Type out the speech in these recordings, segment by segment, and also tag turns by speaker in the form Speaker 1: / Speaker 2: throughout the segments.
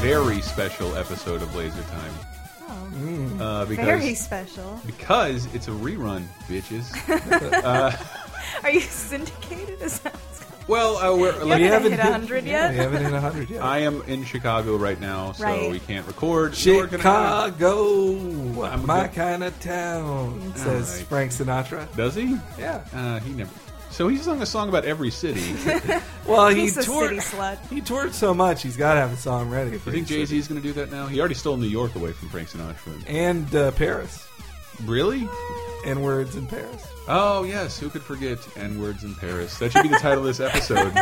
Speaker 1: very special episode of Laser Time.
Speaker 2: Oh,
Speaker 1: Uh, because,
Speaker 2: very special.
Speaker 1: because it's a rerun, bitches.
Speaker 2: Are you syndicated? Is that what's going
Speaker 1: well, uh, we're,
Speaker 2: You
Speaker 1: like,
Speaker 2: haven't
Speaker 3: haven't
Speaker 2: hit
Speaker 3: hit-
Speaker 2: 100
Speaker 3: Yeah,
Speaker 2: yet?
Speaker 3: we haven't hit 100 yet.
Speaker 1: I am in Chicago right now, so
Speaker 2: Right.
Speaker 1: we can't record. Nor can I-
Speaker 3: Chicago,
Speaker 1: I'm a
Speaker 3: my
Speaker 1: good-
Speaker 3: kind of town, says
Speaker 1: Alright.
Speaker 3: Frank Sinatra.
Speaker 1: Does he?
Speaker 3: Yeah.
Speaker 1: Uh, he never. So he sung a song about every city. you
Speaker 3: Well, he
Speaker 2: He's a city
Speaker 3: toured.
Speaker 2: slut.
Speaker 3: He toured so much, he's got to have a song ready. For
Speaker 1: think
Speaker 3: each
Speaker 1: Jay
Speaker 3: city.
Speaker 1: Z's going to do that now? He already stole New York away from Frank Sinatra.
Speaker 3: and uh, Paris
Speaker 1: Really?
Speaker 3: and words in Paris?
Speaker 1: Oh yes, who could forget N words in Paris? That should be the title of this episode.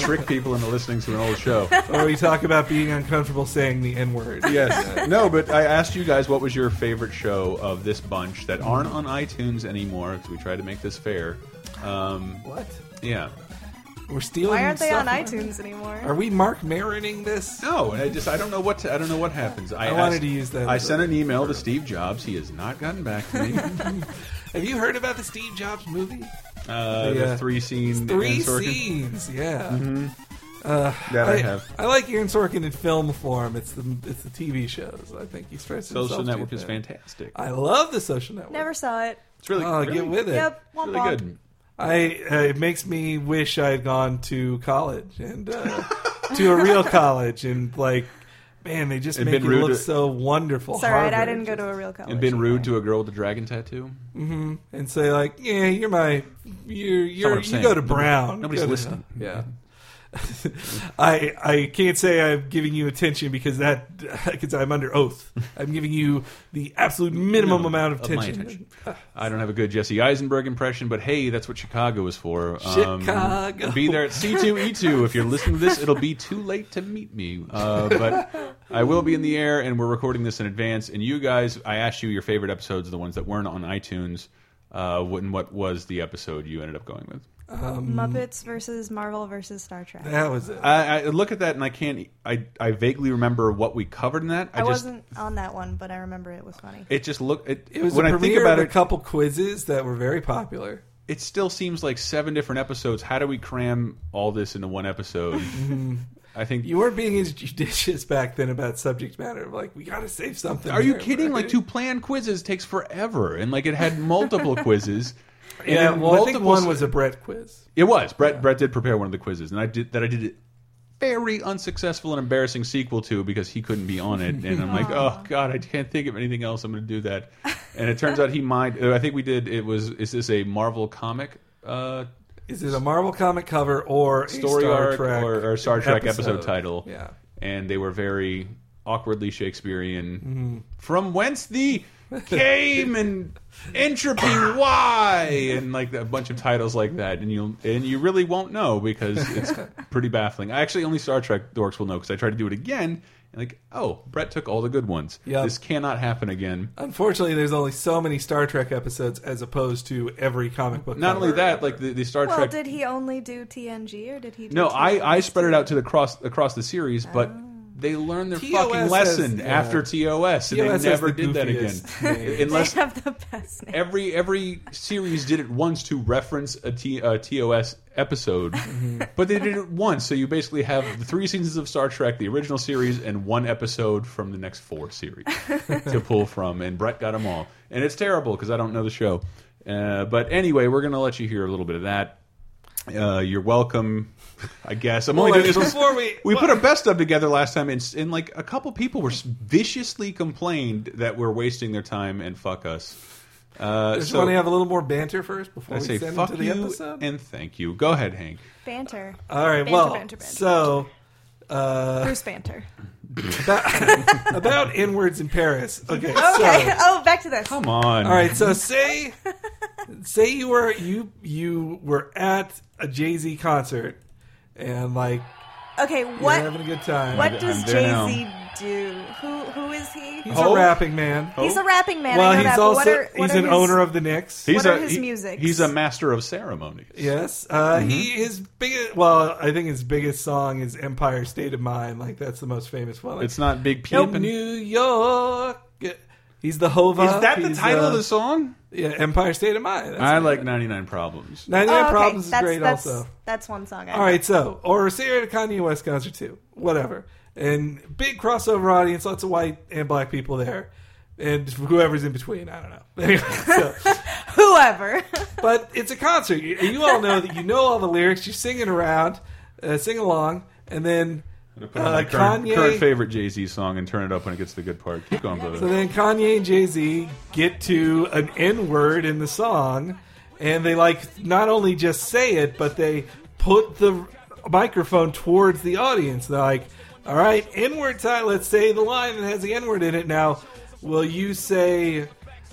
Speaker 1: Trick people into listening to an old show.
Speaker 3: Or we talk about being uncomfortable saying the N word.
Speaker 1: Yes. No, but I asked you guys what was your favorite show of this bunch that aren't on iTunes anymore because we tried to make this fair. Um,
Speaker 3: What?
Speaker 1: yeah.
Speaker 3: We're stealing.
Speaker 2: Why aren't they on
Speaker 3: stuff away?
Speaker 2: iTunes anymore?
Speaker 3: Are we Mark Marining this?
Speaker 1: No, and I just I don't know what to, I don't know what happens. I,
Speaker 3: I wanted
Speaker 1: asked-
Speaker 3: to use that
Speaker 1: I
Speaker 3: as a-
Speaker 1: sent an email to Steve Jobs. He has not gotten back to me.
Speaker 3: Have you heard about the Steve Jobs movie?
Speaker 1: Uh,
Speaker 3: Yeah.
Speaker 1: The three scene
Speaker 3: Three
Speaker 1: Aaron Sorkin?
Speaker 3: scenes. Yeah.
Speaker 1: that I have.
Speaker 3: I like Aaron Sorkin in film form. It's the it's the TV shows. I think he stretches.
Speaker 1: Social
Speaker 3: himself
Speaker 1: Network
Speaker 3: too
Speaker 1: is
Speaker 3: thin.
Speaker 1: fantastic.
Speaker 3: I love the Social Network.
Speaker 2: Never saw it.
Speaker 1: It's really,
Speaker 3: Oh,
Speaker 1: really,
Speaker 3: get with it.
Speaker 2: Yep.
Speaker 1: it's
Speaker 2: Womp
Speaker 1: really
Speaker 2: womp.
Speaker 1: good.
Speaker 3: I uh, it makes me wish I had gone to college and uh, to a real college and like, man, they just
Speaker 1: And
Speaker 3: make
Speaker 1: been
Speaker 3: you
Speaker 1: rude
Speaker 3: look
Speaker 1: to-
Speaker 3: so wonderful.
Speaker 2: It's alright, I
Speaker 3: Harvard,
Speaker 2: didn't go
Speaker 3: just-
Speaker 2: to a real college.
Speaker 1: And been rude to a girl with a dragon tattoo.
Speaker 3: Mm-hmm. and say like, yeah, you're my you're
Speaker 1: what
Speaker 3: you're
Speaker 1: I'm
Speaker 3: you
Speaker 1: saying.
Speaker 3: go to
Speaker 1: Nobody-
Speaker 3: Brown.
Speaker 1: nobody's
Speaker 3: Go to-
Speaker 1: listening.
Speaker 3: yeah. I I can't say I'm giving you attention because that because I'm under oath. I'm giving you the absolute minimum
Speaker 1: Minimum
Speaker 3: amount of,
Speaker 1: of my
Speaker 3: tension.
Speaker 1: attention. I don't have a good Jesse Eisenberg impression, but hey, that's what Chicago is for. Um,
Speaker 3: Chicago.
Speaker 1: be there at C2E2. If you're listening to this, it'll be too late to meet me. Uh, but I will be in the air, and we're recording this in advance. And you guys, I asked you your favorite episodes, the ones that weren't on iTunes. Uh, what- and what was the episode you ended up going with?
Speaker 2: Muppets versus Marvel versus Star Trek.
Speaker 3: That was it.
Speaker 1: I, I look at that and I can't. I I vaguely remember what we covered in that. I,
Speaker 2: I,
Speaker 1: just
Speaker 2: wasn't on that one, but I remember it was funny.
Speaker 1: it just look it,
Speaker 3: It was
Speaker 1: when
Speaker 3: a
Speaker 1: I
Speaker 3: premiere
Speaker 1: think about
Speaker 3: of
Speaker 1: it,
Speaker 3: a couple quizzes that were very popular.
Speaker 1: it still seems like seven different episodes. How do we cram all this into one episode? I think.
Speaker 3: Mm-hmm. You weren't being as judicious back then about subject matter. Of like, we got to save something.
Speaker 1: are you
Speaker 3: here,
Speaker 1: kidding?
Speaker 3: right?
Speaker 1: Like to plan quizzes takes forever, and like it had multiple quizzes. and
Speaker 3: Yeah,
Speaker 1: then
Speaker 3: well, I think
Speaker 1: multiple-
Speaker 3: one was a Brett quiz.
Speaker 1: It was Brett. Brett did prepare one of the quizzes, and I did that. I did it very unsuccessful and embarrassing sequel to because he couldn't be on it, and I'm like, oh god, I can't think of anything else. I'm going to do that, and it turns out he might. I think we did. It was is this a Marvel comic? Uh,
Speaker 3: Is it a Marvel comic cover or a
Speaker 1: story
Speaker 3: Star
Speaker 1: arc
Speaker 3: Trek
Speaker 1: or, or Star Trek episode, title.
Speaker 3: Yeah.
Speaker 1: And they were very awkwardly
Speaker 3: Mm-hmm.
Speaker 1: Shakespearean. From whence the came and entropy why and like a bunch of titles like that and you and you really won't know because it's pretty baffling. I actually only Star Trek dorks will know because I tried to do it again and like oh Brett took all the good ones.
Speaker 3: Yeah.
Speaker 1: This cannot happen again.
Speaker 3: Unfortunately, there's only so many Star Trek episodes as opposed to every comic book.
Speaker 1: Not
Speaker 3: cover
Speaker 1: only that,
Speaker 3: ever.
Speaker 1: like the, the Star
Speaker 2: Well,
Speaker 1: Trek
Speaker 2: did he only do TNG or did he? Do
Speaker 1: No, I, I
Speaker 2: TNG?
Speaker 1: spread it out to the cross across the series, but they learned their
Speaker 3: TOS
Speaker 1: fucking
Speaker 3: has-
Speaker 1: lesson
Speaker 3: yeah.
Speaker 1: after TOS, and
Speaker 3: TOS has
Speaker 1: they never
Speaker 3: the
Speaker 1: did that again.
Speaker 3: goofiest name.
Speaker 2: They
Speaker 1: Unless
Speaker 2: have the best name.
Speaker 1: every every series did it once to reference a, T, a TOS episode, but they did it once, so you basically have the three seasons of Star Trek, the original series, and one episode from the next four series to pull from, and Brett got them all, and it's terrible because I don't know the show. Uh, but anyway, we're gonna let you hear a little bit of that. Uh, you're welcome. I guess I'm only
Speaker 3: Well,
Speaker 1: doing this
Speaker 3: before we-
Speaker 1: we put our best of together last time, and, and like a couple people were s- viciously complained that we're wasting their time and fuck us. Uh,
Speaker 3: I just
Speaker 1: so
Speaker 3: want to have a little more banter first before
Speaker 1: I
Speaker 3: we
Speaker 1: say
Speaker 3: send
Speaker 1: fuck
Speaker 3: into the
Speaker 1: you
Speaker 3: episode.
Speaker 1: and thank you. Go ahead, Hank.
Speaker 2: Banter.
Speaker 3: All right,
Speaker 2: Banter,
Speaker 3: well,
Speaker 2: banter, banter.
Speaker 3: so uh,
Speaker 2: Bruce Banter.
Speaker 3: about, about inwards in Paris. Okay,
Speaker 2: Okay.
Speaker 3: so
Speaker 2: oh, back to this.
Speaker 1: Come on.
Speaker 3: all right, so say say you were you you were at a Jay Z concert and like
Speaker 2: Okay.
Speaker 3: you're
Speaker 2: What
Speaker 3: having a good time.
Speaker 2: What
Speaker 1: I'm
Speaker 2: does
Speaker 1: there
Speaker 2: Jay
Speaker 1: now.
Speaker 2: Z do? Who Who is he?
Speaker 3: He's
Speaker 1: Hope?
Speaker 3: a rapping man.
Speaker 2: He's a rapping man.
Speaker 3: Well,
Speaker 2: I know
Speaker 3: he's
Speaker 2: that.
Speaker 3: also
Speaker 2: but what are, what
Speaker 3: he's
Speaker 2: are
Speaker 3: an
Speaker 2: his,
Speaker 3: owner of the Knicks.
Speaker 1: He's
Speaker 2: What are
Speaker 1: a,
Speaker 2: his
Speaker 1: he-
Speaker 2: musics?
Speaker 1: He's a master of ceremonies.
Speaker 3: Yes, uh,
Speaker 1: Mm-hmm.
Speaker 3: he his biggest. Well, I think his biggest song is "Empire State of Mind." Like that's the most famous one. Like,
Speaker 1: It's not big
Speaker 3: Nope.
Speaker 1: peeping.
Speaker 3: New York. He's the Hova.
Speaker 1: Is that the
Speaker 3: He's uh,
Speaker 1: title of the song?
Speaker 3: yeah, Empire State of Mind. That's
Speaker 1: I
Speaker 3: it.
Speaker 1: like 99 Problems.
Speaker 3: 99
Speaker 2: Oh, okay.
Speaker 3: Problems is
Speaker 2: that's,
Speaker 3: great
Speaker 2: that's,
Speaker 3: also.
Speaker 2: That's one song. I
Speaker 3: All right, so or Sarah to Kanye West concert too, whatever, and big crossover audience, lots of white and black people there, and whoever's in between, I don't know. Anyway, so,
Speaker 2: Whoever.
Speaker 3: but it's a concert. You, you all know that you know all the lyrics. You're singing around, uh, sing along, and then
Speaker 1: I'm gonna put on
Speaker 3: uh,
Speaker 1: my current,
Speaker 3: Kanye.
Speaker 1: current favorite Jay Z song and turn it up when it gets to the good part. Keep going,
Speaker 3: So
Speaker 1: brother.
Speaker 3: then Kanye and Jay Z get to an N word in the song, and they like not only just say it, but they put the microphone towards the audience. They're like, "All right, N word time. Let's say the line that has the N word in it." Now, will you say?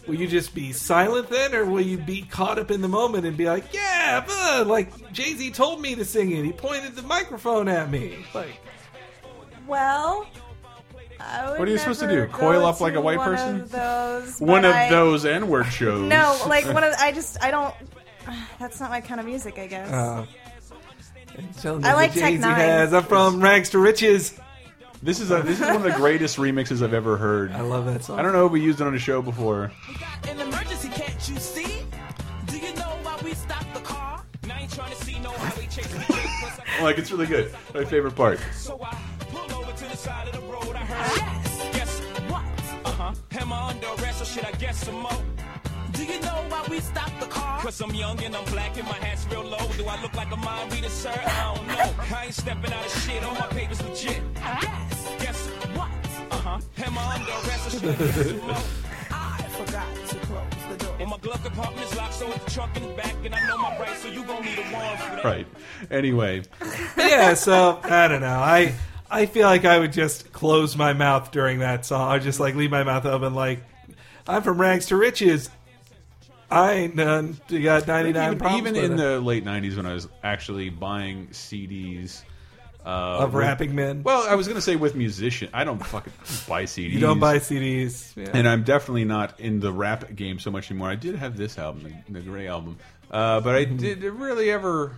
Speaker 3: Will you just be silent then, or will you be caught up in the moment and be like, "Yeah, but like Jay Z told me to sing it. He pointed the microphone at me." Like,
Speaker 2: Well, I would
Speaker 1: What are you supposed to
Speaker 2: never
Speaker 1: do? Coil
Speaker 2: go
Speaker 1: up like a
Speaker 2: to
Speaker 1: white
Speaker 2: one
Speaker 1: person?
Speaker 2: Of those,
Speaker 1: One
Speaker 2: but
Speaker 1: of
Speaker 2: I-
Speaker 1: those N word shows.
Speaker 2: No, like one of. I just. I don't. That's not my kind of music. I guess.
Speaker 3: uh, tell me
Speaker 2: I
Speaker 3: what
Speaker 2: like Tech
Speaker 3: Jay-Z
Speaker 2: Nine.
Speaker 3: has. I'm from rags to riches.
Speaker 1: This is a, this is one of the greatest remixes I've ever heard.
Speaker 3: I love that song.
Speaker 1: I don't know if we used it on a show before.
Speaker 4: We got an emergency, can't you see? Do you know why we stopped the car? And I ain't trying to see no highway chase.
Speaker 1: Like it's really good. My favorite part.
Speaker 4: so I pull over to the side of the road. I heard, yes, guess what? Uh huh. Am I under arrest or should I guess some more? Do you know why we stopped the car? Cause I'm young and I'm black and my hat's real low. Do I look like a mind reader, sir? I don't know. I ain't stepping out of shit. All my papers legit. Yes, guess what? Uh huh. Am I under arrest or should I guess some more? I forgot to close the door. Well, my glove compartment is locked, so is the trunk in the back. And I know my rights, so you gon' need a warrant for that.
Speaker 1: Right. Anyway,
Speaker 3: yeah, so I don't know. I I feel like I would just close my mouth during that song. I would just like leave my mouth open. Like I'm from rags to riches. I ain't none. You got ninety nine
Speaker 1: even,
Speaker 3: problems.
Speaker 1: even
Speaker 3: with
Speaker 1: in
Speaker 3: it.
Speaker 1: the late '90s when I was actually buying CDs uh,
Speaker 3: of
Speaker 1: with-
Speaker 3: rapping men,
Speaker 1: Well, I was gonna say with musician. I don't fucking buy CDs.
Speaker 3: you don't buy CDs. Yeah.
Speaker 1: and I'm definitely not in the rap game so much anymore. I did have this album, the, the Gray album, uh, but
Speaker 3: Mm-hmm.
Speaker 1: I did really ever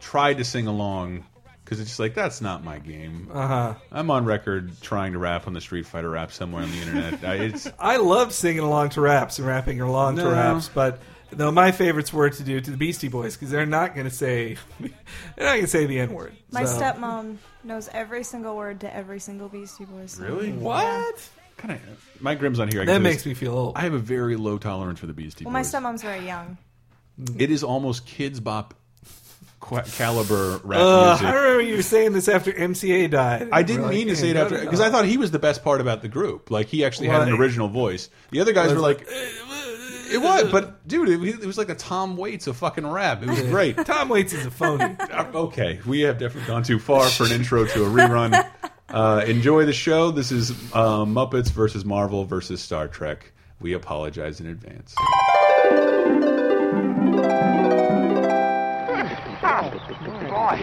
Speaker 1: try to sing along because it's just like that's not my game.
Speaker 3: Uh huh.
Speaker 1: I'm on record trying to rap on the Street Fighter rap somewhere on the internet. I, it's
Speaker 3: I love singing along to raps and rapping along
Speaker 1: No.
Speaker 3: to raps, but though my favorites were to do to the Beastie Boys because they're not going to say they're not going to say the N word.
Speaker 2: my
Speaker 3: so.
Speaker 2: stepmom knows every single word to every single Beastie Boys. Song.
Speaker 3: What?
Speaker 1: kind of my Grimm's on here. I
Speaker 3: That
Speaker 1: guess.
Speaker 3: makes me feel old.
Speaker 1: I have a very low tolerance for the Beastie
Speaker 2: Well, my
Speaker 1: Boys.
Speaker 2: stepmom's very young.
Speaker 1: It is almost kids bop qua caliber rap
Speaker 3: Uh, I
Speaker 1: music.
Speaker 3: remember you were saying this after MCA died.
Speaker 1: I didn't
Speaker 3: We're like,
Speaker 1: mean to say it
Speaker 3: "Hey,
Speaker 1: after
Speaker 3: no, no."
Speaker 1: because I thought he was the best part about the group. Like he actually had an
Speaker 3: Right.
Speaker 1: original voice. The other guys
Speaker 3: Was
Speaker 1: were like, "Eh, it was, but dude, it, was- it was like a Tom Waits of fucking rap. It was great.
Speaker 3: Tom Waits is a phony.
Speaker 1: Uh, okay, we have definitely gone too far for an intro to a rerun. Uh, enjoy the show. This is uh, Muppets versus Marvel versus Star Trek. We apologize in advance.
Speaker 5: Oh, boy.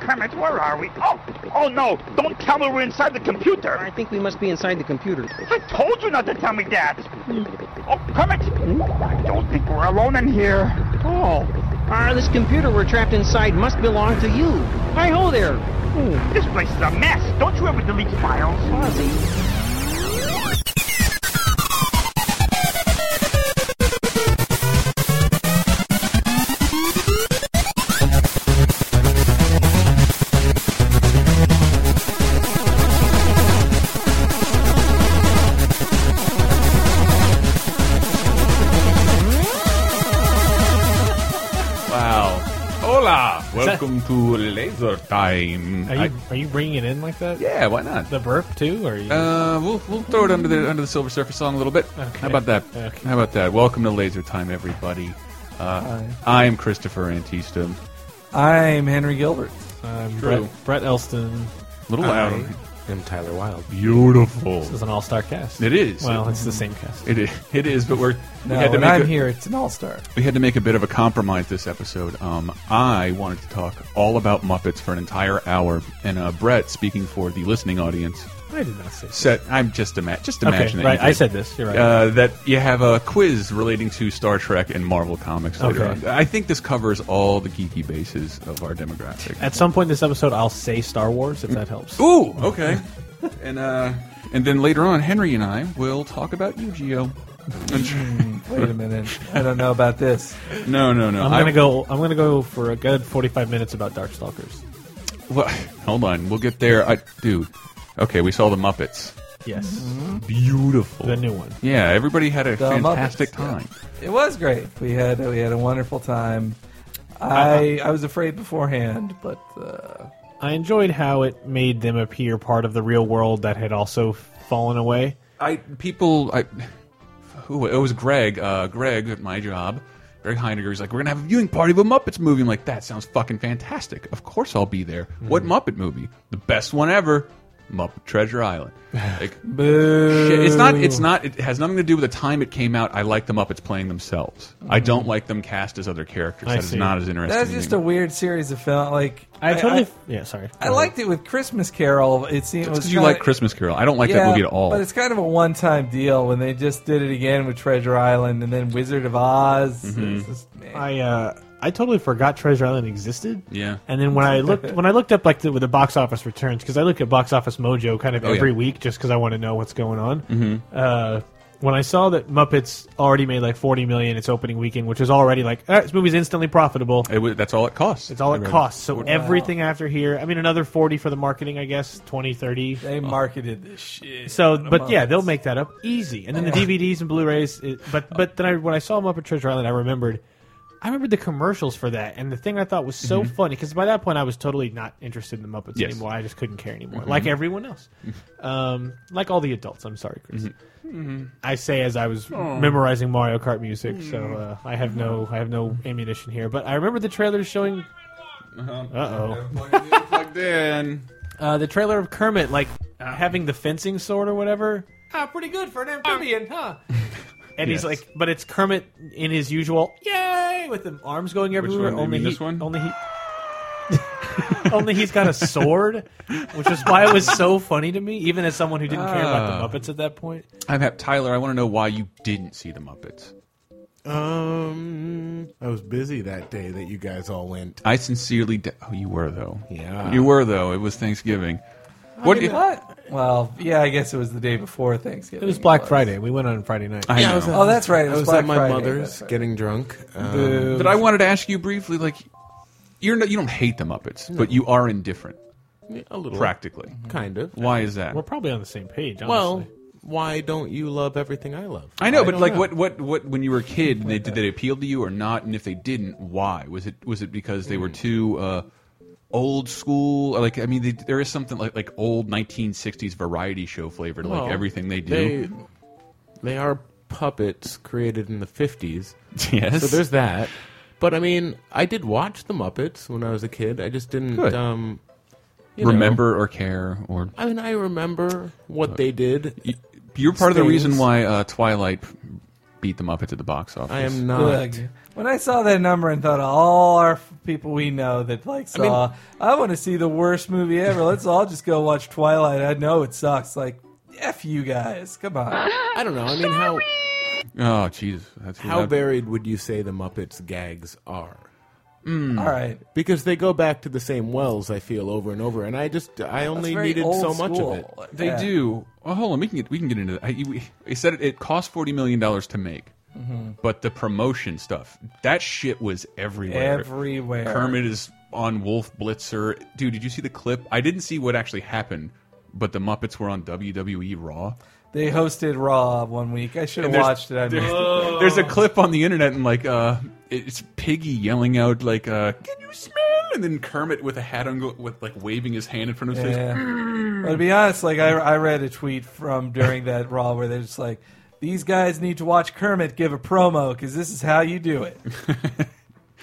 Speaker 5: Kermit, where are we? Oh, oh no, don't tell me we're inside the computer.
Speaker 6: I
Speaker 5: I
Speaker 6: think we must be inside the computer.
Speaker 5: told you not to tell me that. Oh, Kermit, I don't think we're alone in here. Oh,
Speaker 6: Ah, this computer we're trapped inside must belong to you. Hi ho there. Hmm,
Speaker 5: this place is a mess. Don't you ever delete files?
Speaker 6: Fozzie.
Speaker 1: Wow. Hola. Welcome to Laser Time.
Speaker 7: Are you are you bringing it in like that?
Speaker 1: yeah, why not?
Speaker 7: The burp too? Or are you?
Speaker 1: Uh, we'll we'll throw it under the under the silver surface song a little bit. How about that?
Speaker 7: Okay.
Speaker 1: How about that? Welcome to Laser Time, everybody. Uh, I am Christopher Antista.
Speaker 3: I'm Henry Gilbert.
Speaker 7: um,
Speaker 1: true. Um,
Speaker 7: Brett, Brett Elston
Speaker 1: little loud.
Speaker 8: I'm Tyler Wilde.
Speaker 1: Beautiful.
Speaker 7: is an all-star cast.
Speaker 1: It is.
Speaker 7: Well, it's the same cast.
Speaker 1: It is. It is. But we're we
Speaker 3: No,
Speaker 1: had to
Speaker 3: when
Speaker 1: make
Speaker 3: I'm
Speaker 1: a,
Speaker 3: here, it's an all star.
Speaker 1: we had to make a bit of a compromise this episode. Um, I wanted to talk all about Muppets for an entire hour, and uh, Brett, speaking for the listening audience,
Speaker 7: I did not say. that.
Speaker 1: said, "I'm just ima just
Speaker 7: Okay,
Speaker 1: imagine that
Speaker 7: right.
Speaker 1: you
Speaker 7: I
Speaker 1: did.
Speaker 7: said this. You're right.
Speaker 1: uh, that you have a quiz relating to Star Trek and Marvel comics later
Speaker 7: Okay.
Speaker 1: on. I think this covers all the geeky bases of our demographic.
Speaker 7: At some point this episode, I'll say Star Wars if that helps.
Speaker 1: Ooh, okay. and uh, And then later on, Henry and I will talk about Yu Gi Oh!
Speaker 3: Wait a minute. I don't know about this.
Speaker 1: No, no, no.
Speaker 7: Mm. I'm gonna
Speaker 1: I-
Speaker 7: go. I'm gonna go for a good 45 minutes about Darkstalkers.
Speaker 1: Well, hold on, we'll get there. I, dude, okay, we saw the Muppets.
Speaker 7: Yes,
Speaker 1: Mm-hmm. Beautiful.
Speaker 7: the new one.
Speaker 1: Yeah, everybody had a
Speaker 3: The
Speaker 1: fantastic
Speaker 3: Muppets,
Speaker 1: time.
Speaker 3: It was great. We had we had a wonderful time.
Speaker 1: Uh-huh.
Speaker 3: I I was afraid beforehand, but uh,
Speaker 7: I enjoyed how it made them appear part of the real world that had also fallen away.
Speaker 1: I people, I who it was Greg, uh, Greg at my job. Greg Heidegger was like, "We're gonna have a viewing party of a Muppets movie." I'm like, "That sounds fucking fantastic. Of course I'll be there.
Speaker 7: Hmm.
Speaker 1: What Muppet movie? The best one ever, Muppet Treasure Island." Like,
Speaker 3: boo.
Speaker 1: Shit, It's not. It's not. It has nothing to do with the time it came out. I like the Muppets playing themselves. I don't like them cast as other characters.
Speaker 7: Hmm. I
Speaker 1: That is
Speaker 7: see.
Speaker 1: not as interesting.
Speaker 3: That's just
Speaker 1: to
Speaker 3: a
Speaker 1: me.
Speaker 3: weird series of film. Like
Speaker 7: I totally.
Speaker 3: I,
Speaker 7: yeah, sorry.
Speaker 3: I liked it with Christmas Carol. It seemed
Speaker 1: It's
Speaker 3: it was
Speaker 1: 'cause you
Speaker 3: kinda-
Speaker 1: like Christmas Carol. I don't like
Speaker 3: yeah,
Speaker 1: that movie at all.
Speaker 3: But it's kind of a one-time deal when they just did it again with Treasure Island and then Wizard of Oz. It's
Speaker 1: Mm-hmm.
Speaker 3: just, man.
Speaker 7: I uh, I totally forgot Treasure Island existed.
Speaker 1: Yeah.
Speaker 7: And then when I looked when I looked up like the, with the box office returns because I look at box office Mojo kind of
Speaker 1: Oh, yeah. Mm-hmm.
Speaker 7: every week just because I want to know what's going on. Uh, when I saw that Muppets already made like forty million its opening weekend, which is already like "Ah, this movie's instantly profitable.
Speaker 1: It was- that's all it costs.
Speaker 7: It's all
Speaker 1: I
Speaker 7: it
Speaker 1: read.
Speaker 7: costs. So everything after here, I mean, another forty for the marketing, I guess, 20, 30.
Speaker 3: they marketed this shit.
Speaker 7: So,
Speaker 3: out of
Speaker 7: but yeah,
Speaker 3: Muppets.
Speaker 7: they'll make that up easy. And then the DVDs and Blu-rays. It, but but then I, when I saw them up at Treasure Island, I remembered, I remembered the commercials for that. And the thing I thought was so funny because by that point I was totally not interested in the Muppets
Speaker 1: Yes.
Speaker 7: anymore. I just couldn't care anymore, like everyone else, um, like all the adults. I'm sorry, Chris. I say as I was memorizing Mario Kart music, so uh, I have no I have no ammunition here. But I remember the trailers showing. Uh oh.
Speaker 1: Plugged in.
Speaker 7: Uh, the trailer of Kermit, like
Speaker 1: Ah.
Speaker 7: having the fencing sword or whatever. Ah, pretty good for an amphibian, huh? and
Speaker 1: Ah. Yes.
Speaker 7: he's like, but it's Kermit in his usual yay with the arms going everywhere.
Speaker 1: one? You
Speaker 7: Only
Speaker 1: mean
Speaker 7: he,
Speaker 1: this one?
Speaker 7: Only he. only he's got a sword, which is why it was so funny to me, even as someone who didn't care
Speaker 1: Ah.
Speaker 7: about the Muppets at that point.
Speaker 1: I've had Tyler. I want to know why you didn't see the Muppets.
Speaker 8: Um, I was busy that day that you guys all went.
Speaker 1: I sincerely. d oh, you were though.
Speaker 8: Yeah.
Speaker 1: you were though. It was Thanksgiving. What? do you-
Speaker 3: What? Well, yeah, I guess it was the day before Thanksgiving.
Speaker 7: It was Black Friday. We went on Friday night.
Speaker 1: I know.
Speaker 3: Oh, that's right. It
Speaker 8: I
Speaker 3: was,
Speaker 8: was
Speaker 3: Black
Speaker 8: at my
Speaker 3: Friday.
Speaker 8: mother's
Speaker 3: That's right.
Speaker 8: getting drunk. Um,
Speaker 3: Boo.
Speaker 1: But I wanted to ask you briefly. Like, you're no, you don't hate the Muppets, but you are indifferent
Speaker 8: a little
Speaker 1: practically.
Speaker 8: kind of.
Speaker 1: Why is that?
Speaker 7: We're probably on the same page. Honestly.
Speaker 8: Well, why don't you love everything I love?
Speaker 1: I know, but
Speaker 8: don't
Speaker 1: like, what, what, what? When you were a kid, they, did they appeal to you or not? And if they didn't, why? Was it was it because they were too uh, old school? Or, Like, I mean, they, there is something like like old 1960s variety show flavor to
Speaker 8: Well,
Speaker 1: like everything they do.
Speaker 8: They, they are puppets created in the fifties.
Speaker 1: yes,
Speaker 8: So there's that. But I mean, I did watch the Muppets when I was a kid. I just didn't
Speaker 1: Good.
Speaker 8: um you know.
Speaker 1: remember Uh, or care or.
Speaker 8: I mean, I remember what they did.
Speaker 1: You- You're part of the reason
Speaker 8: Things.
Speaker 1: why uh, Twilight beat the Muppets at the box office.
Speaker 8: I am not.
Speaker 3: Look, when I saw that number and thought all our f- people we know that like
Speaker 8: mean-
Speaker 3: saw, I, want to see the worst movie ever. Let's all just go watch Twilight. I know it sucks. Like, f you guys. Come on.
Speaker 8: I don't know. I mean, how
Speaker 1: Oh, jeez, that's
Speaker 8: how
Speaker 1: that-
Speaker 8: varied would you say the Muppets gags are?
Speaker 1: Hmm.
Speaker 3: All right.
Speaker 8: Because they go back to the same wells, I feel over and over, and I just I
Speaker 3: That's
Speaker 8: only
Speaker 3: very
Speaker 8: needed
Speaker 3: old
Speaker 8: so much
Speaker 3: school.
Speaker 8: of it.
Speaker 1: They
Speaker 3: Yeah.
Speaker 1: do. Well, hold on, we can get we can get into that. I, we, I said it, it cost forty million dollars to make,
Speaker 8: Mm-hmm.
Speaker 1: but the promotion stuff that shit was everywhere.
Speaker 3: everywhere.
Speaker 1: Kermit is on Wolf Blitzer. Dude, did you see the clip? I didn't see what actually happened, but the Muppets were on WWE Raw.
Speaker 3: They hosted Raw one week. I should
Speaker 1: And
Speaker 3: have
Speaker 1: there's-
Speaker 3: watched it. I
Speaker 1: there-
Speaker 3: missed it.
Speaker 1: There's a clip on the internet and like uh it's Piggy yelling out like uh can you smell and then Kermit with a hat on go- with like waving his hand in front of his face.
Speaker 3: Yeah. But to be honest, like I, I read a tweet from during that Raw where they're just like, these guys need to watch Kermit give a promo because this is how you do it.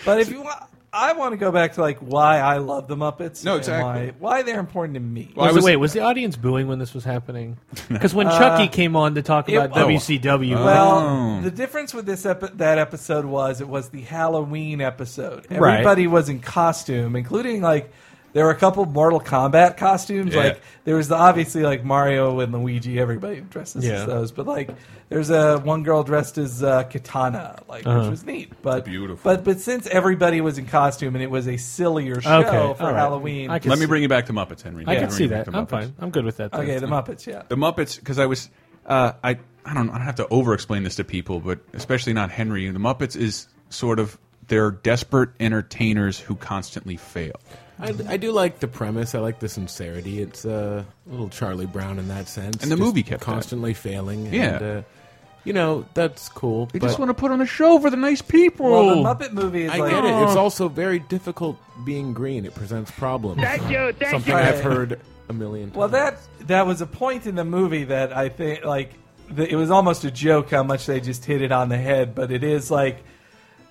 Speaker 3: but if you want, I want to go back to like why I love the Muppets.
Speaker 1: No,
Speaker 3: and
Speaker 1: exactly.
Speaker 3: Why, why they're important to me.
Speaker 1: Well, I
Speaker 7: Was,
Speaker 1: was-
Speaker 7: wait, was the audience booing when this was happening? Because when Chucky came on to talk
Speaker 3: it-
Speaker 7: about
Speaker 3: oh.
Speaker 7: WCW, Oh.
Speaker 3: Well, the difference with this epi- that episode was it was the Halloween episode.
Speaker 7: Right.
Speaker 3: Everybody was in costume, including like There were a couple Mortal Kombat costumes.
Speaker 1: Yeah.
Speaker 3: Like there was the, obviously like Mario and Luigi. Everybody dresses
Speaker 7: Yeah.
Speaker 3: as those. But like there's a one girl dressed as uh, Katana, like
Speaker 7: Uh-huh.
Speaker 3: which was neat. But
Speaker 1: Beautiful.
Speaker 3: But but since everybody was in costume and it was a sillier show
Speaker 7: Okay, all
Speaker 3: for
Speaker 7: right.
Speaker 3: Halloween.
Speaker 7: I can-
Speaker 1: Let me bring you back to Muppets, Henry.
Speaker 7: I
Speaker 1: Let
Speaker 7: can
Speaker 1: me
Speaker 7: see
Speaker 1: bring you back
Speaker 7: that.
Speaker 1: to
Speaker 7: I'm
Speaker 1: Muppets.
Speaker 7: fine. I'm good with that.
Speaker 3: okay,
Speaker 7: then.
Speaker 3: the Muppets. Yeah.
Speaker 1: The Muppets, because I was, uh, I, I don't, I don't have to over-explain this to people, but especially not Henry. The Muppets is sort of they're desperate entertainers who constantly fail.
Speaker 8: I, I do like the premise. I like the sincerity. It's uh, a little Charlie Brown in that sense.
Speaker 1: And the
Speaker 8: Just
Speaker 1: movie kept that.
Speaker 8: constantly failing.
Speaker 1: Yeah.
Speaker 8: and, uh, you know that's cool.
Speaker 1: They
Speaker 8: but
Speaker 1: just want to put on a show for the nice people.
Speaker 3: Well, the Muppet movie is
Speaker 8: I
Speaker 3: like
Speaker 8: get it. It's also very difficult being green. It presents problems.
Speaker 5: Thank you, thank
Speaker 8: Something
Speaker 5: you.
Speaker 8: I've heard a million. times.
Speaker 3: Well, that that was a point in the movie that I think like the, it was almost a joke how much they just hit it on the head, but it is like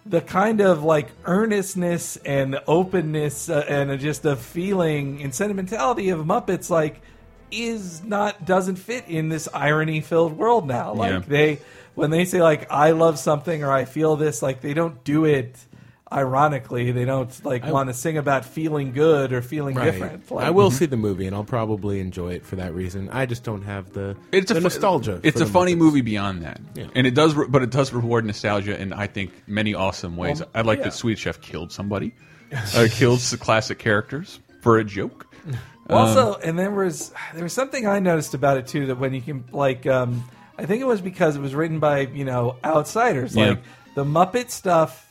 Speaker 3: the kind of like earnestness and openness uh, and just the feeling and sentimentality of Muppets like is not doesn't fit in this irony filled world now. Like
Speaker 1: Yeah.
Speaker 3: they when they say like I love something or I feel this, like they don't do it ironically. They don't like want to sing about feeling good or feeling
Speaker 8: Right.
Speaker 3: different. Like,
Speaker 8: I will see the movie, and I'll probably enjoy it for that reason. I just don't have the
Speaker 1: it's
Speaker 8: the
Speaker 1: a fu-
Speaker 8: nostalgia.
Speaker 1: It's
Speaker 8: for
Speaker 1: a
Speaker 8: the
Speaker 1: funny
Speaker 8: Muppets.
Speaker 1: movie beyond that, and it does, re- but it does reward nostalgia in I think many awesome ways. I like that Sweet Chef killed somebody, uh, killed the classic characters for a joke.
Speaker 3: Also,
Speaker 1: Um,
Speaker 3: and there was there was something I noticed about it too that when you can like, um, I think it was because it was written by you know outsiders
Speaker 1: Yeah.
Speaker 3: like the Muppet stuff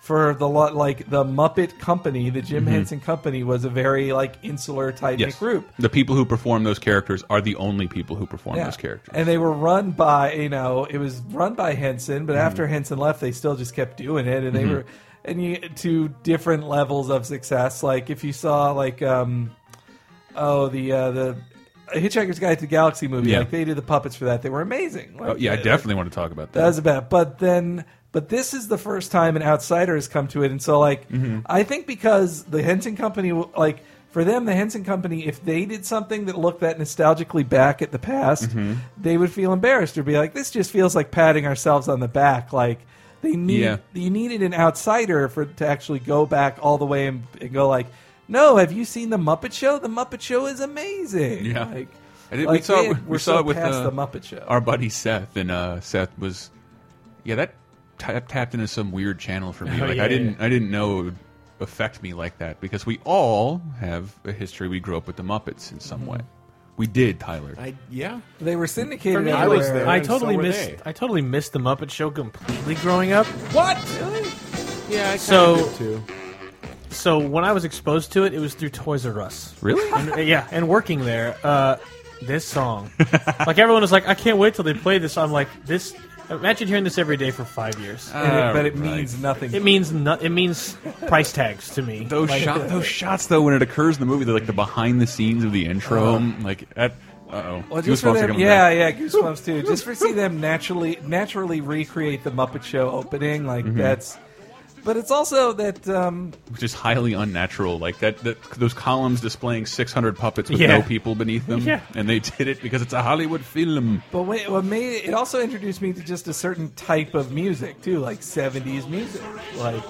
Speaker 3: for the lot like the Muppet Company, the Jim Henson Company was a very like insular type
Speaker 1: Mm-hmm. Yes,
Speaker 3: group.
Speaker 1: the people who perform those characters are the only people who perform
Speaker 3: Yeah.
Speaker 1: those characters.
Speaker 3: And they were run by, you know, it was run by Henson,
Speaker 1: Mm-hmm.
Speaker 3: but after Henson left, they still just kept doing it. And they were, and you, to different levels of success. Like, if you saw, like, um, oh, the, uh, the Hitchhiker's Guide to the Galaxy movie,
Speaker 1: Yeah.
Speaker 3: like, they did the puppets for that. They were amazing. Like,
Speaker 1: Oh, yeah, I definitely want to talk about
Speaker 3: that
Speaker 1: that.
Speaker 3: was about. But then, but this is the first time an outsider has come to it, and so like
Speaker 1: Mm-hmm.
Speaker 3: I think because the Henson Company, like for them, the Henson Company, if they did something that looked that nostalgically back at the past,
Speaker 1: Mm-hmm.
Speaker 3: they would feel embarrassed or be like, "This just feels like patting ourselves on the back." Like they need
Speaker 1: Yeah.
Speaker 3: you needed an outsider for to actually go back all the way and, and go like. No, have you seen the Muppet Show? The Muppet Show is amazing.
Speaker 1: Yeah.
Speaker 3: like,
Speaker 1: And it- we
Speaker 3: like
Speaker 1: saw it-
Speaker 3: they-
Speaker 1: we
Speaker 3: we're
Speaker 1: saw
Speaker 3: so
Speaker 1: it with,
Speaker 3: past
Speaker 1: uh,
Speaker 3: the Muppet Show.
Speaker 1: Our buddy Seth and uh, Seth was, yeah, that tap tapped into some weird channel for me.
Speaker 7: Oh,
Speaker 1: like
Speaker 7: yeah,
Speaker 1: I didn't, I didn't know it would affect me like that because we all have a history. We grew up with the Muppets in
Speaker 7: Mm-hmm.
Speaker 1: some way. We did, Tyler.
Speaker 8: I, yeah,
Speaker 3: they were syndicated.
Speaker 8: me,
Speaker 3: everywhere.
Speaker 8: I was there.
Speaker 7: I
Speaker 8: and so
Speaker 7: totally
Speaker 8: were
Speaker 7: missed.
Speaker 8: they.
Speaker 7: I totally missed the Muppet Show completely growing up.
Speaker 3: What? Really?
Speaker 8: yeah. I kinda
Speaker 7: So-
Speaker 8: did too.
Speaker 7: So when I was exposed to it, it was through Toys R Us.
Speaker 1: really?
Speaker 7: And, uh, yeah, and working there, uh, this song, like everyone was like, I can't wait till they play this. I'm like, this. Imagine hearing this every day for five years.
Speaker 8: Uh,
Speaker 3: And it-
Speaker 1: All
Speaker 3: but it
Speaker 1: Ah, right.
Speaker 3: means nothing.
Speaker 7: It means no, It means price tags to me.
Speaker 1: Those
Speaker 7: Like,
Speaker 1: shot, those shots though, when it occurs in the movie, they're like the behind the scenes of the intro.
Speaker 7: Uh-huh.
Speaker 1: like, that, uh oh,
Speaker 3: well, just
Speaker 1: Goosebumps
Speaker 3: for
Speaker 1: are
Speaker 3: them,
Speaker 1: coming
Speaker 3: yeah,
Speaker 1: back.
Speaker 3: yeah, goosebumps too. Just for see them naturally, naturally recreate the Muppet Show opening, like
Speaker 1: Mm-hmm.
Speaker 3: that's. But it's also that um,
Speaker 1: which is highly unnatural. Like that, that those columns displaying 600 puppets with
Speaker 7: Yeah.
Speaker 1: no people beneath them,
Speaker 7: Yeah.
Speaker 1: and they did it because it's a Hollywood film.
Speaker 3: But wait, what made it also introduced me to just a certain type of music too, like '70s music. Like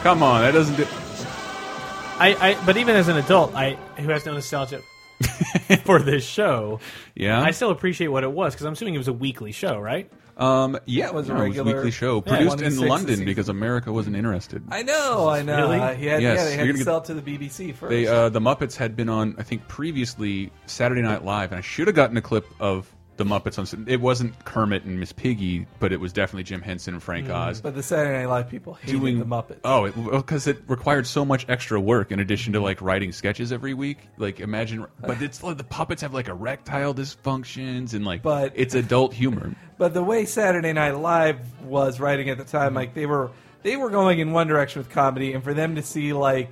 Speaker 1: Come on, that doesn't do.
Speaker 7: I, I. But even as an adult, I who has no nostalgia for this show,
Speaker 1: Yeah,
Speaker 7: I still appreciate what it was because I'm assuming it was a weekly show, right?
Speaker 1: um, yeah, it
Speaker 3: was a
Speaker 1: no,
Speaker 3: regular-
Speaker 1: weekly show
Speaker 3: Yeah,
Speaker 1: produced
Speaker 3: 26
Speaker 1: in London
Speaker 3: season.
Speaker 1: because America wasn't interested.
Speaker 3: I know, I know.
Speaker 7: Really?
Speaker 3: Uh, he had-
Speaker 1: Yes,
Speaker 3: yeah, they
Speaker 1: you're
Speaker 3: had to
Speaker 1: gonna-
Speaker 3: sell it to the BBC first.
Speaker 1: They uh, the Muppets had been on, I think, previously Saturday Night Live, and I should have gotten a clip of the Muppets on. It wasn't Kermit and Miss Piggy, but it was definitely Jim Henson and Frank Oz.
Speaker 3: but the Saturday Night Live people hated
Speaker 1: doing
Speaker 3: the Muppets.
Speaker 1: Oh, because it, required so much extra work in addition to like writing sketches every week. Like imagine, but it's like the puppets have like erectile dysfunctions and like,
Speaker 3: But-
Speaker 1: it's adult humor.
Speaker 3: But the way Saturday Night Live was writing at the time, like they were they were going in one direction with comedy, and for them to see like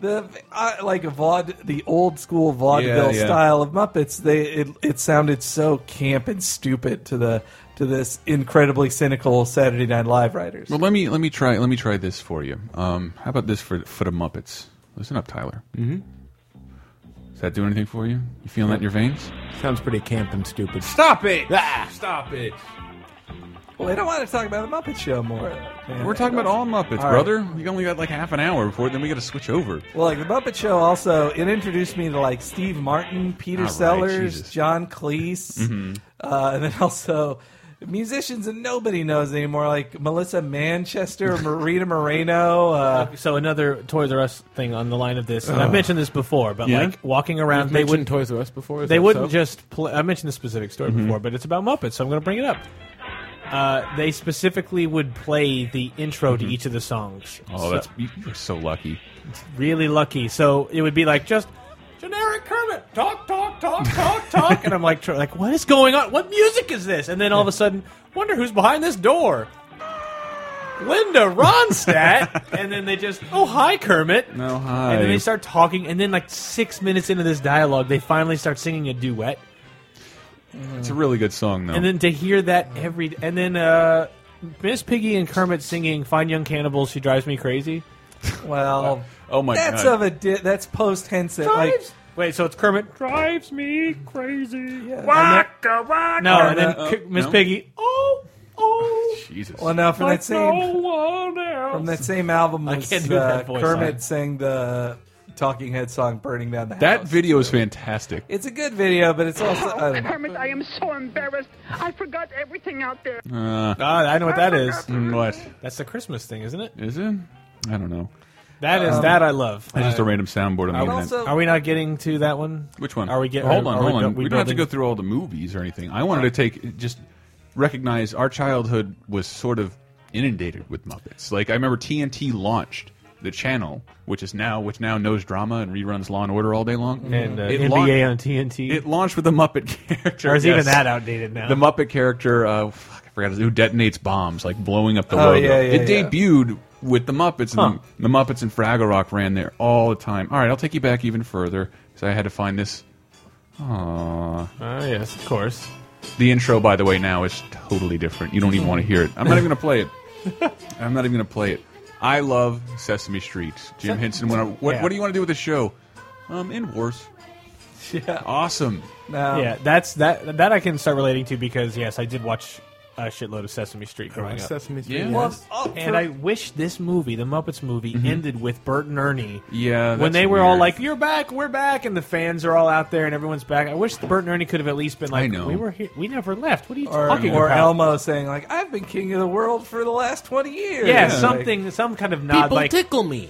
Speaker 3: the uh, like a vaud the old school vaudeville
Speaker 1: Yeah, yeah.
Speaker 3: style of Muppets, they it, it sounded so camp and stupid to the to this incredibly cynical Saturday Night Live writers.
Speaker 1: Well, let me let me try let me try this for you. Um, how about this for for the Muppets? Listen up, Tyler. Mm-hmm. Does that do anything for you? You feeling that in your veins?
Speaker 8: Sounds pretty camp and stupid.
Speaker 1: Stop it! Stop it!
Speaker 3: Well, I don't want to talk about the Muppet Show more. man.
Speaker 1: We're talking about all Muppets,
Speaker 3: All right.
Speaker 1: brother. We only got like half an hour before then we got to switch over.
Speaker 3: Well, like the Muppet Show, also it introduced me to like Steve Martin, Peter
Speaker 1: All right,
Speaker 3: Sellers,
Speaker 1: Jesus. Mm-hmm.
Speaker 3: John Cleese, uh, and then also musicians that nobody knows anymore, like Melissa Manchester, Marita Moreno. Uh,
Speaker 7: So another Toys R Us thing on the line of this, and I've mentioned this before, but
Speaker 1: Uh, Yeah?
Speaker 7: like walking around,
Speaker 8: I've
Speaker 7: they
Speaker 8: mentioned
Speaker 7: wouldn't.
Speaker 8: Toys R Us before. is
Speaker 7: They
Speaker 8: that
Speaker 7: wouldn't
Speaker 8: so?
Speaker 7: just. Pl- I mentioned the specific story
Speaker 1: Mm-hmm.
Speaker 7: before, but it's about Muppets, so I'm going to bring it up. Uh, they specifically would play the intro to each of the songs.
Speaker 1: Mm-hmm. Oh,
Speaker 7: So-
Speaker 1: that's you- you're so lucky.
Speaker 7: really lucky. So it would be like just generic Kermit talk, talk, talk, talk, talk, and I'm like, tr- like what is going on? What music is this? And then all of a sudden, wonder who's behind this door. Linda Ronstadt, and then they just, oh hi Kermit,
Speaker 1: No, hi.
Speaker 7: and then they start talking, and then like six minutes into this dialogue, they finally start singing a duet,
Speaker 1: It's a really good song though.
Speaker 7: and then to hear that every, and then uh, Miss Piggy and Kermit singing "Fine Young Cannibals," she drives me crazy.
Speaker 3: well,
Speaker 1: oh my
Speaker 3: that's
Speaker 1: god.
Speaker 3: of a di- that's post Henson. Like,
Speaker 7: Wait, so it's Kermit drives me crazy.
Speaker 3: yeah.
Speaker 7: No, and then
Speaker 1: Uh,
Speaker 7: K-
Speaker 1: uh,
Speaker 7: Miss
Speaker 1: no.
Speaker 7: Piggy. Oh, oh.
Speaker 1: Jesus.
Speaker 3: well, now from that
Speaker 7: like no
Speaker 3: same
Speaker 7: one else.
Speaker 3: from that same album
Speaker 7: I
Speaker 3: was
Speaker 7: can't do
Speaker 3: uh,
Speaker 7: that voice.
Speaker 3: Kermit sang the Talking Head song "Burning Down the
Speaker 1: that
Speaker 3: House."
Speaker 1: video is fantastic.
Speaker 3: it's a good video, but it's also I don't know.
Speaker 5: Kermit, I am so embarrassed. I forgot everything out there.
Speaker 1: Uh,
Speaker 7: God, I know what that is.
Speaker 1: mm, what
Speaker 7: That's the Christmas thing, isn't it?
Speaker 1: is it? I don't know.
Speaker 7: That is that I love.
Speaker 1: It's just a random soundboard on the
Speaker 3: And
Speaker 1: internet.
Speaker 3: also,
Speaker 7: Are we not getting to that one?
Speaker 1: Which one?
Speaker 7: Are we getting?
Speaker 1: Hold
Speaker 7: are-
Speaker 1: on,
Speaker 7: are we
Speaker 1: hold on.
Speaker 7: bu-
Speaker 1: We, don't have to go
Speaker 7: building-
Speaker 1: through all the movies or anything. I wanted to take just recognize our childhood was sort of inundated with Muppets. Like I remember TNT launched the channel, which is now which now knows drama and reruns Law and Order all day long.
Speaker 7: and uh,
Speaker 1: It
Speaker 7: NBA
Speaker 1: launched-
Speaker 7: on TNT.
Speaker 1: It launched with a Muppet character.
Speaker 7: or is
Speaker 1: yes.
Speaker 7: even that outdated now?
Speaker 1: The Muppet character, uh, fuck, I forgot his- who detonates bombs, like blowing up the
Speaker 3: Oh,
Speaker 1: logo.
Speaker 3: yeah, yeah,
Speaker 1: it
Speaker 3: yeah.
Speaker 1: debuted with the Muppets,
Speaker 7: Huh.
Speaker 1: and the, the Muppets and Fraggle Rock ran there all the time. All right, I'll take you back even further because I had to find this. Aww.
Speaker 7: Ah, yes, of course.
Speaker 1: The intro, by the way, now is totally different. You don't even want to hear it. I'm not even going to play it. I'm not even going to play it. I love Sesame Street. Jim Henson. When I, what,
Speaker 7: yeah.
Speaker 1: what do you want to do with the show? Um, in wars.
Speaker 3: yeah,
Speaker 1: Awesome.
Speaker 3: no.
Speaker 7: yeah, that's that. That I can start relating to because yes, I did watch a shitload of Sesame Street growing up.
Speaker 8: Sesame Street.
Speaker 1: Yeah.
Speaker 8: yes.
Speaker 3: Well, oh,
Speaker 7: And
Speaker 3: for-
Speaker 7: I wish this movie, the Muppets movie, ended with Bert and Ernie.
Speaker 1: Mm-hmm. Yeah,
Speaker 7: when
Speaker 1: that's
Speaker 7: they were all
Speaker 1: weird.
Speaker 7: like, "You're back, we're back," and the fans are all out there and everyone's back. I wish Bert and Ernie could have at least been like,
Speaker 1: I know.
Speaker 7: "We were here, we never left." What are you
Speaker 3: or,
Speaker 7: talking
Speaker 3: or
Speaker 7: about?
Speaker 3: Elmo saying like, "I've been king of the world for the last twenty years."
Speaker 7: Yeah,
Speaker 3: Like,
Speaker 7: something, some kind of nod, like
Speaker 8: tickle me.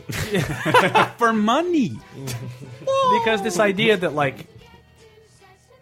Speaker 1: For money.
Speaker 7: because this idea that like,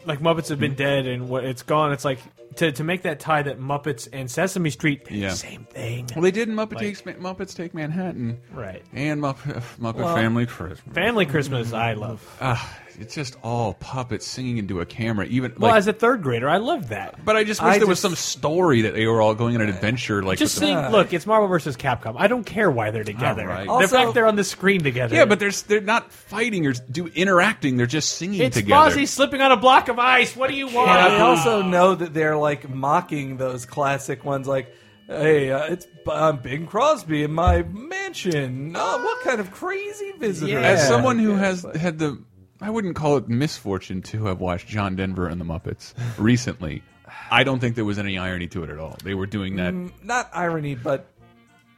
Speaker 7: like Muppets have been dead and what it's gone. It's like to to make that tie that Muppets and Sesame Street, they're
Speaker 1: Yeah.
Speaker 7: the same thing,
Speaker 1: Well, they did in Muppet
Speaker 7: Like-
Speaker 1: Takes Ma- Muppets Take Manhattan.
Speaker 7: right?
Speaker 1: And Muppet, uh, Muppet Family Christmas.
Speaker 7: Family Christmas, I love.
Speaker 1: Ah, it's just all puppets singing into a camera. Even
Speaker 7: Well,
Speaker 1: like,
Speaker 7: as a third grader, I love that.
Speaker 1: but I just wish
Speaker 3: I
Speaker 1: there was
Speaker 3: just-
Speaker 1: some story that they were all going on an adventure. Like
Speaker 7: Just
Speaker 1: with the-
Speaker 7: saying, look, it's Marvel versus Capcom. I don't care why they're together.
Speaker 1: Alright.
Speaker 7: The
Speaker 3: Also-
Speaker 7: fact they're on the screen together.
Speaker 1: yeah, but they're s- they're not fighting or s- do interacting. They're just singing
Speaker 7: it's
Speaker 1: together.
Speaker 7: Fozzie slipping on a block of ice. What do you want?
Speaker 3: And I also know that they're like mocking those classic ones, like, "Hey, uh, it's I'm Bing Crosby in my mansion. Oh, what kind of crazy visitor?"
Speaker 7: Yeah.
Speaker 1: As someone who has had the, I wouldn't call it misfortune to have watched John Denver and the Muppets recently. I don't think there was any irony to it at all. They were doing that.
Speaker 7: Mm,
Speaker 3: not irony, but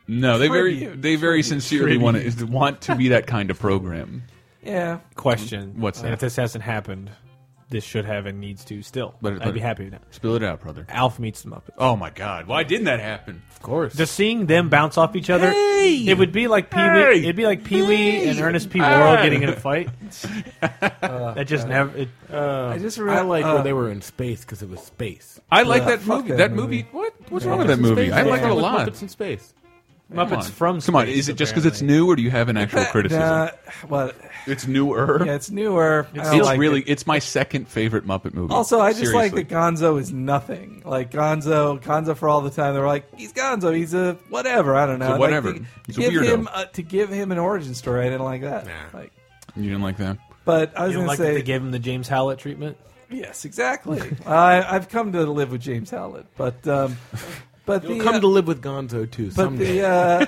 Speaker 1: no, they very
Speaker 3: tribute.
Speaker 1: they very sincerely want to, want to be that kind of program.
Speaker 3: yeah,
Speaker 7: question.
Speaker 1: What's
Speaker 7: Mm-hmm. And
Speaker 1: that?
Speaker 7: If this hasn't happened, this should have and needs to still.
Speaker 1: Let it- let
Speaker 7: I'd be
Speaker 1: it-
Speaker 7: happy with that.
Speaker 1: Spill it out, brother.
Speaker 7: Alf meets the Muppets.
Speaker 1: Oh my God! Why didn't that happen?
Speaker 8: Of course.
Speaker 7: Just seeing them bounce off each other,
Speaker 1: Hey!
Speaker 7: it would be like Pee Wee.
Speaker 1: Hey!
Speaker 7: It'd be like Pee Wee and
Speaker 1: Hey!
Speaker 7: Ernest P. Worrell
Speaker 1: Ah!
Speaker 7: getting in a fight. Uh, that
Speaker 1: Uh,
Speaker 7: just never. It,
Speaker 3: uh, I just
Speaker 8: I
Speaker 3: really
Speaker 8: like when they were in space because it was space.
Speaker 1: I like
Speaker 3: Uh,
Speaker 1: that
Speaker 3: fuck
Speaker 1: movie. That,
Speaker 3: that
Speaker 1: movie.
Speaker 3: movie.
Speaker 1: What? What's wrong with that movie? I like it a lot.
Speaker 8: Muppets in space.
Speaker 1: Come
Speaker 7: Muppets
Speaker 1: on.
Speaker 7: from
Speaker 1: Come on.
Speaker 7: space,
Speaker 1: Is it just because it's new, or do you have an actual criticism?
Speaker 3: Nah, well,
Speaker 1: It's newer.
Speaker 3: uh, yeah, it's newer. I don't
Speaker 1: it's
Speaker 3: like
Speaker 1: really.
Speaker 3: it.
Speaker 1: It's my second favorite Muppet movie.
Speaker 3: Also, I just like
Speaker 1: Seriously.
Speaker 3: that Gonzo is nothing. Like Gonzo, Gonzo for all the time. They're like, he's Gonzo. He's a whatever. I don't know.
Speaker 1: He's a
Speaker 3: Like,
Speaker 1: whatever.
Speaker 3: to- to
Speaker 1: He's a
Speaker 3: give
Speaker 1: weirdo.
Speaker 3: him uh, to give him an origin story. I didn't like that. Like,
Speaker 1: You didn't like that.
Speaker 3: but I was
Speaker 7: you don't
Speaker 3: gonna
Speaker 7: like that
Speaker 3: say
Speaker 7: they gave him the James Howlett treatment.
Speaker 3: yes, exactly. I, I've come to live with James Howlett, but um, but the
Speaker 8: Come
Speaker 3: uh,
Speaker 8: to live with Gonzo too
Speaker 3: but
Speaker 8: someday.
Speaker 3: the uh,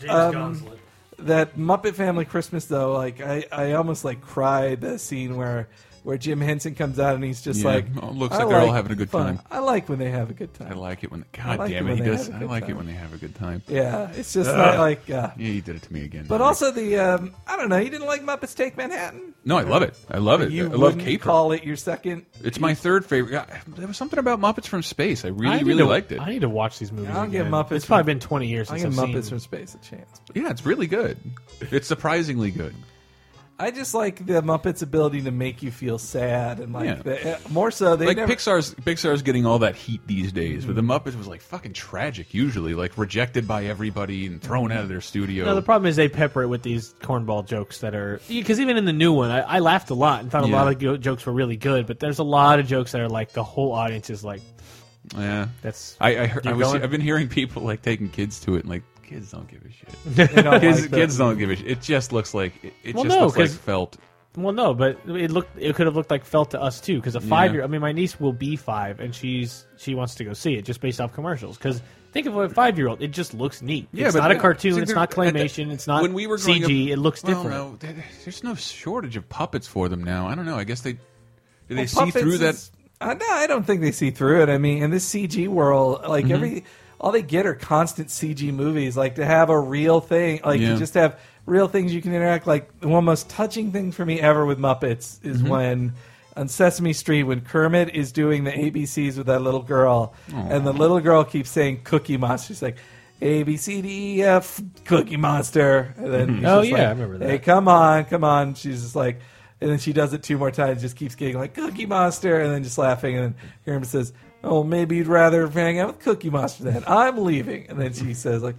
Speaker 7: James Gonsolin.
Speaker 3: that Muppet Family Christmas though, like I, I almost like cried the scene where where Jim Henson comes out and he's just
Speaker 1: Yeah.
Speaker 3: like,
Speaker 1: Oh, it looks
Speaker 3: "I
Speaker 1: like they're all having a good
Speaker 3: fun.
Speaker 1: time."
Speaker 3: I like when they have a good time.
Speaker 1: I like it when. God
Speaker 3: like
Speaker 1: damn it,
Speaker 3: it when
Speaker 1: he
Speaker 3: they
Speaker 1: does.
Speaker 3: have a
Speaker 1: I
Speaker 3: good
Speaker 1: like it
Speaker 3: time.
Speaker 1: when they have a good time. Yeah,
Speaker 3: yeah, it's just not like. Uh,
Speaker 1: he did it to me again.
Speaker 3: but also the um, I don't know. You didn't like Muppets Take Manhattan.
Speaker 1: no, I love it. I love it.
Speaker 3: You
Speaker 1: I love
Speaker 3: wouldn't
Speaker 1: Caper.
Speaker 3: Call it your second.
Speaker 1: it's my third favorite. God, there was something about Muppets from Space. I really,
Speaker 7: I need
Speaker 1: really
Speaker 7: to-
Speaker 1: liked it.
Speaker 7: I need to watch these movies.
Speaker 3: I'll give
Speaker 7: again.
Speaker 3: Muppets
Speaker 7: It's probably
Speaker 3: from-
Speaker 7: been 20 years
Speaker 3: I
Speaker 7: since
Speaker 3: give
Speaker 7: I've
Speaker 3: Muppets
Speaker 7: seen.
Speaker 3: from Space a chance.
Speaker 1: yeah, it's really good. It's surprisingly good.
Speaker 3: I just like the Muppets' ability to make you feel sad and like
Speaker 1: Yeah.
Speaker 3: the, uh, more so they
Speaker 1: like
Speaker 3: never.
Speaker 1: Pixar's Pixar's getting all that heat these days, but the Muppets was like fucking tragic. Usually, like rejected by everybody and thrown out of their studio.
Speaker 7: No, the problem is they pepper it with these cornball jokes that are because even in the new one, I, I laughed a lot and thought
Speaker 1: Yeah.
Speaker 7: a lot of go- jokes were really good. But there's a lot of jokes that are like the whole audience is like,
Speaker 1: yeah,
Speaker 7: "That's
Speaker 1: I, I, heard, I
Speaker 7: Keep
Speaker 1: was,
Speaker 7: going.
Speaker 1: I've been hearing people like taking kids to it, and like kids don't give a shit.
Speaker 3: they don't
Speaker 1: kids,
Speaker 3: like the-
Speaker 1: kids don't give a shit. It just looks like it, it
Speaker 7: Well,
Speaker 1: just
Speaker 7: no,
Speaker 1: looks like
Speaker 7: 'cause-
Speaker 1: felt.
Speaker 7: well, no." But it looked it could have looked like felt to us too because a five year. I mean, my niece will be five and she's she wants to go see it just based off commercials because. Think of a five-year-old; it just looks neat.
Speaker 1: Yeah,
Speaker 7: it's
Speaker 1: but
Speaker 7: not a
Speaker 1: that-
Speaker 7: cartoon.
Speaker 1: see,
Speaker 7: It's
Speaker 1: there-
Speaker 7: not
Speaker 1: at the-
Speaker 7: claymation. It's not
Speaker 1: when we were growing
Speaker 7: CG.
Speaker 1: up-
Speaker 7: it looks
Speaker 1: well,
Speaker 7: different.
Speaker 1: No, there- there's no shortage of puppets for them now. I don't know. I guess they do they
Speaker 3: Well,
Speaker 1: see through
Speaker 3: puppets
Speaker 1: that.
Speaker 3: is- I, no, I don't think they see through it. I mean, in this CG world, like
Speaker 1: Mm-hmm.
Speaker 3: every all they get are constant CG movies. Like to have a real thing, like
Speaker 1: Yeah.
Speaker 3: to just have real things you can interact. Like one of the most touching things for me ever with Muppets
Speaker 1: Mm-hmm.
Speaker 3: is when. On Sesame Street, when Kermit is doing the ABCs with that little girl, and the little girl keeps saying "Cookie Monster," she's like "A B C D E F Cookie Monster," and
Speaker 1: Mm-hmm.
Speaker 3: then he's
Speaker 7: Oh,
Speaker 3: just
Speaker 7: yeah,
Speaker 3: like,
Speaker 7: I remember that.
Speaker 3: "Hey, come on, come on. She's just like, and then she does it two more times, just keeps getting like Cookie Monster, and then just laughing. And then Kermit says, "Oh, maybe you'd rather hang out with Cookie Monster then. I'm leaving." And then she says like,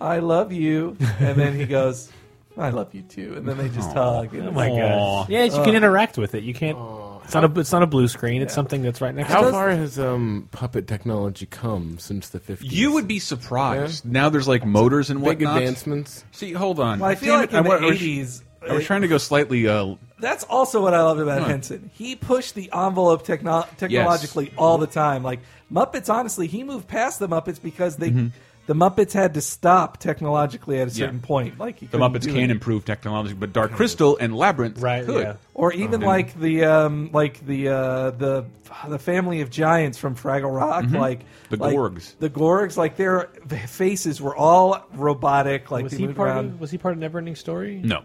Speaker 3: "I love you," and then he goes, "I love you too." And then they just hug. And
Speaker 7: Oh
Speaker 3: it's-
Speaker 7: my
Speaker 1: Aw.
Speaker 7: god! Yeah, you can interact with it. You can't. It's not a. It's not a blue screen. It's something that's right next. to
Speaker 8: How
Speaker 7: it.
Speaker 8: far has um, puppet technology come since the 50s?
Speaker 1: You would be surprised. Now there's like motors and
Speaker 8: Big
Speaker 1: whatnot.
Speaker 8: advancements.
Speaker 1: See, hold on.
Speaker 3: Well, I feel
Speaker 1: Damn
Speaker 3: like
Speaker 1: it,
Speaker 3: in
Speaker 1: I,
Speaker 3: the
Speaker 1: wa- I was-
Speaker 3: '80s.
Speaker 1: I was trying to go slightly. Uh,
Speaker 3: That's also what I loved about
Speaker 1: Huh.
Speaker 3: Henson. He pushed the envelope techno- technologically all the time. Like Muppets, honestly, he moved past the Muppets because they the Muppets had to stop technologically at a certain
Speaker 1: Mm-hmm. Yeah.
Speaker 3: point. Like he
Speaker 1: the
Speaker 3: couldn't
Speaker 1: Muppets
Speaker 3: do
Speaker 1: can
Speaker 3: it.
Speaker 1: improve technology, but Dark Crystal and Labyrinth
Speaker 7: Right,
Speaker 1: could.
Speaker 7: yeah.
Speaker 3: or
Speaker 1: Oh,
Speaker 3: even like the um, like the uh, the the family of giants from Fraggle Rock, like
Speaker 1: Mm-hmm. The
Speaker 3: like-
Speaker 1: Gorgs.
Speaker 3: the Gorgs, like their faces were all robotic. Like
Speaker 7: was
Speaker 3: they
Speaker 7: he
Speaker 3: moved
Speaker 7: part
Speaker 3: around.
Speaker 7: of? Was he part of Neverending Story?
Speaker 1: No.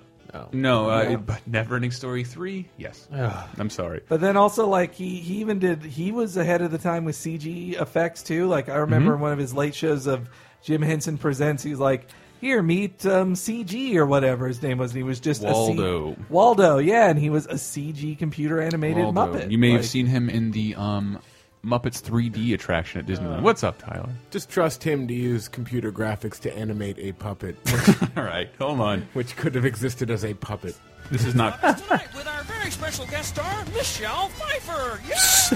Speaker 1: No, uh, but Neverending Story 3? Yes. I'm sorry.
Speaker 3: But then also like he he even did he was ahead of the time with CG effects too. Like I remember
Speaker 1: Mm-hmm.
Speaker 3: in one of his late shows of Jim Henson presents, he's like, "Here, meet um, CG or whatever his name was." And he was just a
Speaker 1: Waldo.
Speaker 3: C- Waldo, yeah, and he was a CG computer animated
Speaker 1: Waldo.
Speaker 3: Muppet.
Speaker 1: You may have
Speaker 3: Like,
Speaker 1: seen him in the um, Muppets 3D attraction at Disneyland. What's up, Tyler?
Speaker 8: Just trust him to use computer graphics to animate a puppet,
Speaker 1: All right, hold on.
Speaker 8: which could have existed as a puppet.
Speaker 1: This is not. uh,
Speaker 4: Tonight with our very special guest star, Michelle Pfeiffer. Yes!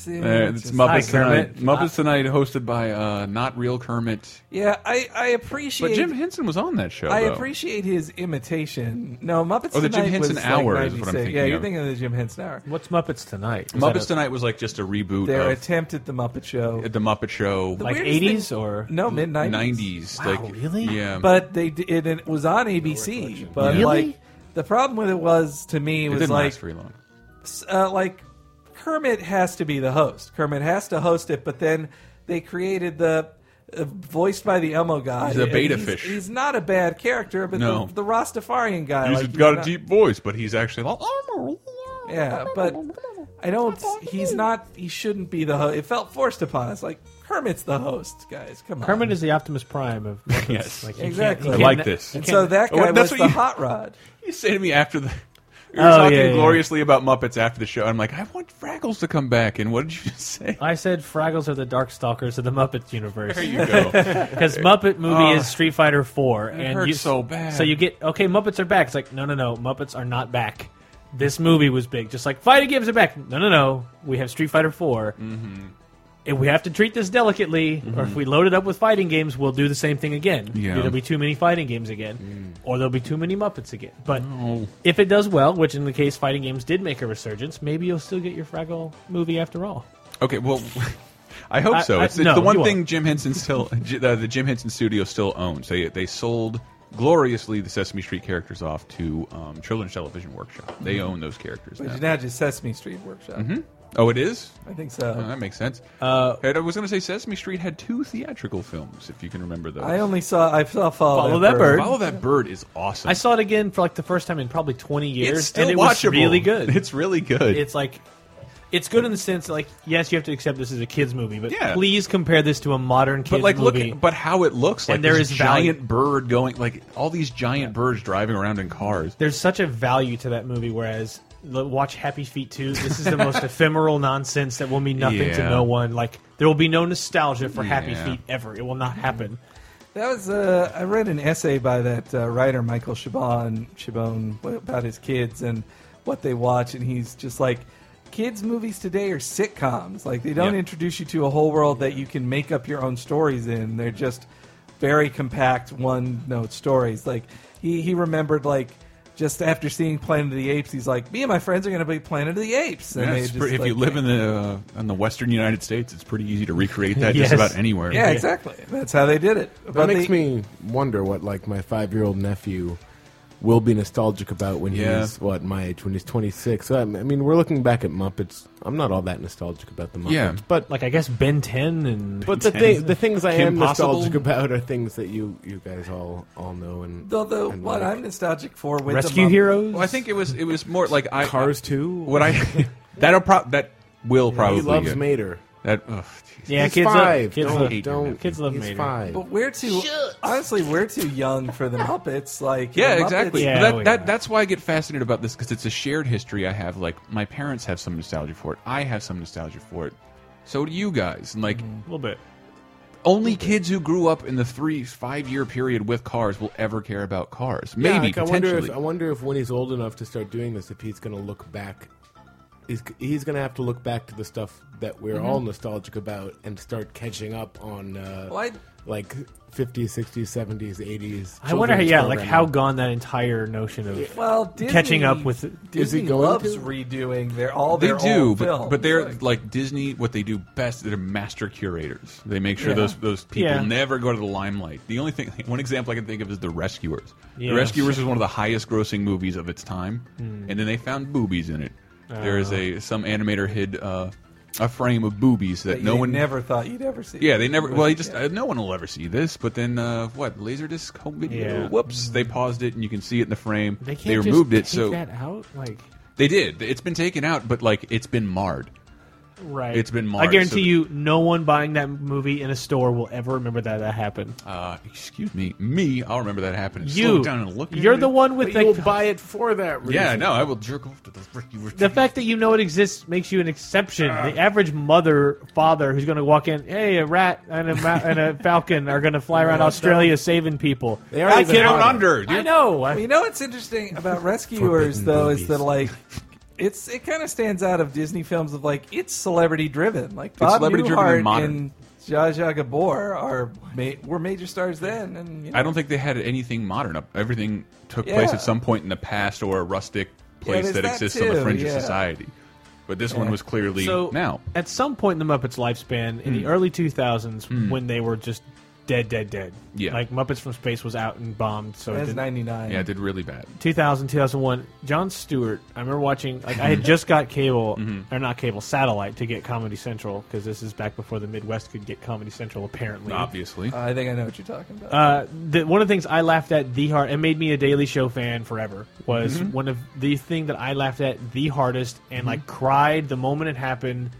Speaker 3: see,
Speaker 1: Uh,
Speaker 3: it's
Speaker 1: it's
Speaker 3: just-
Speaker 1: Muppets
Speaker 7: Hi, Kermit.
Speaker 1: Tonight. Muppets Tonight, hosted by uh, not real Kermit.
Speaker 3: Yeah, I I appreciate.
Speaker 1: But Jim Henson was on that show.
Speaker 3: I
Speaker 1: though.
Speaker 3: appreciate his imitation. No, Muppets.
Speaker 1: Oh, the Jim
Speaker 3: Tonight
Speaker 1: Henson
Speaker 3: was
Speaker 1: Hour
Speaker 3: like
Speaker 1: is what I'm
Speaker 3: 96.
Speaker 1: thinking
Speaker 3: Yeah, you're
Speaker 1: of.
Speaker 3: thinking of the Jim Henson Hour.
Speaker 7: What's Muppets Tonight? Was
Speaker 1: Muppets
Speaker 7: that
Speaker 1: Tonight was like just a reboot
Speaker 3: Their
Speaker 1: of
Speaker 3: attempt at the Muppet Show.
Speaker 1: the Muppet Show,
Speaker 7: a, like
Speaker 3: weirdest thing-
Speaker 7: eighties or
Speaker 3: no, mid
Speaker 1: nineties.
Speaker 7: Wow,
Speaker 1: like
Speaker 7: really?
Speaker 1: Yeah,
Speaker 3: but they d- it, it was on ABC. but
Speaker 7: Really?
Speaker 3: like the problem with it was to me
Speaker 1: it
Speaker 3: was
Speaker 1: didn't
Speaker 3: like
Speaker 1: last very long.
Speaker 3: s- uh, like Kermit has to be the host. Kermit has to host it, but then they created the uh, voiced by the Elmo guy.
Speaker 1: He's a
Speaker 3: and
Speaker 1: beta
Speaker 3: he's-
Speaker 1: fish.
Speaker 3: He's not a bad character, but
Speaker 1: No.
Speaker 3: the, the Rastafarian guy. like, not-
Speaker 1: voice, but he's actually oh, like,
Speaker 3: Yeah, but I don't. He's not. He shouldn't be the host. It felt forced upon us. Like Kermit's the host, guys. Come on.
Speaker 7: Kermit is the Optimus Prime of Muppets.
Speaker 1: Yes.
Speaker 7: like, he can't-
Speaker 3: Exactly.
Speaker 7: he
Speaker 3: I
Speaker 7: can't-
Speaker 1: like this.
Speaker 7: he
Speaker 3: And
Speaker 7: can't-
Speaker 3: so that
Speaker 1: Oh,
Speaker 3: guy
Speaker 1: that's
Speaker 3: was
Speaker 1: what
Speaker 3: the
Speaker 1: you-
Speaker 3: hot rod.
Speaker 1: you say to me after the. We were
Speaker 7: Oh,
Speaker 1: talking
Speaker 7: yeah, yeah.
Speaker 1: gloriously about Muppets after the show. I'm like, I want Fraggles to come back. And what did you just say?
Speaker 7: I said Fraggles are the Darkstalkers of the Muppet universe
Speaker 1: There you go.
Speaker 7: because Muppet movie
Speaker 1: Oh.
Speaker 7: is Street Fighter Four, and
Speaker 1: hurts
Speaker 7: you,
Speaker 1: so bad.
Speaker 7: So you get okay, Muppets are back. It's like no, no, no, Muppets are not back. This movie was big, just like Fighter Games are back. No, no, no, we have Street Fighter 4
Speaker 1: Mm-hmm.
Speaker 7: If we have to treat this delicately, or if we load it up with fighting games, we'll do the same thing again.
Speaker 1: Yeah. Mm.
Speaker 7: There'll be too many fighting games again, or there'll be too many Muppets again. But
Speaker 1: Oh.
Speaker 7: if it does well, which in the case fighting games did make a resurgence, maybe you'll still get your Fraggle movie after all.
Speaker 1: okay, well. I hope
Speaker 7: I-
Speaker 1: so.
Speaker 7: I-
Speaker 1: It's, it's
Speaker 7: no,
Speaker 1: the one
Speaker 7: you
Speaker 1: thing
Speaker 7: won't.
Speaker 1: uh, Jim Henson still, uh, the Jim Henson Studio still owns. They they sold gloriously the Sesame Street characters off to um, Children's Television Workshop. They own those characters
Speaker 3: But
Speaker 1: now.
Speaker 3: it's not just Sesame Street Workshop.
Speaker 1: Oh, it is.
Speaker 3: I think so.
Speaker 1: Oh, that makes sense.
Speaker 7: Uh,
Speaker 1: and I was going to say Sesame Street had two theatrical films, if you can remember those.
Speaker 3: I only saw I saw Follow,
Speaker 7: Follow That Bird.
Speaker 1: Follow That Bird is awesome.
Speaker 7: I saw it again for like the first time in probably 20 years,
Speaker 1: it's still
Speaker 7: and it
Speaker 1: watchable.
Speaker 7: was really good.
Speaker 1: It's really good.
Speaker 7: it's like it's good in the sense that, like yes, you have to accept this is a kids movie, but
Speaker 1: Yeah.
Speaker 7: please compare this to a modern kids
Speaker 1: but like, look,
Speaker 7: movie.
Speaker 1: at, but how it looks like
Speaker 7: And there
Speaker 1: this
Speaker 7: is value.
Speaker 1: giant bird going like all these giant birds driving around in cars.
Speaker 7: There's such a value to that movie, whereas l- watch Happy Feet 2. This is the most ephemeral nonsense that will mean nothing
Speaker 1: Yeah.
Speaker 7: to no one. Like there will be no nostalgia for Happy
Speaker 1: Yeah. Mm-hmm.
Speaker 7: Feet ever. It will not happen.
Speaker 3: That was uh, I read an essay by that uh, writer Michael Chabon Chabon about his kids and what they watch, and he's just like, kids' movies today are sitcoms. Like they don't
Speaker 1: Yeah.
Speaker 3: introduce you to a whole world that you can make up your own stories in. They're just very compact one note stories. Like he he remembered like. Just after seeing Planet of the Apes, he's like, "Me and my friends are going to be Planet of the Apes." And
Speaker 1: Yeah,
Speaker 3: they
Speaker 1: it's
Speaker 3: just,
Speaker 1: pretty- if
Speaker 3: like-
Speaker 1: you live in the uh, in the Western United States, it's pretty easy to recreate that
Speaker 7: Yes.
Speaker 1: just about anywhere.
Speaker 3: yeah, exactly. That's how they did it.
Speaker 8: That
Speaker 3: they-
Speaker 8: makes me wonder what like my five year old nephew will be nostalgic about when
Speaker 1: Yeah.
Speaker 8: he's what my age when he's twenty six. So, I m- I mean, we're looking back at Muppets. I'm not all that nostalgic about the Muppets,
Speaker 1: Yeah.
Speaker 8: but
Speaker 7: Like I guess Ben 10 and
Speaker 8: but the
Speaker 1: Ten.
Speaker 8: thing, the things I
Speaker 1: Kim
Speaker 8: am
Speaker 1: Possible?
Speaker 8: nostalgic about are things that you you guys all all know and
Speaker 3: Though the
Speaker 8: and
Speaker 3: what
Speaker 8: like.
Speaker 3: I'm nostalgic for with
Speaker 7: Rescue
Speaker 3: the Muppets-
Speaker 7: Heroes.
Speaker 1: Well, I think it was it was more like I,
Speaker 8: Cars two.
Speaker 1: What I that'll pro that will probably
Speaker 8: he loves
Speaker 1: get-
Speaker 8: Mater.
Speaker 1: that. ugh, jeez.
Speaker 7: yeah,
Speaker 8: he's
Speaker 7: kids
Speaker 8: five.
Speaker 7: love kids
Speaker 8: don't,
Speaker 7: love,
Speaker 1: hate your
Speaker 8: don't,
Speaker 1: nephew.
Speaker 7: kids love
Speaker 8: he's
Speaker 7: Mater.
Speaker 8: five.
Speaker 3: But we're too honestly, we're too young for the Muppets. Like,
Speaker 1: Yeah,
Speaker 3: the Muppets-
Speaker 1: exactly.
Speaker 7: Yeah,
Speaker 1: that,
Speaker 7: oh,
Speaker 1: that
Speaker 7: yeah.
Speaker 1: that's why I get fascinated about this because it's a shared history I have. Like my parents have some nostalgia for it. I have some nostalgia for it. So do you guys. And like
Speaker 8: Mm-hmm.
Speaker 7: a little bit.
Speaker 1: only kids who grew up in the three five year period with cars will ever care about cars. Maybe
Speaker 8: Yeah, like, I
Speaker 1: potentially.
Speaker 8: wonder if I wonder if when he's old enough to start doing this, if he's going to look back. He's, he's going to have to look back to the stuff that
Speaker 7: Mm-hmm.
Speaker 8: we're all nostalgic about and start catching up on, uh,
Speaker 3: Well, I-
Speaker 8: like 50s, 60s, 70s, 80s.
Speaker 7: I wonder how
Speaker 8: children's
Speaker 7: yeah, like
Speaker 8: programming.
Speaker 7: how gone that entire notion of
Speaker 3: Well, Disney,
Speaker 7: Catching up with-
Speaker 8: Is he
Speaker 3: Disney
Speaker 8: going
Speaker 3: loves
Speaker 8: to?
Speaker 3: redoing their all
Speaker 1: they
Speaker 3: their
Speaker 1: do,
Speaker 3: old
Speaker 1: but
Speaker 3: films.
Speaker 1: but they're like,
Speaker 3: Like,
Speaker 1: Disney. What they do best, they're master curators. They make sure
Speaker 3: Yeah.
Speaker 1: those those people
Speaker 7: Yeah.
Speaker 1: never go to the limelight. The only thing, one example I can think of is The Rescuers.
Speaker 7: Yeah.
Speaker 1: The Rescuers is one of the highest grossing movies of its time,
Speaker 7: Hmm.
Speaker 1: and then they found boobies in it. There is
Speaker 7: Ah.
Speaker 1: a some animator hid uh, a frame of boobies that,
Speaker 3: that
Speaker 1: no
Speaker 3: you
Speaker 1: one
Speaker 3: never thought you'd ever see.
Speaker 1: Yeah, they never.
Speaker 3: But,
Speaker 1: Well, he just
Speaker 3: yeah.
Speaker 1: uh, no one will ever see this. But then uh, what? Laserdisc home video.
Speaker 7: Yeah. Hmm.
Speaker 1: Whoops! They paused it, and you can see it in the frame.
Speaker 7: they can't just
Speaker 1: removed it,
Speaker 7: take
Speaker 1: so
Speaker 7: that out like
Speaker 1: they did. It's been taken out, but like it's been marred.
Speaker 7: Right.
Speaker 1: It's been
Speaker 7: I
Speaker 1: marred,
Speaker 7: guarantee
Speaker 1: so-
Speaker 7: you, no one buying that movie in a store will ever remember that that happened.
Speaker 1: Uh, excuse me, me. I'll remember that happening.
Speaker 7: you,
Speaker 1: Slow down and look. at
Speaker 7: you're
Speaker 1: it.
Speaker 7: the one with
Speaker 8: But you will
Speaker 7: the.
Speaker 8: buy it for that reason.
Speaker 1: Yeah, no, I will jerk off to those Ricky
Speaker 7: The fact that you know it exists makes you an exception. the average mother, father, who's going to walk in, hey, a rat and a ma- and a falcon are going to fly around Australia saving people.
Speaker 8: They are
Speaker 7: I
Speaker 8: even
Speaker 7: get
Speaker 1: down
Speaker 8: harder.
Speaker 1: under.
Speaker 7: I
Speaker 1: dude.
Speaker 7: know.
Speaker 3: You
Speaker 7: I,
Speaker 3: know what's interesting about Rescuers
Speaker 8: Forbidden
Speaker 3: though is
Speaker 8: movies.
Speaker 3: that like. It's it kind of stands out of Disney films of like it's celebrity driven like Bob
Speaker 1: celebrity driven and
Speaker 3: Newhart
Speaker 1: modern.
Speaker 3: and Zsa Zsa Gabor are ma- were major stars then and you know,
Speaker 1: I don't think they had anything modern up. Everything took
Speaker 3: Yeah.
Speaker 1: place at some point in the past or a rustic place
Speaker 3: there's
Speaker 1: that
Speaker 3: that
Speaker 1: exists on the
Speaker 3: too,
Speaker 1: fringe
Speaker 3: yeah.
Speaker 1: of society. But this one was clearly
Speaker 7: so
Speaker 1: now. Hmm.
Speaker 7: at some point in the Muppets' lifespan, in the early 2000s, when they were just dead, dead, dead.
Speaker 1: Yeah.
Speaker 7: Like Muppets from Space was out and bombed, so it
Speaker 3: that's
Speaker 7: didn't-
Speaker 3: ninety nine
Speaker 1: Yeah, it did really bad.
Speaker 7: 2000, 2001, John Stewart. I remember watching. Like, I had just got cable, or not cable, satellite to get Comedy Central because this is back before the Midwest could get Comedy Central. Apparently,
Speaker 1: Obviously.
Speaker 3: I think I know what you're talking about
Speaker 7: uh, the, one of the things I laughed at the hard and made me a Daily Show fan forever was one of the thing that I laughed at the hardest and like cried the moment it happened,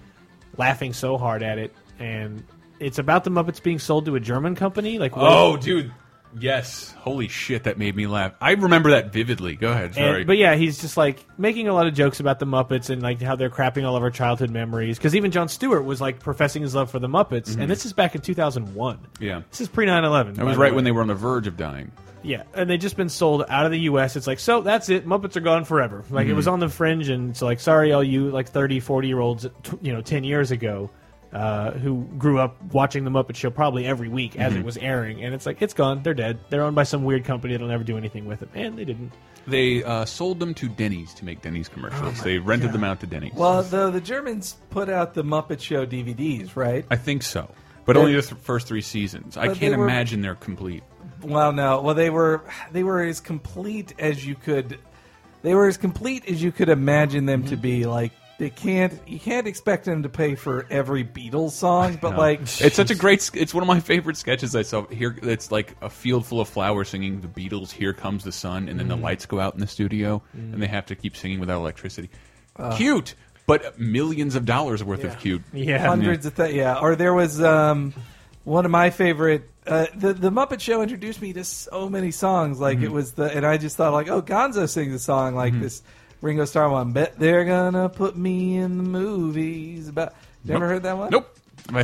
Speaker 7: laughing so hard at it. And it's about the Muppets being sold to a German company. Like, what-
Speaker 1: Oh, dude. Yes. Holy shit, that made me laugh. I remember that vividly. Go ahead.
Speaker 7: And-
Speaker 1: Sorry.
Speaker 7: but yeah, he's just like making a lot of jokes about the Muppets and like how they're crapping all of our childhood memories. Because even John Stewart was like professing his love for the Muppets, and this is back in 2001.
Speaker 1: Mm-hmm. Yeah.
Speaker 7: this is pre 9 11.
Speaker 1: that was right when they were on the verge of dying.
Speaker 7: yeah, and they just been sold out of the U.S. It's like so that's it. Muppets are gone forever. Like it was
Speaker 1: Mm-hmm.
Speaker 7: on the fringe, and it's like sorry, all you like 30, 40 year olds, t- you know, 10 years ago. Uh, who grew up watching the Muppet Show probably every week as
Speaker 1: Mm-hmm.
Speaker 7: it was airing, and it's like it's gone, they're dead, they're owned by some weird company that'll never do anything with them, and they didn't.
Speaker 1: They uh, sold them to Denny's to make Denny's commercials. they rented them out to Denny's.
Speaker 3: Oh Well, the the Germans put out the Muppet Show DVDs, right?
Speaker 1: I think so. But only the th first three seasons. I
Speaker 3: But
Speaker 1: can't
Speaker 3: they were-
Speaker 1: imagine they're complete.
Speaker 3: Well, no. Well, they were they were as complete as you could. They were as complete as you could imagine them to be. Like they can't you can't expect them to pay for every Beatles song, but like
Speaker 1: it's such a great. sk- It's one of my favorite sketches I saw. Here, it's like a field full of flowers singing the Beatles. Here comes the sun, and then
Speaker 3: Mm.
Speaker 1: the lights go out in the studio, and they have to keep singing without electricity. cute, but millions of dollars worth of cute.
Speaker 7: Yeah.
Speaker 3: hundreds of things. Yeah, or there was um, one of my favorite. Uh, the The Muppet Show introduced me to so many songs. Like
Speaker 1: Mm-hmm.
Speaker 3: it was the, and I just thought like, oh, Gonzo sings a song like this. Ringo Starr one. Bet they're gonna put me in the movies. About never heard that one.
Speaker 1: Nope.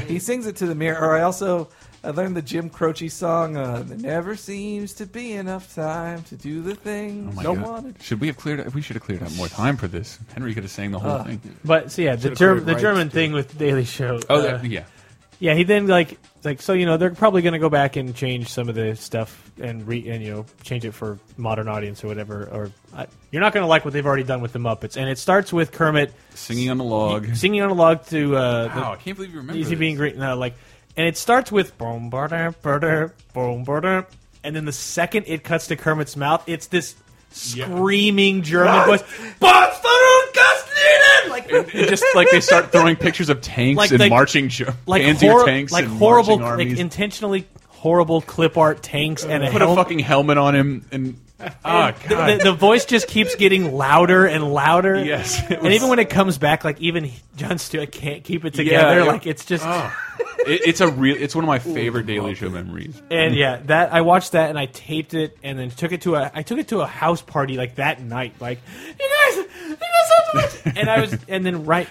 Speaker 3: He sings it to the mirror. Or I also I learned the Jim Croce song. Uh, there never seems to be enough time to do the
Speaker 1: Oh
Speaker 3: things
Speaker 1: my
Speaker 3: I
Speaker 1: God.
Speaker 3: wanted.
Speaker 1: Should we have cleared? We should have cleared out more time for this. Henry could have sang the whole thing.
Speaker 7: But so yeah, the,
Speaker 8: Should've
Speaker 7: Ger-
Speaker 8: played
Speaker 7: the
Speaker 8: rights,
Speaker 7: German
Speaker 8: dude.
Speaker 7: thing with the Daily Show.
Speaker 1: Oh,
Speaker 7: uh,
Speaker 1: that, yeah.
Speaker 7: yeah. He then like like so you know they're probably going to go back and change some of the stuff and re and you know change it for modern audience or whatever. Or I, you're not going to like what they've already done with the Muppets. And it starts with Kermit
Speaker 1: Singing on the log.
Speaker 7: singing on a log to uh, the-
Speaker 1: Wow, I can't believe you remember.
Speaker 7: Easy
Speaker 1: this.
Speaker 7: being great. No, like, and it starts with boom, burder, burder, boom, burder, and then the second it cuts to Kermit's mouth, it's this screaming German voice. Like,
Speaker 1: It just like they start throwing pictures of tanks
Speaker 7: Like
Speaker 1: and
Speaker 7: the-
Speaker 1: marching jo-
Speaker 7: like,
Speaker 1: panzer
Speaker 7: hor-
Speaker 1: tanks,
Speaker 7: like
Speaker 1: and
Speaker 7: horrible,
Speaker 1: marching
Speaker 7: like
Speaker 1: armies.
Speaker 7: intentionally horrible clip art tanks and a
Speaker 1: put a
Speaker 7: helmet.
Speaker 1: fucking helmet on him and ah god.
Speaker 7: the, the voice just keeps getting louder and louder.
Speaker 1: Yes, it
Speaker 7: and
Speaker 1: was-
Speaker 7: even when it comes back, like even he- John Stewart can't keep it together.
Speaker 1: Yeah, Oh. yeah.
Speaker 7: Like it's just,
Speaker 1: It- it's a real. It's one of my favorite Daily Show memories.
Speaker 7: and yeah, that I watched that and I taped it and then took it to a I took it to a house party like that night. Like you guys, you guys so much. and I was and then right,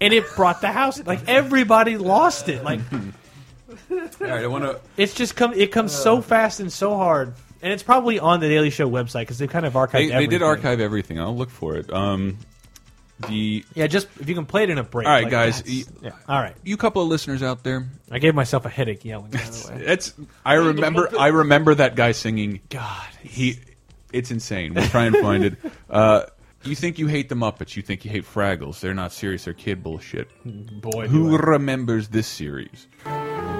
Speaker 7: and it brought the house. Like everybody lost it. Like
Speaker 1: All right, I want to.
Speaker 7: it's just come. It comes so fast and so hard. And it's probably on the Daily Show website because they kind of archived.
Speaker 1: They, they did
Speaker 7: everything.
Speaker 1: archive everything. I'll look for it. Um, the
Speaker 7: Yeah, just if you can play it in a break.
Speaker 1: All right,
Speaker 7: like,
Speaker 1: guys,
Speaker 7: that's-
Speaker 1: y-
Speaker 7: Yeah. All right.
Speaker 1: you couple of listeners out there,
Speaker 7: I gave myself a headache yelling. By the way.
Speaker 1: that's I remember. I remember that guy singing. God, he, it's insane. We'll try and find it. Uh, you think you hate the Muppets? You think you hate Fraggles? They're not serious. They're kid bullshit.
Speaker 7: Boy,
Speaker 1: Who
Speaker 7: do I-
Speaker 1: remembers this series?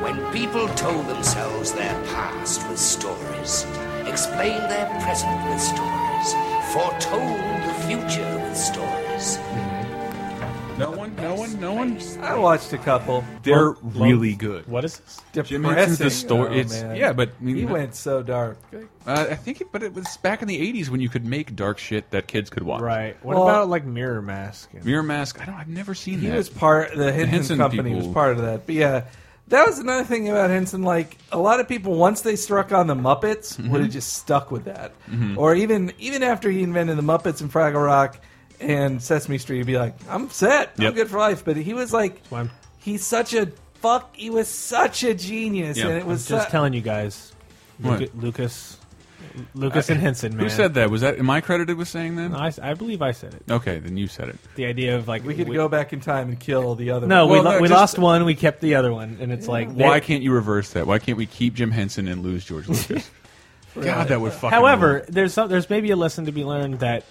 Speaker 9: When people told themselves their past with stories, explained their present with stories, foretold the future with stories.
Speaker 1: No one. No one. No one.
Speaker 3: I watched a couple.
Speaker 1: They're really good.
Speaker 7: what is this?
Speaker 1: Jim Henson's the
Speaker 3: Depressing.
Speaker 1: story.
Speaker 3: Oh,
Speaker 1: it's,
Speaker 3: man.
Speaker 1: yeah, but I mean,
Speaker 3: He went so dark.
Speaker 1: Uh, I think, it, but it was back in the '80s when you could make dark shit that kids could watch.
Speaker 7: Right. What
Speaker 3: Well-
Speaker 7: about like Mirror Mask? and-
Speaker 1: Mirror Mask. I don't. I've never seen
Speaker 3: He
Speaker 1: that.
Speaker 3: was part the Henson,
Speaker 1: Henson
Speaker 3: company
Speaker 1: people-
Speaker 3: was part of that. But yeah, that was another thing about Henson. Like a lot of people, once they struck on the Muppets,
Speaker 1: Mm-hmm.
Speaker 3: would have just stuck with that. Or even even after he invented the Muppets and Fraggle Rock and Sesame Street, he'd be like, "I'm set.
Speaker 1: Yep.
Speaker 3: I'm good for life." But he was like,
Speaker 7: why I'm-
Speaker 3: he's such a fuck. He was such a genius,
Speaker 1: Yeah.
Speaker 3: and it
Speaker 1: I'm
Speaker 3: was
Speaker 7: just
Speaker 3: su-
Speaker 7: telling you guys, Luca-
Speaker 1: What?
Speaker 7: Lucas, Lucas and Henson. Man.
Speaker 1: Who said that? Was that? Am I credited with saying that?
Speaker 7: No, I, I believe I said it.
Speaker 1: Okay, then you said it.
Speaker 7: The idea of like
Speaker 3: We could go back in time and kill the other.
Speaker 7: No,
Speaker 3: one.
Speaker 1: Well,
Speaker 7: we, lo-
Speaker 1: no,
Speaker 7: we
Speaker 1: just-
Speaker 7: lost one. We kept the other one, and it's like
Speaker 1: Why
Speaker 7: they-
Speaker 1: can't you reverse that? Why can't we keep Jim Henson and lose George Lucas? God, that would fucking.
Speaker 7: However,
Speaker 1: rule.
Speaker 7: there's some, there's maybe a lesson to be learned that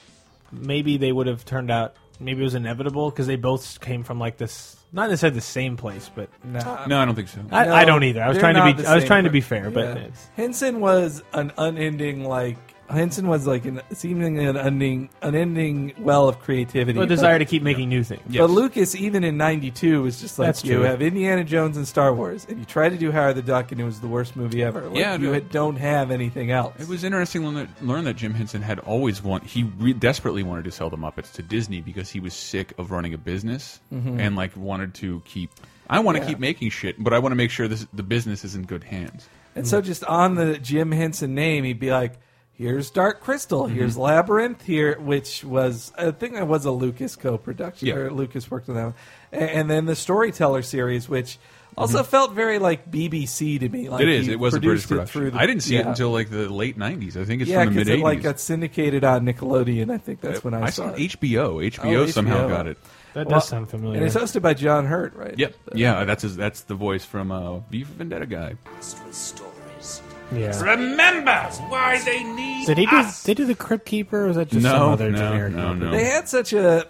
Speaker 7: maybe they would have turned out. Maybe it was inevitable because they both came from like this, not necessarily the same place, but
Speaker 3: Nah.
Speaker 1: no, I don't think so.
Speaker 7: I,
Speaker 3: No,
Speaker 7: I don't either. I was
Speaker 3: they're
Speaker 7: trying
Speaker 3: not
Speaker 7: to be
Speaker 3: the
Speaker 7: I was
Speaker 3: same
Speaker 7: trying to be
Speaker 3: person.
Speaker 7: fair, but
Speaker 3: Yeah.
Speaker 7: it's-
Speaker 3: Henson was an unending like Henson was like an seemingly an unending unending well of creativity.
Speaker 7: a
Speaker 3: But-
Speaker 7: desire to keep making new things.
Speaker 1: Yes.
Speaker 3: But Lucas, even in '92, was just like
Speaker 7: That's
Speaker 3: you
Speaker 7: true.
Speaker 3: have Indiana Jones and Star Wars, and you try to do Howard the Duck, and it was the worst movie ever. Like,
Speaker 1: Yeah,
Speaker 3: you
Speaker 1: no.
Speaker 3: had- don't have anything else.
Speaker 1: It was interesting to learn- learn that Jim Henson had always want he re desperately wanted to sell the Muppets to Disney because he was sick of running a business
Speaker 3: Mm-hmm.
Speaker 1: and like wanted to keep. I want to keep making shit, but I want to make sure this the business is in good hands.
Speaker 3: and so just on the Jim Henson name, he'd be like, "Here's Dark Crystal,
Speaker 1: Mm-hmm.
Speaker 3: here's Labyrinth, here," which was I think that was a Lucas co-production.
Speaker 1: Yeah.
Speaker 3: Or Lucas worked on that, one. A- and, then the Storyteller series, which also felt very like BBC to me. Like
Speaker 1: Mm-hmm. It is.
Speaker 3: he
Speaker 1: It was a British
Speaker 3: produced it
Speaker 1: production.
Speaker 3: through the-
Speaker 1: I didn't see it
Speaker 3: Yeah.
Speaker 1: until like the late '90s. I think it's
Speaker 3: yeah,
Speaker 1: from the mid
Speaker 3: because it
Speaker 1: '80s.
Speaker 3: like got syndicated on Nickelodeon. I think that's when I,
Speaker 1: I
Speaker 3: saw,
Speaker 1: saw it.
Speaker 3: it.
Speaker 1: HBO. HBO
Speaker 3: Oh,
Speaker 1: somehow
Speaker 3: HBO.
Speaker 1: got it.
Speaker 7: That
Speaker 3: Well,
Speaker 7: does sound familiar.
Speaker 3: And it's hosted by John Hurt, right?
Speaker 1: Yep. Yeah, that's his, that's the voice from uh, V for Vendetta guy.
Speaker 9: Past with stories.
Speaker 7: yeah.
Speaker 9: Remember why they need
Speaker 7: Did he do,
Speaker 3: Ah.
Speaker 7: they do the Crypt Keeper, or was that just some
Speaker 1: No,
Speaker 7: other
Speaker 1: no,
Speaker 7: generic?
Speaker 1: no,
Speaker 7: movie?
Speaker 1: no.
Speaker 3: They had such a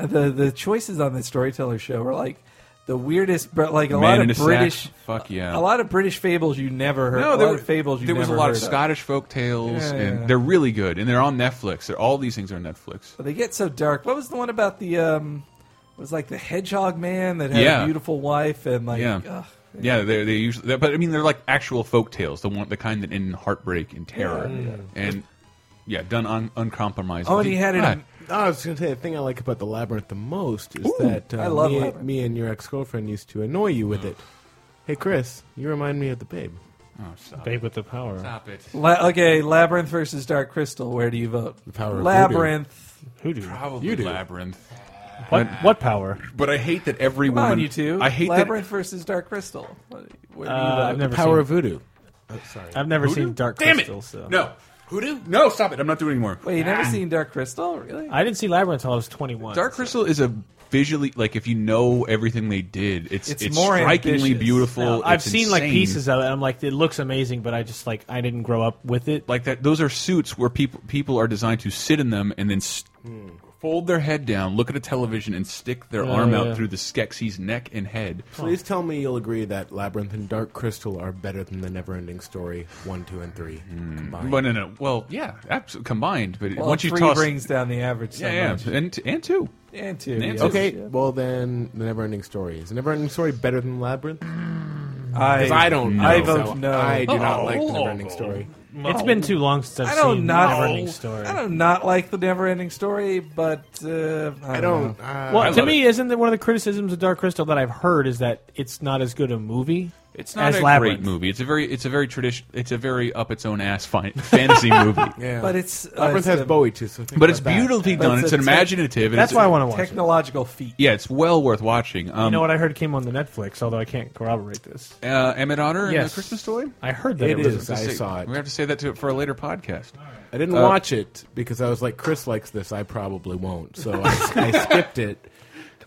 Speaker 3: the the choices on the storyteller show were like the weirdest, but like a
Speaker 1: Man
Speaker 3: lot
Speaker 1: in a
Speaker 3: of
Speaker 1: sack.
Speaker 3: British,
Speaker 1: Fuck yeah.
Speaker 3: a lot of British fables you never heard.
Speaker 1: No,
Speaker 3: a
Speaker 1: there
Speaker 3: lot
Speaker 1: were
Speaker 3: of fables you
Speaker 1: There was
Speaker 3: never
Speaker 1: a lot
Speaker 3: heard
Speaker 1: of Scottish folk tales,
Speaker 3: Yeah,
Speaker 1: and
Speaker 3: yeah.
Speaker 1: they're really good, and they're on Netflix. They're, all these things are on Netflix.
Speaker 3: But they get so dark. What was the one about the um? It was like the hedgehog man that had
Speaker 1: Yeah.
Speaker 3: a beautiful wife and like.
Speaker 1: Yeah.
Speaker 3: ugh.
Speaker 1: Yeah, they they usually, they're- but I mean, they're like actual folk tales, the one, the kind that end in heartbreak and terror, and yeah, done un, uncompromising.
Speaker 3: Oh, and he had it.
Speaker 1: Right.
Speaker 8: I was going to say the thing I like about the labyrinth the most is that uh,
Speaker 3: I love
Speaker 8: me,
Speaker 3: Labyrinth.
Speaker 8: me and your ex girlfriend used to annoy you
Speaker 7: Mm.
Speaker 8: with it. Hey Chris, you remind me of the babe.
Speaker 1: Oh, stop,
Speaker 7: Babe with the power.
Speaker 1: stop it.
Speaker 3: La- okay, Labyrinth versus Dark Crystal. Where do you vote? The
Speaker 8: power of
Speaker 3: Labyrinth.
Speaker 7: Hoodoo.
Speaker 1: Probably labyrinth.
Speaker 7: What, what power?
Speaker 1: But I hate that every
Speaker 3: Come on,
Speaker 1: woman.
Speaker 3: you two.
Speaker 1: I hate
Speaker 3: Labyrinth versus Dark Crystal. What- Where do you
Speaker 7: Uh,
Speaker 3: vote?
Speaker 7: I've never
Speaker 8: Power
Speaker 7: seen,
Speaker 8: of voodoo.
Speaker 1: Oh,
Speaker 7: I've never seen Dark
Speaker 1: that. Damn
Speaker 7: Crystal.
Speaker 1: it!
Speaker 7: So.
Speaker 1: No, hoodoo. No, stop it. I'm not doing it anymore.
Speaker 3: Wait, you never seen Dark Crystal? Really?
Speaker 7: I didn't see Labyrinth until I was 21.
Speaker 1: Dark Crystal is a visually like if you know everything they did, it's it's,
Speaker 3: It's more
Speaker 1: strikingly
Speaker 3: ambitious.
Speaker 1: beautiful.
Speaker 7: Now, I've
Speaker 1: it's
Speaker 7: seen like
Speaker 1: insane.
Speaker 7: pieces of it. and I'm like, it looks amazing, but I just like I didn't grow up with it.
Speaker 1: like that. Those are suits where people people are designed to sit in them and then s fold their head down, look at a television, and stick their
Speaker 7: Oh,
Speaker 1: arm
Speaker 7: yeah.
Speaker 1: out through the Skeksis neck and head.
Speaker 8: Please tell me you'll agree that Labyrinth and Dark Crystal are better than the Neverending Story one, two, and three combined.
Speaker 1: Hmm. But no, no, well, yeah, absolutely combined. But
Speaker 3: Well,
Speaker 1: once you
Speaker 3: three
Speaker 1: toss,
Speaker 3: brings down the average. So
Speaker 1: yeah,
Speaker 3: much.
Speaker 1: yeah, and and two.
Speaker 3: and two.
Speaker 1: And
Speaker 3: yes.
Speaker 1: two.
Speaker 8: okay, well then, the Neverending Story is the Neverending Story better than Labyrinth?
Speaker 3: I,
Speaker 8: I don't. Know,
Speaker 3: I vote
Speaker 8: so
Speaker 3: no.
Speaker 8: I do
Speaker 1: Oh.
Speaker 8: not like the Neverending Story.
Speaker 7: It's been too long since I've
Speaker 3: I don't
Speaker 7: seen
Speaker 3: not.
Speaker 7: Neverending Story.
Speaker 3: I don't not like the never ending story, but uh, I,
Speaker 8: I
Speaker 3: don't.
Speaker 8: don't.
Speaker 3: know.
Speaker 8: Uh,
Speaker 7: well, to
Speaker 1: love
Speaker 7: me, is isn't that one of the criticisms of Dark Crystal that I've heard is that it's not as good a movie.
Speaker 1: It's not
Speaker 7: as
Speaker 1: a
Speaker 7: Labyrinth.
Speaker 1: great movie. It's a very, it's a very tradition. It's a very up its own ass fi- fantasy movie.
Speaker 8: yeah.
Speaker 3: But it's uh,
Speaker 8: Labyrinth
Speaker 3: it's
Speaker 8: has
Speaker 3: a
Speaker 8: Bowie too, so think
Speaker 1: But it's
Speaker 8: about that.
Speaker 1: beautifully
Speaker 3: That's
Speaker 1: done. It's
Speaker 3: a tech-
Speaker 1: imaginative. and
Speaker 7: That's
Speaker 1: it's-
Speaker 7: why I want to watch. it.
Speaker 3: technological feat.
Speaker 1: Yeah, it's well worth watching. Um,
Speaker 7: You know what I heard came on the Netflix, although I can't corroborate this.
Speaker 1: uh, Emmett Otter and
Speaker 7: Yes.
Speaker 1: the Christmas Toy.
Speaker 7: I heard that
Speaker 8: It
Speaker 7: it, was.
Speaker 8: is. I
Speaker 1: Say-
Speaker 8: saw it.
Speaker 1: We have to say that to for a later podcast.
Speaker 8: I didn't
Speaker 1: uh,
Speaker 8: watch it because I was like, Chris likes this. I probably won't. So I, I skipped it.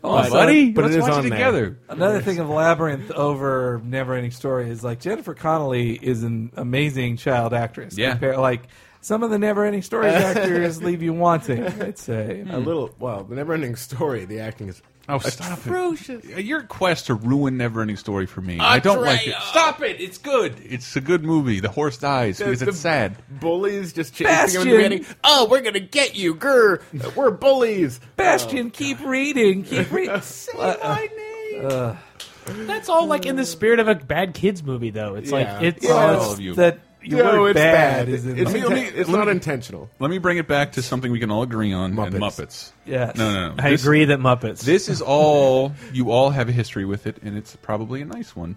Speaker 1: Oh,
Speaker 8: But-
Speaker 1: buddy,
Speaker 8: but it
Speaker 1: let's
Speaker 8: is
Speaker 1: watch
Speaker 8: on
Speaker 1: it
Speaker 8: there.
Speaker 1: together.
Speaker 3: Another thing of Labyrinth over Never Ending Story is like Jennifer Connelly is an amazing child actress.
Speaker 1: Yeah.
Speaker 3: Compare- like some of the Never Ending Stories actors leave you wanting. I'd say.
Speaker 8: A little. Well, the never-ending story. The acting is.
Speaker 1: Oh, stop it! Your quest to ruin Neverending Story for me. I don't like it.
Speaker 8: Atreya!
Speaker 1: Stop it! It's good. It's a good movie. The horse dies because it's
Speaker 8: the
Speaker 1: sad.
Speaker 8: Bullies just chasing him in the
Speaker 3: Bastion!
Speaker 8: beginning. Oh, we're gonna get you, grr. We're bullies.
Speaker 3: Bastion, keep reading. Keep reading.
Speaker 8: my name.
Speaker 7: That's all like in the spirit of a bad kids movie, though. It's
Speaker 8: Yeah.
Speaker 7: like it's.
Speaker 8: Yeah.
Speaker 7: all-
Speaker 1: all of you.
Speaker 3: That your
Speaker 8: no,
Speaker 3: word
Speaker 8: it's
Speaker 3: bad,
Speaker 8: bad.
Speaker 3: is in
Speaker 8: it's
Speaker 3: the-
Speaker 8: it's, it's not intentional.
Speaker 1: Let me bring it back to something we can all agree on: and Muppets.
Speaker 8: Muppets.
Speaker 3: Yes.
Speaker 1: No, no, no.
Speaker 7: I
Speaker 1: This-
Speaker 7: agree that Muppets.
Speaker 1: This is all you all have a history with it, and it's probably a nice one.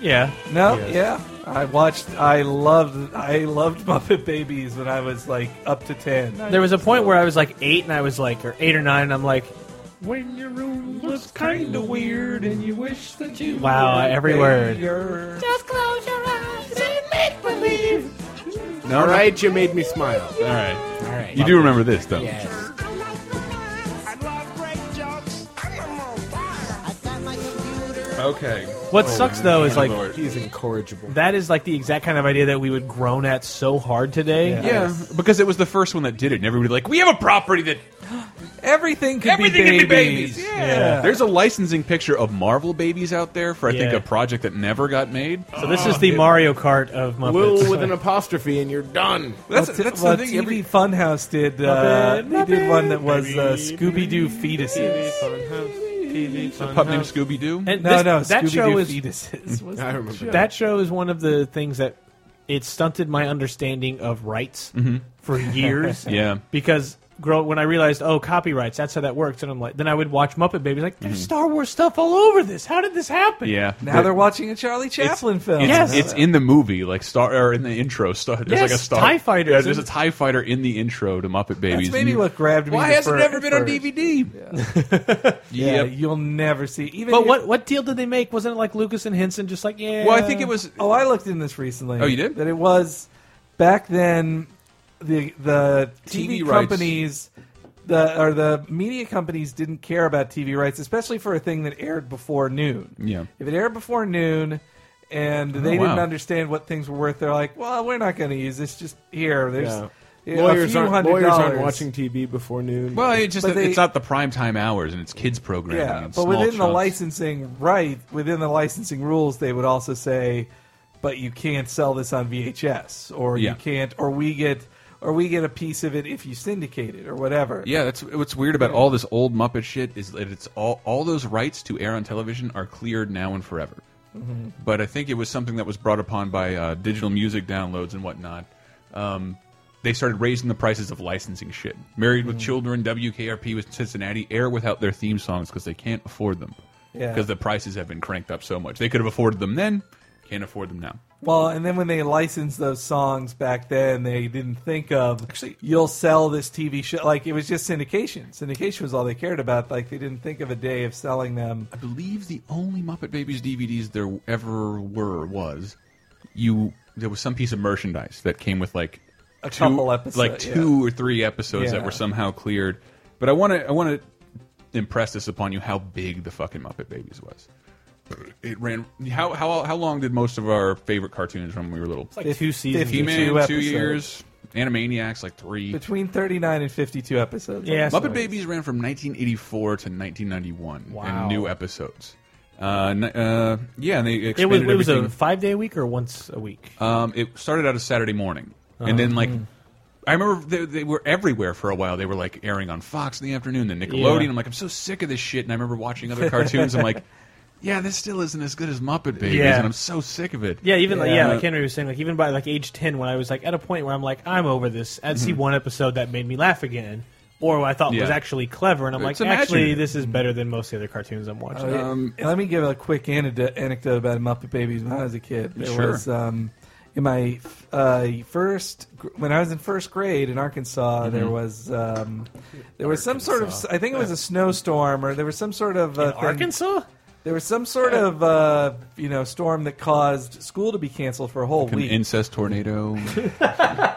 Speaker 7: yeah.
Speaker 3: No, yeah. I watched. I loved. I loved Muppet Babies when I was like up to ten.
Speaker 7: There was a point where I was like eight, and I was like, or eight or nine, and I'm like, when your room looks kind of weird, and you wish that you. Wow, every word.
Speaker 3: Your-
Speaker 1: No,
Speaker 8: All right, you made me smile.
Speaker 1: all right.
Speaker 8: All right.
Speaker 1: You do remember this though.
Speaker 8: Yes.
Speaker 1: Okay.
Speaker 7: What sucks though is like
Speaker 8: He's incorrigible.
Speaker 7: that is like the exact kind of idea that we would groan at so hard today.
Speaker 1: Yeah, because it was the first one that did it, and everybody like, we have a property that
Speaker 3: Everything could
Speaker 1: everything
Speaker 3: be
Speaker 1: can
Speaker 3: babies.
Speaker 1: be babies.
Speaker 3: Yeah.
Speaker 1: There's a licensing picture of Marvel babies out there for I think
Speaker 7: Yeah.
Speaker 1: a project that never got made.
Speaker 7: So this is the Mario Kart of Muppets.
Speaker 8: Will with an apostrophe, and you're done.
Speaker 1: That's
Speaker 3: Well, t-
Speaker 1: that's
Speaker 3: well,
Speaker 1: the thing.
Speaker 3: TV
Speaker 1: Every,
Speaker 3: Funhouse did. Uh,
Speaker 7: Muppet,
Speaker 3: they did one that
Speaker 7: Muppet,
Speaker 3: was uh,
Speaker 7: baby,
Speaker 3: Scooby Doo fetuses.
Speaker 1: a pup named Scooby Doo.
Speaker 7: And
Speaker 3: No,
Speaker 7: this-
Speaker 3: no,
Speaker 7: that
Speaker 3: Scooby
Speaker 7: show
Speaker 3: Doo
Speaker 7: is
Speaker 3: fetuses. Was
Speaker 8: I remember that.
Speaker 7: that show is one of the things that it stunted my understanding of rights for years.
Speaker 1: Yeah.
Speaker 7: because grow when I realized oh copyrights that's how that works, and I'm like then I would watch Muppet Babies like there's Star Wars stuff all over this. How did this happen?
Speaker 1: Yeah.
Speaker 3: now they're watching a Charlie Chaplin film.
Speaker 1: It's,
Speaker 7: Yes.
Speaker 1: it's in the movie, like star or in the intro. Star, there's
Speaker 7: Yes,
Speaker 1: like a star.
Speaker 7: TIE fighters
Speaker 1: Yeah, there's a
Speaker 7: and-
Speaker 1: Tie Fighter in the intro to Muppet Babies.
Speaker 3: That's maybe
Speaker 1: You-
Speaker 3: what grabbed me.
Speaker 1: Why
Speaker 3: the
Speaker 1: has it
Speaker 3: fir-
Speaker 1: never been on
Speaker 3: first.
Speaker 1: DVD?
Speaker 3: Yeah,
Speaker 1: Yep.
Speaker 3: you'll never see. Even
Speaker 7: But
Speaker 3: if-
Speaker 7: what what deal did they make? Wasn't it like Lucas and Henson just like yeah?
Speaker 1: Well, I think it was.
Speaker 3: Oh, I looked in this recently.
Speaker 1: Oh, you did?
Speaker 3: That it was back then. The the TV,
Speaker 1: TV rights.
Speaker 3: companies, the or the media companies didn't care about TV rights, especially for a thing that aired before noon.
Speaker 1: Yeah. Oh,
Speaker 3: if it aired before noon, and they
Speaker 1: wow.
Speaker 3: didn't understand what things were worth, they're like, "Well, we're not going to use this. Just here, there's."
Speaker 8: Yeah.
Speaker 3: Yeah, a
Speaker 8: lawyers
Speaker 3: few
Speaker 8: aren't
Speaker 3: hundred
Speaker 8: lawyers aren't
Speaker 3: dollars.
Speaker 8: watching TV before noon.
Speaker 1: Well, it's just
Speaker 3: But
Speaker 1: that
Speaker 3: they-
Speaker 1: it's not the prime time hours, and it's kids programming.
Speaker 3: Yeah,
Speaker 1: in
Speaker 3: but
Speaker 1: small
Speaker 3: within the
Speaker 1: chunks.
Speaker 3: licensing right, within the licensing rules, they would also say, but you can't sell this on VHS, or
Speaker 1: Yeah.
Speaker 3: you can't, or we get, or we get a piece of it if you syndicate it, or whatever.
Speaker 1: Yeah, that's what's weird about all this old Muppet shit is that it's all all those rights to air on television are cleared now and forever. But I think it was something that was brought upon by uh, digital music downloads and whatnot. Um, they started raising the prices of licensing shit. Married with Children, WKRP with Cincinnati air without their theme songs because they can't afford them
Speaker 3: Yeah.
Speaker 1: because the prices have been cranked up so much. They could have afforded them then, can't afford them now.
Speaker 3: Well, and then when they licensed those songs back then, they didn't think of
Speaker 1: Actually-
Speaker 3: you'll sell this TV show. Like it was just syndication. Syndication was all they cared about. Like they didn't think of a day of selling them.
Speaker 1: I believe the only Muppet Babies DVDs there ever were was you. There was some piece of merchandise that came with like
Speaker 3: A couple episodes,
Speaker 1: like
Speaker 3: yeah.
Speaker 1: two or three episodes that
Speaker 3: Yeah.
Speaker 1: were somehow cleared. But I want to I want to impress this upon you how big the fucking Muppet Babies was. It ran how how how long did most of our favorite cartoons run when we were little?
Speaker 7: like two seasons.
Speaker 3: Fifty-
Speaker 1: He-Man,
Speaker 3: two
Speaker 1: two,
Speaker 3: episodes.
Speaker 1: years. Animaniacs, like three.
Speaker 3: Between thirty nine and fifty two episodes.
Speaker 7: Yeah,
Speaker 1: Muppet Babies ran from 1984 to 1991
Speaker 7: Wow.
Speaker 1: and new episodes. Uh, ni- uh, yeah, and they
Speaker 7: It
Speaker 1: expanded
Speaker 7: was, it was
Speaker 1: everything.
Speaker 7: a five day a week or once a week.
Speaker 1: um, it started out as Saturday morning, and then like I remember they, they were everywhere for a while. They were like airing on Fox in the afternoon, then Nickelodeon.
Speaker 7: Yeah.
Speaker 1: I'm like, I'm so sick of this shit. And I remember watching other cartoons. I'm like, yeah, this still isn't as good as Muppet Babies,
Speaker 7: Yeah.
Speaker 1: and I'm so sick of it.
Speaker 7: Yeah, even like yeah,
Speaker 1: Yeah.
Speaker 7: like Henry was saying, like even by like age ten, when I was like at a point where I'm like, I'm over this. I'd see one episode that made me laugh again, or what I thought was
Speaker 1: Mm-hmm. Yeah.
Speaker 7: actually clever, and I'm
Speaker 1: It's
Speaker 7: like, actually,
Speaker 1: imaginative. Mm-hmm.
Speaker 7: this is better than most of the other cartoons I'm watching.
Speaker 3: Oh,
Speaker 1: Um,
Speaker 3: And let me give a quick anecdote, anecdote about Muppet Babies when I was a kid. There
Speaker 1: Sure.
Speaker 3: was um, in my uh, first gr- when I was in first grade in Arkansas, there was um, there was some sort of s- I think it was a snowstorm or there was some sort of uh, thing-
Speaker 7: Arkansas?
Speaker 3: There was some sort of uh, you know storm that caused school to be canceled for a whole
Speaker 1: an
Speaker 3: week.
Speaker 1: incest tornado.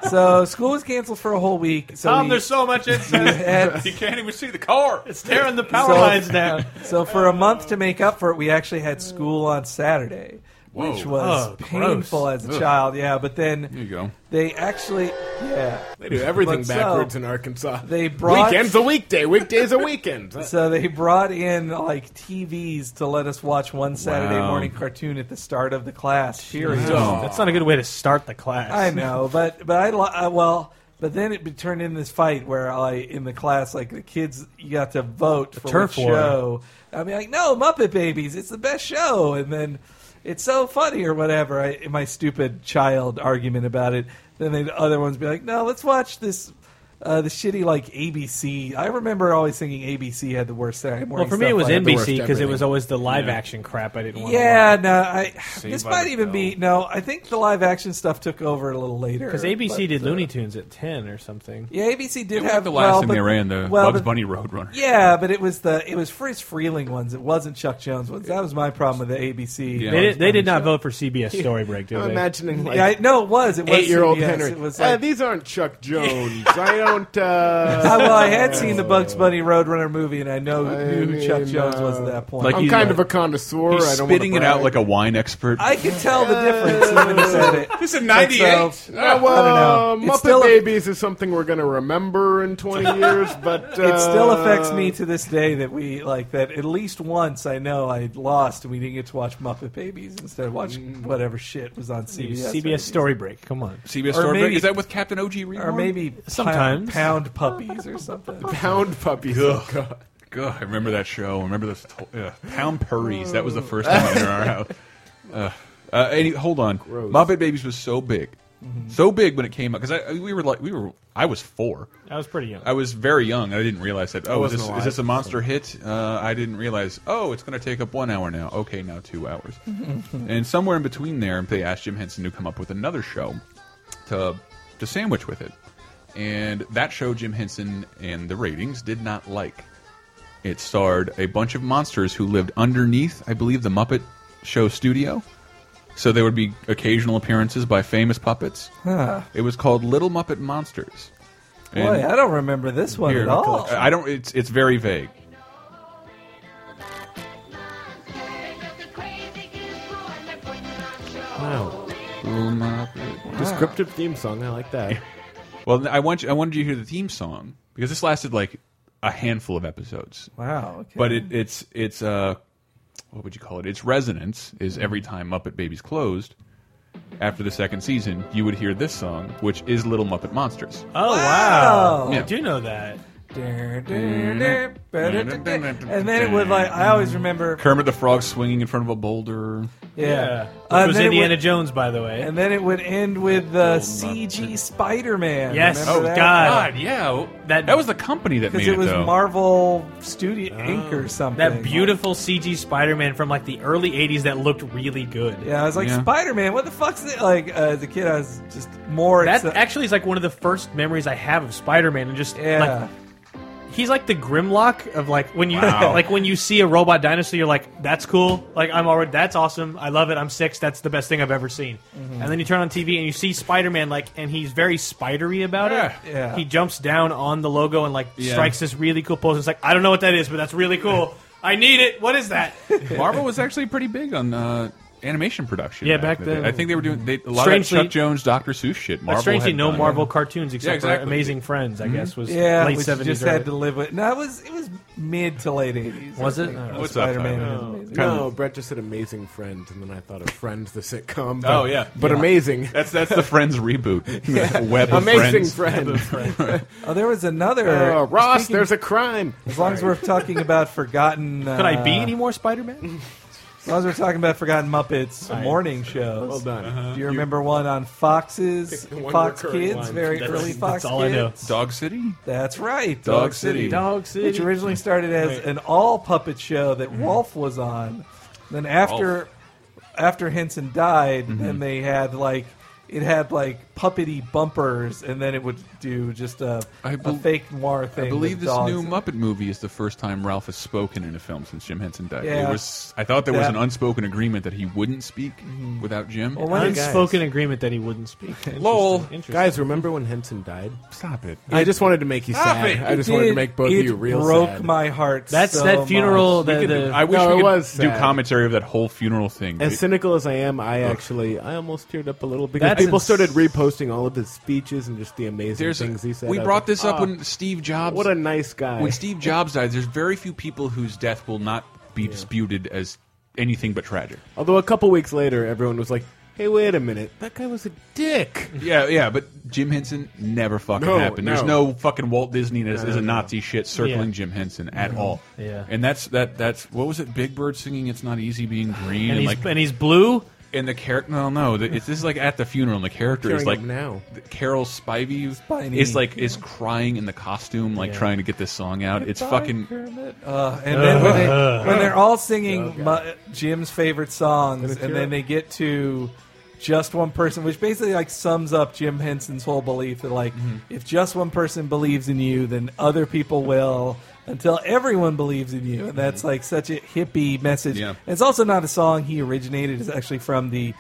Speaker 3: so school was canceled for a whole week. So
Speaker 7: Tom,
Speaker 3: we-
Speaker 7: there's so much incest.
Speaker 3: and-
Speaker 1: you can't even see the car.
Speaker 7: it's tearing the power
Speaker 3: So-
Speaker 7: lines down.
Speaker 3: So for a month to make up for it, we actually had school on Saturday,
Speaker 1: Whoa.
Speaker 3: which was
Speaker 7: Oh,
Speaker 3: painful
Speaker 7: gross.
Speaker 3: as a child. Yeah, but then
Speaker 1: There you go.
Speaker 3: they actually, yeah,
Speaker 8: They do everything
Speaker 3: But so,
Speaker 8: backwards in Arkansas.
Speaker 3: they brought-
Speaker 8: weekends a weekday, weekdays a weekend.
Speaker 3: so they brought in like TVs to let us watch one Saturday
Speaker 1: Wow.
Speaker 3: morning cartoon at the start of the class period.
Speaker 7: That's not a good way to start the class.
Speaker 3: I know, but but I li- I well. But then it be- turned into this fight where I in the class like the kids you got to vote for
Speaker 7: turf
Speaker 3: what
Speaker 7: war.
Speaker 3: show. I mean like no Muppet Babies, it's the best show, and then it's so funny or whatever. I, in my stupid child argument about it. Then the other ones be like, no, let's watch this. Uh, the shitty like ABC. I remember always thinking ABC had the worst Saturday morning.
Speaker 7: Well, for me, it
Speaker 3: stuff
Speaker 7: was
Speaker 3: like that.
Speaker 7: NBC because it
Speaker 8: everything.
Speaker 7: was always the live action crap I didn't want.
Speaker 3: Yeah, no, I, this
Speaker 1: by
Speaker 3: might
Speaker 1: the
Speaker 3: even be no. I think the live action stuff took over a little later
Speaker 7: because ABC
Speaker 3: but,
Speaker 7: did
Speaker 3: uh,
Speaker 7: Looney Tunes at ten or something.
Speaker 3: Yeah, ABC
Speaker 1: It
Speaker 3: did
Speaker 1: was
Speaker 3: have
Speaker 1: the last
Speaker 3: well,
Speaker 1: thing
Speaker 3: but-
Speaker 1: they ran, the
Speaker 3: well,
Speaker 1: Bugs
Speaker 3: but-
Speaker 1: Bunny Roadrunner.
Speaker 3: Yeah, but it was the it was Fritz Freeling ones. It wasn't Chuck Jones ones. That was my problem with the ABC.
Speaker 1: Yeah.
Speaker 7: They did, they did not vote for CBS Story Break, did
Speaker 8: I'm
Speaker 7: they?
Speaker 8: imagining like
Speaker 3: Yeah, I, no, it was. It was
Speaker 8: eight year old
Speaker 3: CBS.
Speaker 8: Henry.
Speaker 3: It was
Speaker 8: "Eh,
Speaker 3: like,
Speaker 8: these aren't Chuck Jones. I don't. Uh,
Speaker 3: I, well, I had seen the Bugs Bunny Roadrunner movie, and I know knew who Chuck
Speaker 8: mean,
Speaker 3: Jones was at
Speaker 8: uh,
Speaker 3: that point.
Speaker 1: Like
Speaker 8: I'm
Speaker 1: he's
Speaker 8: kind
Speaker 1: like-
Speaker 8: of a connoisseur.
Speaker 1: He's
Speaker 8: I don't
Speaker 1: spitting it
Speaker 8: wanna
Speaker 1: out like
Speaker 8: brag.
Speaker 1: a wine expert.
Speaker 3: I could tell the difference when he said it.
Speaker 1: this is
Speaker 3: so-
Speaker 8: Uh,
Speaker 3: I
Speaker 8: well,
Speaker 3: don't know. It's
Speaker 8: Muppet
Speaker 3: still a-
Speaker 8: Babies is something we're going to remember in 20 years, but uh,
Speaker 3: It still affects me to this day that we like that at least once I know I lost and we didn't get to watch Muppet Babies instead of watching whatever shit was on CBS.
Speaker 7: CBS
Speaker 3: Story.
Speaker 7: Story Break. Come on.
Speaker 1: CBS
Speaker 3: Or
Speaker 1: Store
Speaker 3: maybe-
Speaker 1: Break? Is that with Captain OG Reborn?
Speaker 3: or maybe
Speaker 7: Sometimes.
Speaker 3: pound, pound puppies or something.
Speaker 8: Pound puppies.
Speaker 1: Ugh. God, I remember that show. I remember those to- uh, Pound Purries. That was the first
Speaker 3: Oh.
Speaker 1: time in our house. Uh, uh, any, hold on, Muppet Babies was so big,
Speaker 3: Mm-hmm.
Speaker 1: so big when it came out because I I- we were like we were I was four.
Speaker 7: I was pretty young.
Speaker 1: I was very young. and I didn't realize that. Oh, is
Speaker 8: wasn't
Speaker 1: this,
Speaker 8: alive,
Speaker 1: is this a monster hit? Uh, I didn't realize. Oh, it's going to take up one hour now. Okay, now two hours. and somewhere in between there, they asked Jim Henson to come up with another show to to sandwich with it. And that show, Jim Henson and the ratings did not like. It starred a bunch of monsters who lived underneath, I believe, the Muppet Show studio. So there would be occasional appearances by famous puppets. It was called Little Muppet Monsters. And-
Speaker 3: Boy, I don't remember this one at all.
Speaker 1: I don't. It's it's very vague.
Speaker 8: Wow. Descriptive theme song. I like that.
Speaker 1: Well, I want you, I wanted you to hear the theme song because this lasted like a handful of episodes.
Speaker 3: Wow. Okay.
Speaker 1: But it, it's it's uh, what would you call it? Its resonance is every time Muppet Babies closed. After the second season, you would hear this song, which is Little Muppet Monsters.
Speaker 7: Oh wow!
Speaker 1: Yeah.
Speaker 7: I do know that.
Speaker 3: and then it would like I always remember
Speaker 1: Kermit the Frog swinging in front of a boulder.
Speaker 3: yeah. Uh,
Speaker 7: It
Speaker 3: and
Speaker 7: was
Speaker 3: then it
Speaker 7: Indiana
Speaker 3: would-
Speaker 7: Jones, by the way.
Speaker 3: And then it would end with the CG Spider Man.
Speaker 7: Yes.
Speaker 3: remember
Speaker 7: Oh,
Speaker 3: that?
Speaker 7: God.
Speaker 1: yeah, that
Speaker 7: That-
Speaker 1: that was the company that made
Speaker 3: Because
Speaker 1: it,
Speaker 3: it was
Speaker 1: though.
Speaker 3: Marvel Studio Inc. or something.
Speaker 7: Oh. that beautiful CG Spider-Man from like the early '80s that looked really good.
Speaker 3: Yeah, I was like
Speaker 1: Yeah.
Speaker 3: Spider Man. What the fuck's it? Like uh, as a kid, I was just more.
Speaker 7: That
Speaker 3: exci-
Speaker 7: actually is like one of the first memories I have of Spider-Man, and just
Speaker 3: yeah.
Speaker 7: like he's like the Grimlock of like when you like when you see a robot dinosaur, you're like, that's cool. Like I'm already that's awesome. I love it. I'm six. That's the best thing I've ever seen.
Speaker 3: Mm-hmm.
Speaker 7: And then you turn on TV and you see Spider-Man like, and he's very spidery about
Speaker 1: Yeah.
Speaker 7: it.
Speaker 3: Yeah.
Speaker 7: He jumps down on the logo and like
Speaker 1: Yeah.
Speaker 7: strikes this really cool pose. It's like I don't know what that is, but that's really cool. I need it. What is that?
Speaker 1: Marvel was actually pretty big on uh, animation production.
Speaker 7: Yeah, back
Speaker 1: in the day.
Speaker 7: then.
Speaker 1: I think they were doing they, a lot
Speaker 7: Strangely-
Speaker 1: of that Chuck Jones, Doctor Seuss shit. Marvel
Speaker 7: Strangely,
Speaker 1: had
Speaker 7: no
Speaker 1: done.
Speaker 7: Marvel cartoons except
Speaker 1: exactly.
Speaker 7: for Amazing Friends. I guess was
Speaker 3: Mm-hmm. Yeah, which
Speaker 7: late
Speaker 3: you
Speaker 7: seventies.
Speaker 3: just had to live with. No, it was it was mid to late eighties.
Speaker 7: Was it? Oh.
Speaker 1: What's up,
Speaker 3: Spider
Speaker 1: Tyler?
Speaker 3: Man?
Speaker 8: No, Brett just said Amazing Friend, and then I thought of Friends, the sitcom. But,
Speaker 1: Oh, yeah.
Speaker 8: But amazing.
Speaker 1: That's that's the Friends reboot. Web of
Speaker 8: Amazing
Speaker 1: Friends.
Speaker 8: Friend.
Speaker 3: Oh, there was another.
Speaker 8: Uh, Ross,
Speaker 3: speaking-
Speaker 8: there's a crime.
Speaker 3: As long as we're talking about forgotten, uh,
Speaker 7: Could I be any more Spider-Man?
Speaker 3: As long as we're talking about forgotten Muppets morning shows,
Speaker 8: Well done.
Speaker 3: do you remember one on Fox's
Speaker 8: One
Speaker 3: Fox
Speaker 8: recurring
Speaker 3: Kids,
Speaker 8: line.
Speaker 3: very
Speaker 7: That's-
Speaker 3: early Fox
Speaker 7: that's all I
Speaker 3: Kids?
Speaker 7: know.
Speaker 1: Dog City.
Speaker 3: That's right,
Speaker 1: Dog City.
Speaker 7: Dog
Speaker 3: which originally started as an all puppet show that
Speaker 8: Mm-hmm.
Speaker 3: Wolf was on. Then after after Henson died,
Speaker 8: Mm-hmm.
Speaker 3: then they had like it had like puppety bumpers, and then it would do just a,
Speaker 1: I
Speaker 3: a
Speaker 1: bel-
Speaker 3: fake noir thing.
Speaker 1: I believe
Speaker 3: with
Speaker 1: this
Speaker 3: dogs.
Speaker 1: new Muppet movie is the first time Ralph has spoken in a film since Jim Henson died.
Speaker 3: Yeah.
Speaker 1: It was I thought there was
Speaker 3: That-
Speaker 1: an unspoken agreement that he wouldn't speak
Speaker 8: Mm-hmm.
Speaker 1: without Jim.
Speaker 3: Well, when
Speaker 7: Unspoken agreement that he wouldn't speak.
Speaker 1: Lol.
Speaker 7: Interesting, interesting.
Speaker 8: Guys, remember when Henson died?
Speaker 1: Stop it.
Speaker 8: I just wanted to make you sad.
Speaker 1: it.
Speaker 8: I just
Speaker 3: It
Speaker 8: wanted to
Speaker 3: did-
Speaker 8: make both
Speaker 3: it
Speaker 8: of you real
Speaker 3: broke
Speaker 8: sad.
Speaker 3: my heart.
Speaker 7: That's
Speaker 3: so
Speaker 7: that funeral.
Speaker 3: much.
Speaker 7: The, the,
Speaker 1: I wish
Speaker 8: No,
Speaker 1: we
Speaker 8: it
Speaker 1: could
Speaker 8: was
Speaker 1: do
Speaker 8: sad.
Speaker 1: commentary of that whole funeral thing.
Speaker 8: As cynical as I am, I actually I almost teared up a little because
Speaker 7: That's
Speaker 8: people
Speaker 7: ins-
Speaker 8: started reposting all of his speeches and just the amazing
Speaker 1: There's-
Speaker 8: things he said.
Speaker 1: we
Speaker 8: I was
Speaker 1: brought
Speaker 8: like,
Speaker 1: this up
Speaker 8: "Ah,
Speaker 1: when Steve Jobs
Speaker 8: what a nice guy.
Speaker 1: when Steve Jobs died, there's very few people whose death will not be disputed as anything but tragic.
Speaker 8: Although a couple weeks later, everyone was like, "Hey, wait a minute, that guy was a dick."
Speaker 1: Yeah, yeah, but Jim Henson never fucking
Speaker 8: No,
Speaker 1: happened. There's
Speaker 8: no.
Speaker 1: no fucking Walt Disney as, as a Nazi shit circling
Speaker 7: Yeah.
Speaker 1: Jim Henson at all.
Speaker 7: Yeah.
Speaker 1: and that's that. That's what was it? Big Bird singing "It's Not Easy Being Green"
Speaker 7: and
Speaker 1: and,
Speaker 7: he's
Speaker 1: like
Speaker 7: and he's blue.
Speaker 1: and the character. No, no, the, it's, this is like at the funeral. and The character is
Speaker 8: Tearing
Speaker 1: like
Speaker 8: up now.
Speaker 1: the- Carol Spivey
Speaker 3: Spivey.
Speaker 1: is like is crying in the costume, like trying to get this song out. It's fucking Uh-huh.
Speaker 3: Uh, and then when, they, when they're all singing mu- Jim's favorite songs, and then they get to just one person, which basically like sums up Jim Henson's whole belief that like
Speaker 1: Mm-hmm.
Speaker 3: if just one person believes in you, then other people will until everyone believes in you, and that's like such a hippie message.
Speaker 1: Mm-hmm. Yeah.
Speaker 3: It's also not a song he originated; it's actually from the.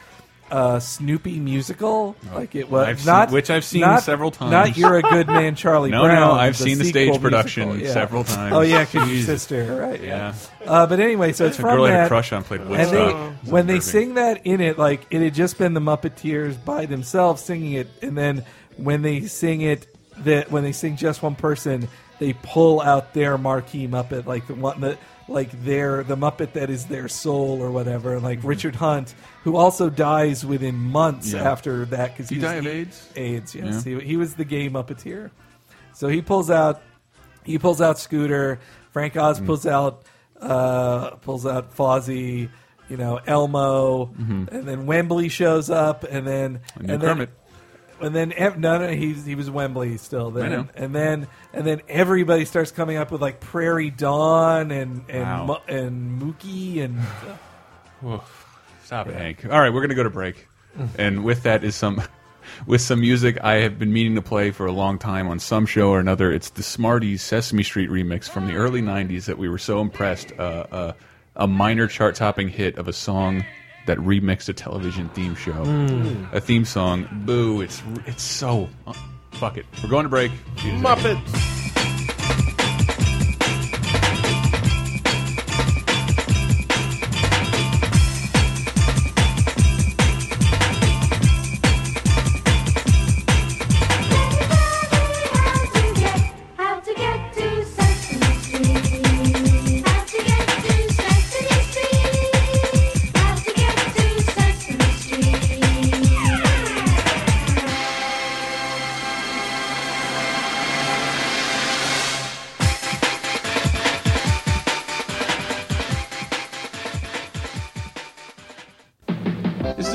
Speaker 3: Uh, Snoopy musical, like it was
Speaker 1: Oh. I've seen-
Speaker 3: not
Speaker 1: which I've seen
Speaker 3: not-
Speaker 1: several times.
Speaker 3: Not you're a good man, Charlie
Speaker 1: No,
Speaker 3: Brown.
Speaker 1: no, I've seen the
Speaker 3: sequel
Speaker 1: stage production
Speaker 3: musical, yeah.
Speaker 1: several times.
Speaker 3: Oh yeah, 'cause your
Speaker 1: Jesus.
Speaker 3: sister, right?
Speaker 1: yeah.
Speaker 3: Uh, but anyway, so it's
Speaker 1: The
Speaker 3: from
Speaker 1: girl I had
Speaker 3: that.
Speaker 1: a crush on played
Speaker 3: and they,
Speaker 1: Woodstock. It's
Speaker 3: when they
Speaker 1: unnerving.
Speaker 3: sing that in it, like it had just been the Muppeteers by themselves singing it, and then when they sing it, that when they sing just one person, they pull out their marquee Muppet, like the one that, like their the Muppet that is their soul or whatever, and
Speaker 1: Mm-hmm.
Speaker 3: like Richard Hunt, who also dies within months
Speaker 1: Yeah.
Speaker 3: after that because
Speaker 1: Did
Speaker 3: he
Speaker 1: he
Speaker 3: was
Speaker 1: die of
Speaker 3: the-
Speaker 1: AIDS?
Speaker 3: AIDS, yes, he, he was the gay Muppeteer. So he pulls out he pulls out Scooter. Frank Oz
Speaker 1: Mm.
Speaker 3: pulls out uh, pulls out Fozzie. You know Elmo, and then Wembley shows up, and then
Speaker 1: And Mm-hmm. new
Speaker 3: and
Speaker 1: Kermit.
Speaker 3: Then, and then ev- no, no, he's he was Wembley still then,
Speaker 1: know.
Speaker 3: and then and then everybody starts coming up with like Prairie Dawn and and
Speaker 1: Wow.
Speaker 3: Mu- and Mookie and
Speaker 1: Stop it, Hank. All right, we're gonna go to break, and with that is some, with some music I have been meaning to play for a long time on some show or another. It's the Smarties Sesame Street remix from the early '90s that we were so impressed. Uh, uh, a minor chart-topping hit of a song that remixed a television theme show,
Speaker 3: Hmm.
Speaker 1: a theme song. Boo! It's it's so. Uh, fuck it. We're going to break. See you in a second.
Speaker 8: Muppets.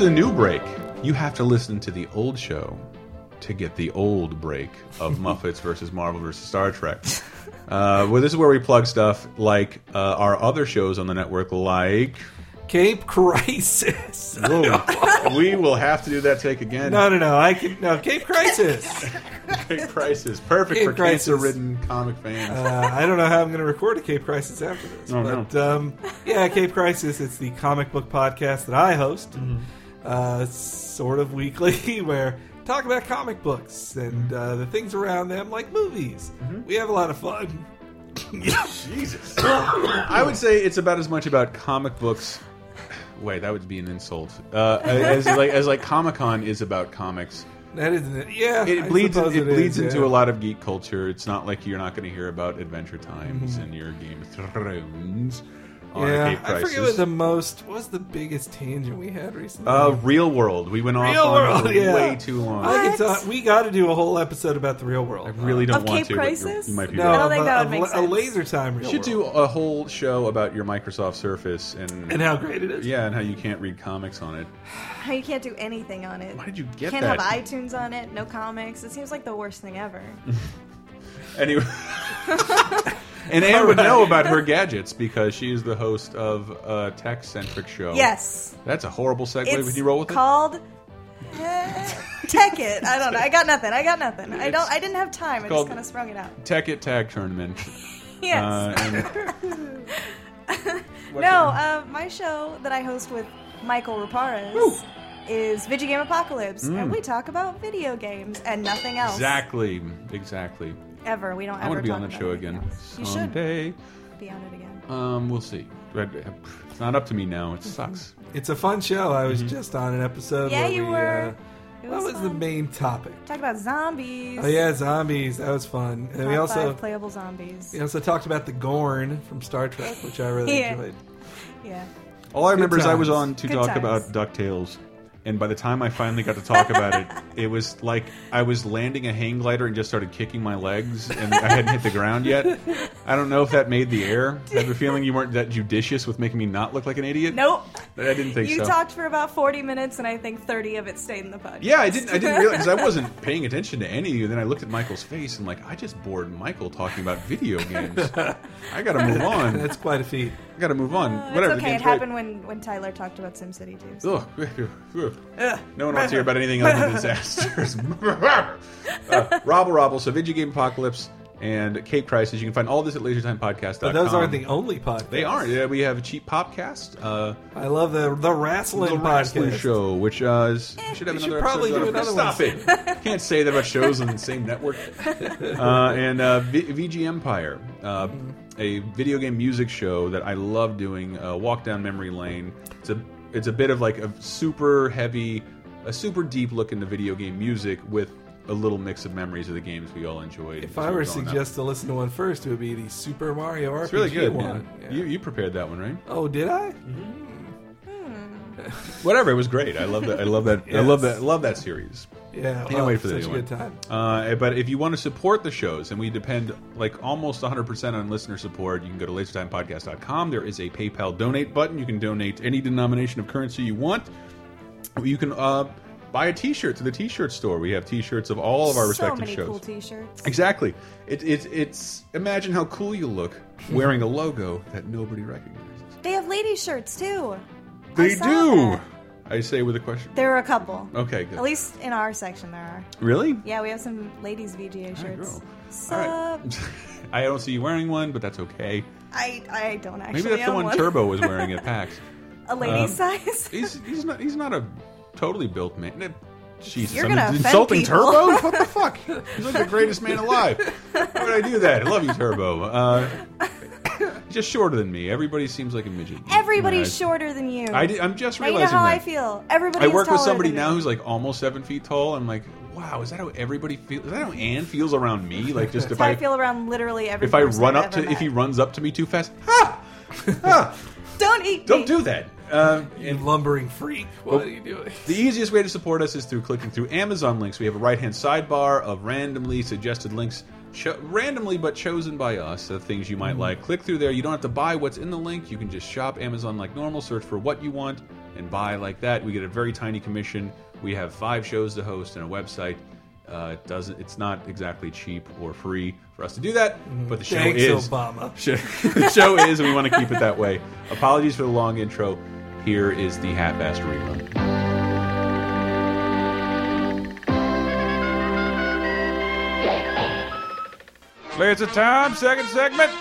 Speaker 1: new break. You have to listen to the old show to get the old break of Muppets versus Marvel versus Star Trek. Uh, well, this is where we plug stuff like uh, our other shows on the network, like.
Speaker 3: Cape Crisis.
Speaker 1: Whoa, we will have to do that take again.
Speaker 3: No, no, no. I can no Cape Crisis.
Speaker 1: Big crisis, perfect
Speaker 3: Cape
Speaker 1: for
Speaker 3: Crisis.
Speaker 1: cancer-ridden comic fans.
Speaker 3: Uh, I don't know how I'm going to record a Cape Crisis after this,
Speaker 1: Oh, no.
Speaker 3: but um, yeah, Cape Crisis. It's the comic book podcast that I host,
Speaker 1: Mm-hmm.
Speaker 3: uh, sort of weekly, where I talk about comic books
Speaker 1: Mm-hmm.
Speaker 3: and uh, the things around them, like movies. We have a lot of fun.
Speaker 1: Jesus. I would say it's about as much about comic books. Wait, that would be an insult. Uh, as like as like Comic Con is about comics.
Speaker 3: That isn't it. Yeah,
Speaker 1: It
Speaker 3: I
Speaker 1: bleeds. It,
Speaker 3: suppose is,
Speaker 1: bleeds into
Speaker 3: yeah.
Speaker 1: a lot of geek culture. It's not like you're not going to hear about Adventure Times and your Game of Thrones. On
Speaker 3: Mm-hmm. Yeah,
Speaker 1: Cape
Speaker 3: I
Speaker 1: Crisis.
Speaker 3: forget what the most what was the biggest tangent we had recently.
Speaker 1: uh, real world. We went off
Speaker 3: Real
Speaker 1: on
Speaker 3: World,
Speaker 1: for
Speaker 3: yeah.
Speaker 1: way too long.
Speaker 3: I could
Speaker 2: What?
Speaker 3: talk, we got to do a whole episode about the real world.
Speaker 1: I really don't
Speaker 2: Of
Speaker 1: want
Speaker 2: Cape
Speaker 1: to. but you're-
Speaker 2: Crisis?
Speaker 1: You might be.
Speaker 3: no,
Speaker 1: right.
Speaker 2: I don't think
Speaker 3: a-
Speaker 2: that would
Speaker 3: a,
Speaker 2: make
Speaker 3: la- a
Speaker 2: sense.
Speaker 3: laser time. Real
Speaker 1: You should do
Speaker 3: world.
Speaker 1: a whole show about your Microsoft Surface and
Speaker 3: and how great it is.
Speaker 1: yeah, and how you can't read comics on it.
Speaker 2: How you can't do anything on it.
Speaker 1: Why did you get
Speaker 2: Can't
Speaker 1: that?
Speaker 2: have iTunes on it. No comics. It seems like the worst thing ever.
Speaker 1: Anyway. and Anne would know about her gadgets because she is the host of a tech centric show.
Speaker 2: Yes.
Speaker 1: That's a horrible segue.
Speaker 2: It's
Speaker 1: Would you roll with
Speaker 2: called eh, Tech It. I don't know. I got nothing. I got nothing. I don't. I didn't have time. I
Speaker 1: called- Uh,
Speaker 2: just kind of sprung it out.
Speaker 1: it? Tech It Tag Tournament.
Speaker 2: Yes.
Speaker 1: Uh, and
Speaker 2: no. Uh, my show that I host with Michael Raparez is Video Game Apocalypse,
Speaker 1: Mm.
Speaker 2: and we talk about video games and nothing else.
Speaker 1: exactly. Exactly.
Speaker 2: Ever. We don't ever.
Speaker 1: I want to be
Speaker 2: talk
Speaker 1: on that
Speaker 2: about
Speaker 1: show
Speaker 2: anything
Speaker 1: again
Speaker 2: else. You should
Speaker 1: someday.
Speaker 2: be on it again.
Speaker 1: Um, we'll see. But, uh, It's not up to me now.
Speaker 2: Mm-hmm.
Speaker 1: It sucks.
Speaker 3: It's a fun show. I was
Speaker 1: Mm-hmm.
Speaker 3: just on an episode.
Speaker 2: Yeah,
Speaker 3: where
Speaker 2: you
Speaker 3: we,
Speaker 2: were.
Speaker 3: Uh,
Speaker 2: It
Speaker 3: what
Speaker 2: was,
Speaker 3: was the
Speaker 2: fun.
Speaker 3: main topic?
Speaker 2: Talk about zombies.
Speaker 3: Oh yeah, zombies. That was fun. And we
Speaker 2: Top
Speaker 3: also
Speaker 2: five playable zombies.
Speaker 3: we also talked about the Gorn from Star Trek, which I really
Speaker 2: Yeah.
Speaker 3: enjoyed.
Speaker 2: Yeah.
Speaker 1: All I remember is I was
Speaker 3: times.
Speaker 1: on to
Speaker 2: Good
Speaker 1: talk
Speaker 2: times.
Speaker 1: about DuckTales, and by the time I finally got to talk about it, it was like I was landing a hang glider and just started kicking my legs, and I hadn't hit the ground yet. I don't know if that made the air. I have a feeling you weren't that judicious with making me not look like an idiot.
Speaker 2: Nope.
Speaker 1: I didn't think
Speaker 2: you
Speaker 1: so.
Speaker 2: talked for about 40 minutes, and I think 30 of it stayed in the podcast.
Speaker 1: yeah, I didn't. I didn't realize 'cause I wasn't paying attention to any of you. Then I looked at Michael's face and like I just bored Michael talking about video games. I got to move on.
Speaker 3: That's quite a feat.
Speaker 1: I got to move on.
Speaker 2: Uh,
Speaker 1: Whatever.
Speaker 2: It's
Speaker 1: the
Speaker 2: okay. It
Speaker 1: game's great.
Speaker 2: happened when, when Tyler talked about SimCity too. so-
Speaker 1: Ugh. no one wants to hear about anything other than disasters. uh, Robble Robble, so Video Game Apocalypse and Cape Crisis. You can find all this at lasertimepodcast.com.
Speaker 3: But those aren't the only podcasts.
Speaker 1: They are. Yeah, we have a cheap popcast, uh,
Speaker 3: I love the the wrestling
Speaker 1: the wrestling
Speaker 3: podcast.
Speaker 1: show, which uh, is, we should have
Speaker 3: Eh, we
Speaker 1: another
Speaker 3: should probably
Speaker 1: episode
Speaker 3: do
Speaker 1: on-
Speaker 3: another
Speaker 1: Stop it! Can't say that about shows on the same network. Uh, and uh, v VG Empire, uh, a video game music show that I love doing. Uh, walk down memory lane. It's a it's a bit of like a super heavy, a super deep look into video game music with a little mix of memories of the games we all enjoyed.
Speaker 3: If I were to suggest to listen to one first, it would be the Super Mario RPG
Speaker 1: it's really good.
Speaker 3: one.
Speaker 1: yeah. Mm-hmm.
Speaker 3: Yeah.
Speaker 1: You you prepared that one right?
Speaker 3: oh, did I?
Speaker 1: Whatever, it was great. I love that. I love that. I love that. I love that series.
Speaker 3: Yeah.
Speaker 1: Can't
Speaker 3: oh,
Speaker 1: wait for the
Speaker 3: such
Speaker 1: new
Speaker 3: a
Speaker 1: one.
Speaker 3: good time.
Speaker 1: Uh, but if you want to support the shows, and we depend like almost 100% on listener support, you can go to lasertimepodcast.com. There is a PayPal donate button. You can donate any denomination of currency you want. You can uh, buy a t shirt to the t shirt store. We have t shirts of all of our
Speaker 2: so
Speaker 1: respective
Speaker 2: many
Speaker 1: shows.
Speaker 2: cool T-shirts.
Speaker 1: exactly. It, it, it's imagine how cool you look wearing a logo that nobody recognizes.
Speaker 2: They have lady shirts too.
Speaker 1: They
Speaker 2: saw
Speaker 1: do!
Speaker 2: that.
Speaker 1: I say with a question.
Speaker 2: There are a couple.
Speaker 1: Okay, good.
Speaker 2: At least in our section, there are.
Speaker 1: Really?
Speaker 2: Yeah, we have some ladies VGA shirts.
Speaker 1: girl.
Speaker 2: So
Speaker 1: All
Speaker 2: uh,
Speaker 1: right. I don't see you wearing one, but that's okay.
Speaker 2: I I don't actually
Speaker 1: Maybe that's the
Speaker 2: own
Speaker 1: one, Turbo was wearing Um, at PAX.
Speaker 2: A lady size.
Speaker 1: He's he's not he's not a totally built man. Eh, Jesus,
Speaker 2: You're
Speaker 1: I'm
Speaker 2: gonna offend
Speaker 1: insulting
Speaker 2: people.
Speaker 1: Turbo. What the fuck? He's like the greatest man alive. Why would I do that? I love you, Turbo. Uh, just shorter than me. Everybody seems like a midget.
Speaker 2: Everybody's
Speaker 1: Yeah,
Speaker 2: shorter than you.
Speaker 1: I, I did, I'm just
Speaker 2: Now you
Speaker 1: realizing
Speaker 2: know how
Speaker 1: that.
Speaker 2: I feel. Everybody.
Speaker 1: I
Speaker 2: is
Speaker 1: work with
Speaker 2: taller
Speaker 1: somebody
Speaker 2: than
Speaker 1: now
Speaker 2: me.
Speaker 1: who's like almost seven feet tall. I'm like, wow, is that how everybody feels? Is that how Anne feels around me? Like, just if
Speaker 2: That's how
Speaker 1: I,
Speaker 2: I feel around literally every.
Speaker 1: if I
Speaker 2: person
Speaker 1: run
Speaker 2: I've
Speaker 1: up
Speaker 2: ever
Speaker 1: to if he
Speaker 2: met.
Speaker 1: runs up to me too fast, ha, ha,
Speaker 2: don't eat.
Speaker 1: don't
Speaker 2: me.
Speaker 1: do that. Uh,
Speaker 3: You lumbering freak.
Speaker 1: Oh.
Speaker 3: What are you doing?
Speaker 1: The easiest way to support us is through clicking through Amazon links. We have a right hand sidebar of randomly suggested links, cho randomly but chosen by us, the things
Speaker 3: Mm-hmm.
Speaker 1: you might like. Click through there. You don't have to buy what's in the link. You can just shop Amazon like normal, search for what you want, and buy like that. We get a very tiny commission. We have five shows to host and a website. Uh, it doesn't it's not exactly cheap or free for us to do that, but the show
Speaker 3: Mm-hmm. Thanks,
Speaker 1: is
Speaker 3: Obama.
Speaker 1: show, the show is, and we want to keep it that way. Apologies for the long intro. Here is the half-assed rerun. Clears the time, second segment.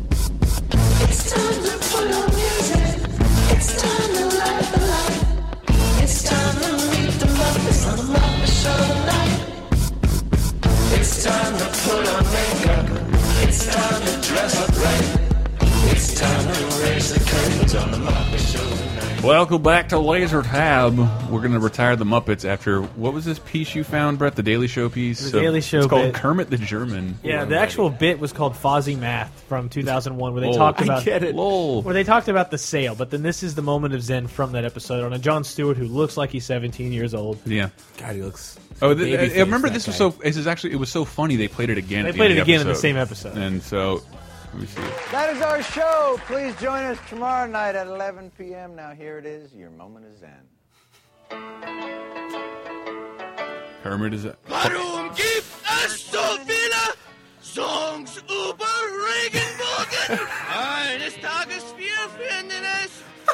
Speaker 10: It's time to put on music. It's time to light the light. It's time to meet the Muppets on the Muppet Show tonight. It's time to put on makeup. It's time to dress up right. It's time to raise the curtains on the Muppet Show tonight.
Speaker 1: Welcome back to Laser Tab. We're going to retire the Muppets after what was this piece you found, Brett? The Daily Show piece.
Speaker 7: The Daily Show
Speaker 1: It's called
Speaker 7: bit.
Speaker 1: Kermit the German.
Speaker 7: Yeah, the actual bit was called Fozzie Math from 2001, where they
Speaker 1: Lol.
Speaker 7: talked
Speaker 1: I
Speaker 7: about
Speaker 8: get it.
Speaker 1: Lol.
Speaker 7: where they talked about the sale. But then this is the moment of zen from that episode on a John Stewart who looks like he's 17 years old.
Speaker 1: Yeah.
Speaker 8: God, he looks.
Speaker 1: Oh, th-
Speaker 8: baby
Speaker 1: I- I remember
Speaker 8: face,
Speaker 1: this
Speaker 8: that
Speaker 1: was
Speaker 8: guy.
Speaker 1: so. This is actually it was so funny. They played it again.
Speaker 7: They
Speaker 1: at the
Speaker 7: played
Speaker 1: end
Speaker 7: it
Speaker 1: of the
Speaker 7: again in the same episode.
Speaker 1: And so, let me see.
Speaker 11: That is our show. Please join us tomorrow night at 11 p.m. Now, here it is. Your moment is in.
Speaker 1: Kermit is.
Speaker 4: Warum gibt es so viele Songs über Regenbogen? Eines Tages wir finden es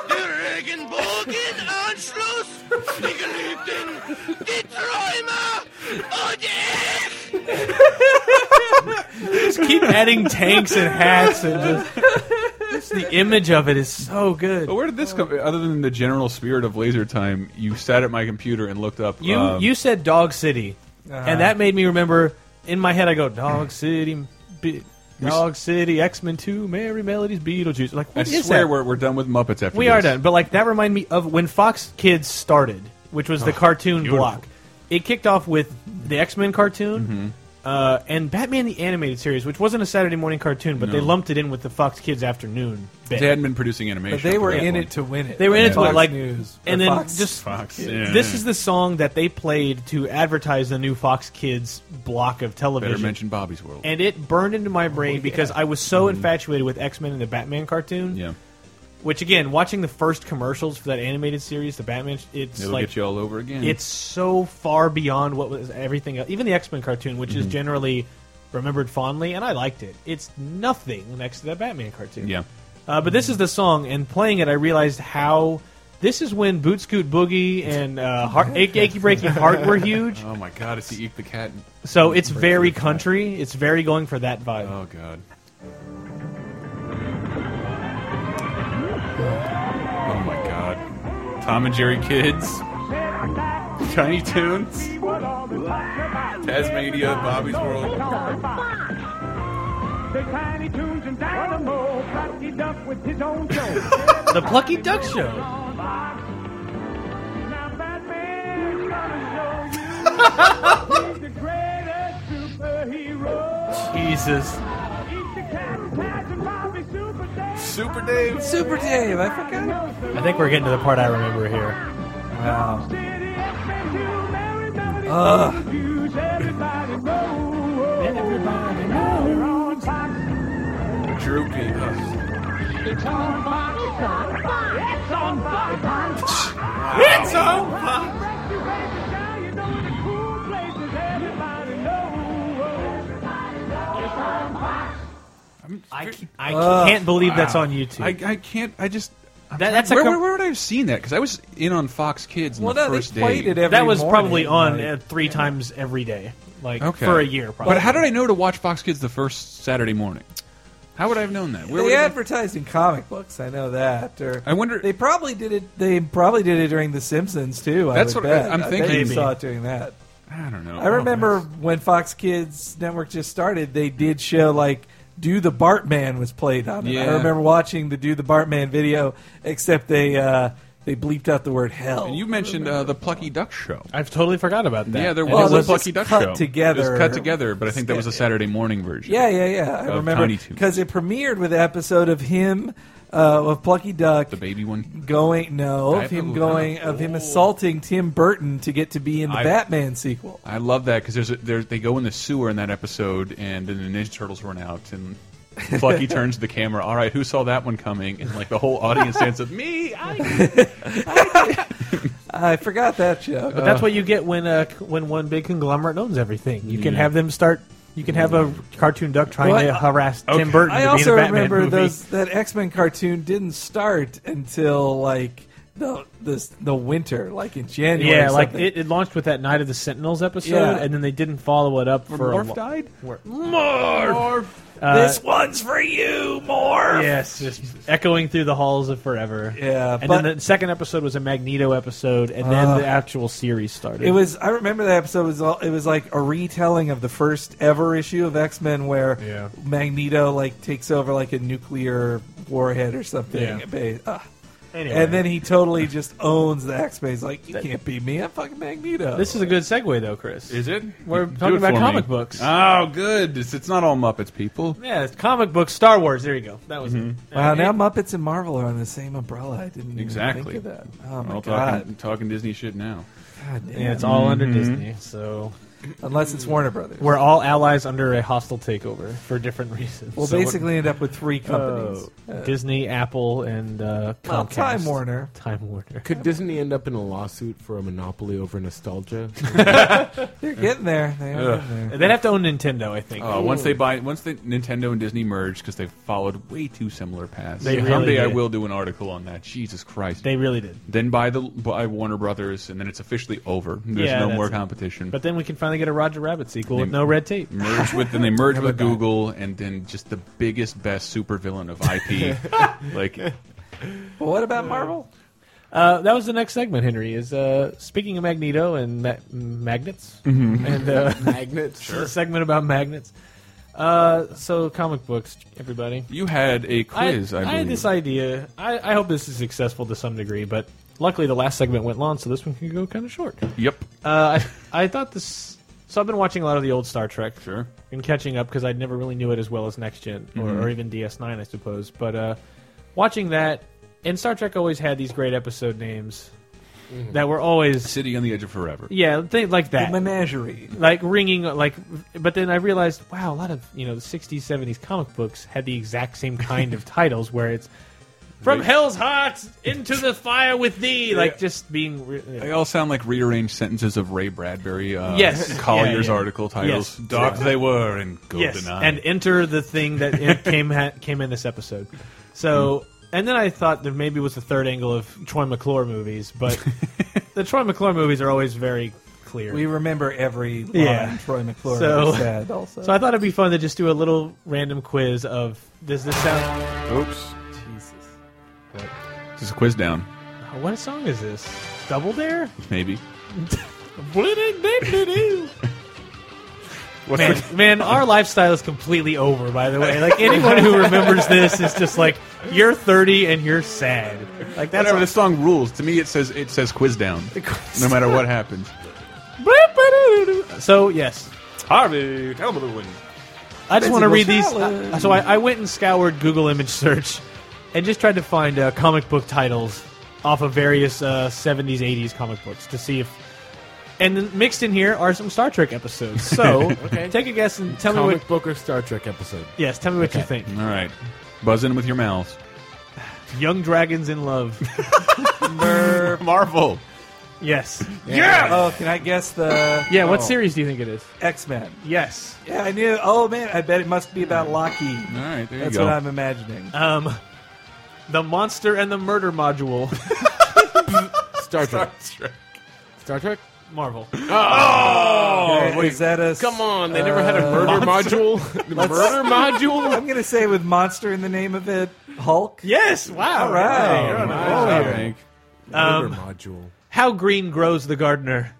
Speaker 4: den Regenbogenanschluss. Die Geliebten, die Träume und ich.
Speaker 7: Just keep adding tanks and hats and just, just the image of it is so good.
Speaker 1: But where did this come? Other than the general spirit of Laser Time, you sat at my computer and looked up.
Speaker 7: You
Speaker 1: um,
Speaker 7: you said Dog City, and that made me remember in my head. I go Dog City, Be- Dog City, X Men Two, Merry Melodies, Beetlejuice. Like
Speaker 1: I
Speaker 7: what is
Speaker 1: swear
Speaker 7: that?
Speaker 1: we're we're done with Muppets after.
Speaker 7: We
Speaker 1: this.
Speaker 7: are done. But like that reminded me of when Fox Kids started, which was the cartoon
Speaker 1: beautiful.
Speaker 7: block. It kicked off with the X Men cartoon.
Speaker 1: Mm-hmm.
Speaker 7: Uh, and Batman the Animated Series, which wasn't a Saturday morning cartoon, but they lumped it in with the Fox Kids afternoon bit.
Speaker 1: They hadn't been producing animation.
Speaker 3: But they were
Speaker 1: up to
Speaker 3: in
Speaker 1: that
Speaker 3: it to win it.
Speaker 7: They were in it to
Speaker 3: Fox
Speaker 7: win, like-
Speaker 3: News.
Speaker 7: and
Speaker 3: Or
Speaker 7: then
Speaker 3: Fox.
Speaker 7: just
Speaker 1: point. Fox. Yeah.
Speaker 7: this is the song that they played to advertise the new Fox Kids block of
Speaker 1: better
Speaker 7: television.
Speaker 1: mention Oh, Bobby's World.
Speaker 7: and it burned into my brain because I was so infatuated with X Men and the Batman cartoon.
Speaker 1: yeah,
Speaker 7: Which again, watching the first commercials for that animated series, the Batman, it's
Speaker 1: it'll
Speaker 7: like
Speaker 1: get you all over again.
Speaker 7: it's so far beyond what was everything else. Even the X Men cartoon, which is generally remembered fondly, and I liked it. It's nothing next to that Batman cartoon.
Speaker 1: yeah.
Speaker 7: Uh, but this is the song, and playing it, I realized how this is when Boot Scoot Boogie and uh, Heart, Achy, Achy Breaky Heart were huge.
Speaker 1: Oh my God! It's the Eek the Cat. and-
Speaker 7: So it's very country. It's very going for that vibe.
Speaker 1: Oh God. Oh my God. Tom and Jerry Kids. Tiny Toons. Tasmania, Bobby's World.
Speaker 4: Tiny Toons and Dynamo, Plucky Duck with his own show.
Speaker 7: The Plucky Duck Show.
Speaker 4: Now Batman's gonna show you he's the greatest superhero.
Speaker 7: Jesus.
Speaker 4: Eat the cat and Taz and Bobby Super Dave.
Speaker 1: Super Dave.
Speaker 3: Super Dave. I forgot.
Speaker 7: I think we're getting to the part I remember here.
Speaker 3: Wow.
Speaker 4: City X-Men 2, Merry Melody,
Speaker 3: Ugh.
Speaker 4: Confuse everybody knows. Everybody knows. We're on top.
Speaker 1: Droopy. Ugh.
Speaker 4: It's on Fox. It's on Fox. It's on Fox.
Speaker 7: It's on. I, ca- I can't believe that's on YouTube.
Speaker 1: I, I can't. I just.
Speaker 7: That- that's a
Speaker 1: where,
Speaker 7: com-
Speaker 1: where, where would I have seen that? Because I was in on Fox Kids on
Speaker 3: Well,
Speaker 1: the
Speaker 3: no, they
Speaker 1: first
Speaker 3: played
Speaker 1: day.
Speaker 3: it every
Speaker 7: that was
Speaker 3: morning,
Speaker 7: probably on
Speaker 3: like-
Speaker 7: uh, three times every day, like
Speaker 1: Okay.
Speaker 7: for a year. Probably.
Speaker 1: But how did I know to watch Fox Kids the first Saturday morning? How would I have known that? Where would
Speaker 3: they
Speaker 1: I have-
Speaker 3: advertised in comic books. I know that. Or
Speaker 1: I wonder-
Speaker 3: They probably did it. They probably did it during The Simpsons too. I
Speaker 1: That's
Speaker 3: would
Speaker 1: what I-
Speaker 3: bet.
Speaker 1: I'm
Speaker 3: I bet
Speaker 1: thinking. Oh,
Speaker 3: you saw it during that.
Speaker 1: I don't know.
Speaker 3: I remember when Fox Kids Network just started. They did show like "Do the Bartman" was played on it.
Speaker 1: Yeah.
Speaker 3: I remember watching the "Do the Bartman" video, except they uh, They bleeped out the word hell.
Speaker 1: And you mentioned uh, the Plucky Duck Show.
Speaker 7: I've totally forgot about that.
Speaker 1: Yeah, there
Speaker 3: And
Speaker 1: was
Speaker 3: it
Speaker 1: a
Speaker 3: was
Speaker 1: Plucky
Speaker 3: just
Speaker 1: Duck
Speaker 3: cut
Speaker 1: Show.
Speaker 3: together.
Speaker 1: It was cut together, but I think that was a
Speaker 3: Yeah.
Speaker 1: Saturday morning version.
Speaker 3: Yeah, yeah, yeah. I
Speaker 1: Of
Speaker 3: remember
Speaker 1: Tiny Toons.
Speaker 3: because it premiered with an episode of him uh, of Plucky Duck, the
Speaker 1: baby one,
Speaker 3: going no
Speaker 1: I
Speaker 3: of him
Speaker 1: thought-
Speaker 3: going of him assaulting Tim Burton to get to be in the
Speaker 1: I-
Speaker 3: Batman sequel.
Speaker 1: I love that because there's a, there, they go in the sewer in that episode, and then the Ninja Turtles run out, and Plucky turns to the camera. All right, who saw that one coming? And like the whole audience stands up. Me, I,
Speaker 3: I forgot that joke.
Speaker 7: But that's what you get when uh, c- when one big conglomerate owns everything. You can
Speaker 3: Yeah.
Speaker 7: have them start. You can have a cartoon duck trying
Speaker 3: Well, I-
Speaker 7: to harass
Speaker 3: okay.
Speaker 7: Tim Burton.
Speaker 3: I
Speaker 7: to be in
Speaker 3: also
Speaker 7: a Batman
Speaker 3: remember
Speaker 7: movie.
Speaker 3: those that X Men cartoon didn't start until like the the the winter, like in January.
Speaker 7: Yeah,
Speaker 3: or
Speaker 7: like
Speaker 3: something.
Speaker 7: it, it launched with that Night of the Sentinels episode,
Speaker 3: Yeah.
Speaker 7: and then they didn't follow it up
Speaker 3: When
Speaker 7: for.
Speaker 3: Morph
Speaker 7: a lo-
Speaker 3: died?
Speaker 7: Where-
Speaker 3: Morph!
Speaker 7: Uh,
Speaker 3: this one's for you, Morph.
Speaker 7: Yes, just echoing through the halls of forever.
Speaker 3: Yeah,
Speaker 7: and
Speaker 3: but-
Speaker 7: then the second episode was a Magneto episode, and then
Speaker 3: Uh,
Speaker 7: the actual series started.
Speaker 3: It was. I remember that episode was. All, it was like a retelling of the first ever issue of X Men, where
Speaker 7: Yeah.
Speaker 3: Magneto like takes over like a nuclear warhead or something.
Speaker 7: Yeah.
Speaker 3: Ba- ah.
Speaker 7: Anyway.
Speaker 3: And then he totally just owns the X Men. He's like, you can't be me. I'm fucking Magneto.
Speaker 7: This is a good segue, though, Chris.
Speaker 1: Is it?
Speaker 7: We're
Speaker 1: Do it
Speaker 7: talking about
Speaker 1: for me.
Speaker 7: comic books.
Speaker 1: Oh, good. It's, it's not all Muppets people.
Speaker 7: Yeah, it's comic books, Star Wars. There you go. That was
Speaker 1: Mhm.
Speaker 7: it.
Speaker 3: wow.
Speaker 7: Uh,
Speaker 3: Now Muppets and Marvel are on the same umbrella. I didn't even
Speaker 1: Exactly.
Speaker 3: think of that. Oh my
Speaker 1: We're all
Speaker 3: god.
Speaker 1: Talking, talking Disney shit now.
Speaker 3: God damn.
Speaker 7: Yeah, it's all under
Speaker 1: Mhm.
Speaker 3: Mm-hmm.
Speaker 7: Disney. So
Speaker 3: Unless it's Warner Brothers.
Speaker 7: we're all allies under a hostile takeover for different reasons.
Speaker 3: We'll
Speaker 7: So what-
Speaker 3: basically end up with three companies.
Speaker 7: Oh,
Speaker 3: Uh,
Speaker 7: Disney, Apple, and uh, Comcast.
Speaker 3: Well, Time Warner.
Speaker 7: Time Warner.
Speaker 8: Could Disney end up in a lawsuit for a monopoly over nostalgia?
Speaker 3: They're getting there. They are
Speaker 1: Ugh.
Speaker 3: getting there.
Speaker 7: They'd have to own Nintendo, I think.
Speaker 1: Oh, once they buy, once they, Nintendo and Disney merge because they've followed way too similar paths.
Speaker 7: They really
Speaker 1: Someday I
Speaker 7: did.
Speaker 1: will do an article on that. Jesus Christ,
Speaker 7: They really did.
Speaker 1: Then buy the buy Warner Brothers, and then it's officially over. There's
Speaker 7: Yeah,
Speaker 1: no
Speaker 7: that's
Speaker 1: more
Speaker 7: it.
Speaker 1: competition.
Speaker 7: But then we can finally get a Roger Rabbit sequel
Speaker 1: They
Speaker 3: Mm.
Speaker 7: with no red tape.
Speaker 1: Merge with then they merge
Speaker 7: How
Speaker 1: with
Speaker 7: about that?
Speaker 1: Google, and then just the biggest, best supervillain of IP. like
Speaker 3: But what about Marvel?
Speaker 7: Uh, that was the next segment, Henry. Is uh, speaking of Magneto and ma- magnets
Speaker 3: Mm-hmm.
Speaker 8: Mhm.
Speaker 7: and uh,
Speaker 8: Magnets, sure.
Speaker 7: A segment about magnets. Uh, so comic books, everybody.
Speaker 1: you had a quiz, I, believe.
Speaker 7: had this idea. I, I hope this is successful to some degree, but luckily the last segment went long, so this one can go kind of short.
Speaker 1: Yep.
Speaker 7: Uh, I, I thought this. So I've been watching a lot of the old Star Trek.
Speaker 1: Sure.
Speaker 7: And catching up because I never really knew it as well as Next general or,
Speaker 1: Mhm.
Speaker 7: or even DS9, I suppose. But uh, watching that, and Star Trek always had these great episode names
Speaker 1: Mm-hmm.
Speaker 7: that were always
Speaker 1: City on the Edge of Forever.
Speaker 7: yeah, things like that.
Speaker 3: The menagerie.
Speaker 7: Like ringing, like, but then I realized, wow, a lot of you know the '60s, '70s comic books had the exact same kind of titles, where it's from
Speaker 1: Right.
Speaker 7: hell's hot into the fire with thee, like just being. Re-
Speaker 1: They all sound like rearranged sentences of Ray Bradbury. Uh,
Speaker 7: Yes.
Speaker 1: Collier's
Speaker 7: Yeah, yeah.
Speaker 1: article titles.
Speaker 7: Yes.
Speaker 1: Dark they were and golden
Speaker 7: yes, and enter the thing that in- came ha- came in this episode. So, and then I thought there maybe was the third angle of Troy McClure movies, but the Troy McClure movies are always very clear.
Speaker 3: We remember every line
Speaker 7: yeah.
Speaker 3: Troy McClure
Speaker 7: so,
Speaker 3: said. Also,
Speaker 7: So I thought it'd be fun to just do a little random quiz of does this sound?
Speaker 1: Oops.
Speaker 3: Jesus.
Speaker 1: This is a quiz down,
Speaker 7: What song is this? Double Dare?
Speaker 1: maybe. What's
Speaker 7: man,
Speaker 1: the-
Speaker 7: man, our lifestyle is completely over. By the way, like anyone who remembers this is just like you're 30 and you're sad. Like that's
Speaker 1: Whatever, this song rules. To me, it says it says quiz down. no matter what happens.
Speaker 7: So yes,
Speaker 1: Harvey, tell me the win.
Speaker 7: I just want
Speaker 3: Physical
Speaker 7: to read these.
Speaker 3: challenge.
Speaker 7: uh, so I, I went and scoured Google image search and just tried to find uh, comic book titles off of various uh, 70s, 80s comic books to see if. And then mixed in here are some Star Trek episodes. So
Speaker 8: Okay.
Speaker 7: take a guess and tell me
Speaker 8: Comic
Speaker 7: what.
Speaker 8: book or Star Trek episode?
Speaker 7: Yes, tell me what you
Speaker 8: Okay.
Speaker 7: think.
Speaker 1: All right, buzz in with your mouths.
Speaker 7: Young Dragons in Love.
Speaker 1: Marvel.
Speaker 7: yes.
Speaker 3: Oh, can I guess the?
Speaker 7: Yeah, what
Speaker 3: oh,
Speaker 7: series do you think it is?
Speaker 3: X Men.
Speaker 7: Yes.
Speaker 3: Yeah, I knew. Oh man, I bet it must be about Lockheed.
Speaker 1: All right, there
Speaker 3: That's
Speaker 1: you go.
Speaker 3: what I'm imagining.
Speaker 7: Um, the Monster and the Murder Module.
Speaker 8: Star Trek. Star Trek.
Speaker 7: Marvel.
Speaker 8: Oh,
Speaker 3: Okay, is that a s-
Speaker 8: Come on, they never had a
Speaker 3: uh,
Speaker 8: murder module. The murder module.
Speaker 3: I'm gonna say with monster in the name of it, Hulk.
Speaker 7: Yes. Wow.
Speaker 3: All right.
Speaker 7: You're on a roll.
Speaker 8: Oh,
Speaker 1: All right.
Speaker 8: murder module.
Speaker 7: How green grows the gardener.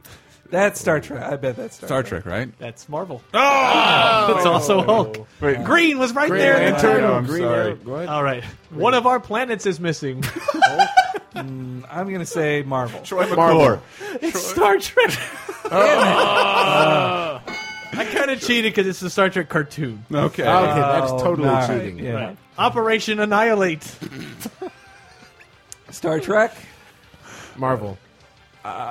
Speaker 3: That's Star Trek. I bet that's Star,
Speaker 1: Star Trek, right?
Speaker 7: That's Marvel. Oh, it's also Hulk. Green was right there.
Speaker 8: Uh, Green
Speaker 7: in the
Speaker 8: Lantern.
Speaker 1: Oh, I'm
Speaker 8: Green
Speaker 1: sorry.
Speaker 8: Arrow. Go ahead.
Speaker 7: All right, one of our planets is missing.
Speaker 3: Mm, I'm gonna say Marvel.
Speaker 1: Troy
Speaker 3: Marvel.
Speaker 1: McClure.
Speaker 7: It's Star Trek.
Speaker 3: Oh.
Speaker 7: I kind of cheated because it's the Star Trek cartoon.
Speaker 1: Okay. Okay, that's
Speaker 7: Oh,
Speaker 1: totally
Speaker 7: nah.
Speaker 1: cheating.
Speaker 7: Yeah.
Speaker 1: Right.
Speaker 7: Operation Annihilate.
Speaker 3: Star Trek.
Speaker 8: Marvel.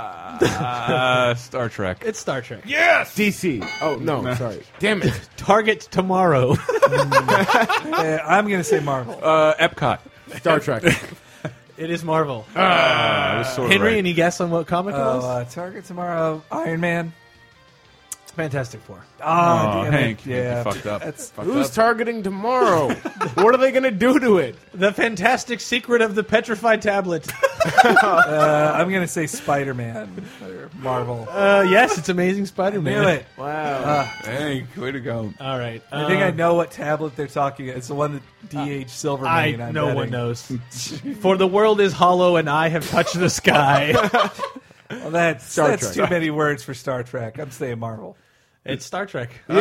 Speaker 1: Uh, Star Trek.
Speaker 7: It's Star Trek.
Speaker 8: Yes. DC. Oh no, sorry. Damn it.
Speaker 7: Target tomorrow.
Speaker 3: Uh, I'm gonna say Marvel.
Speaker 1: Uh, Epcot.
Speaker 8: Star Trek.
Speaker 7: it is Marvel.
Speaker 1: Ah, I was sort of
Speaker 7: Henry,
Speaker 1: right.
Speaker 7: any guess on what comic it
Speaker 3: Oh,
Speaker 7: was?
Speaker 3: uh, Target tomorrow. Iron Man.
Speaker 7: Fantastic Four.
Speaker 3: Ah,
Speaker 1: Oh,
Speaker 3: damn
Speaker 1: Hank,
Speaker 3: it.
Speaker 1: you
Speaker 3: Yeah, uh,
Speaker 1: fucked up.
Speaker 3: That's,
Speaker 1: Fucked
Speaker 8: Who's
Speaker 1: up.
Speaker 8: targeting tomorrow? what are they going to do to it?
Speaker 7: The Fantastic Secret of the Petrified Tablet.
Speaker 3: uh, I'm gonna say Spider Man or Marvel.
Speaker 7: Uh, yes, it's Amazing Spider-Man.
Speaker 3: Knew it.
Speaker 8: Wow.
Speaker 1: Hank, way to go.
Speaker 7: All right. um,
Speaker 3: I think I know what tablet they're talking. It's the one that D.H. Silverman.
Speaker 7: Uh, I
Speaker 3: I'm
Speaker 7: no
Speaker 3: betting.
Speaker 7: one knows. For the world is hollow, and I have touched the sky.
Speaker 3: Well, that's
Speaker 8: Star
Speaker 3: that's
Speaker 8: Trek.
Speaker 3: too many words for Star Trek. I'm saying Marvel.
Speaker 7: it's Star Trek.
Speaker 3: Man,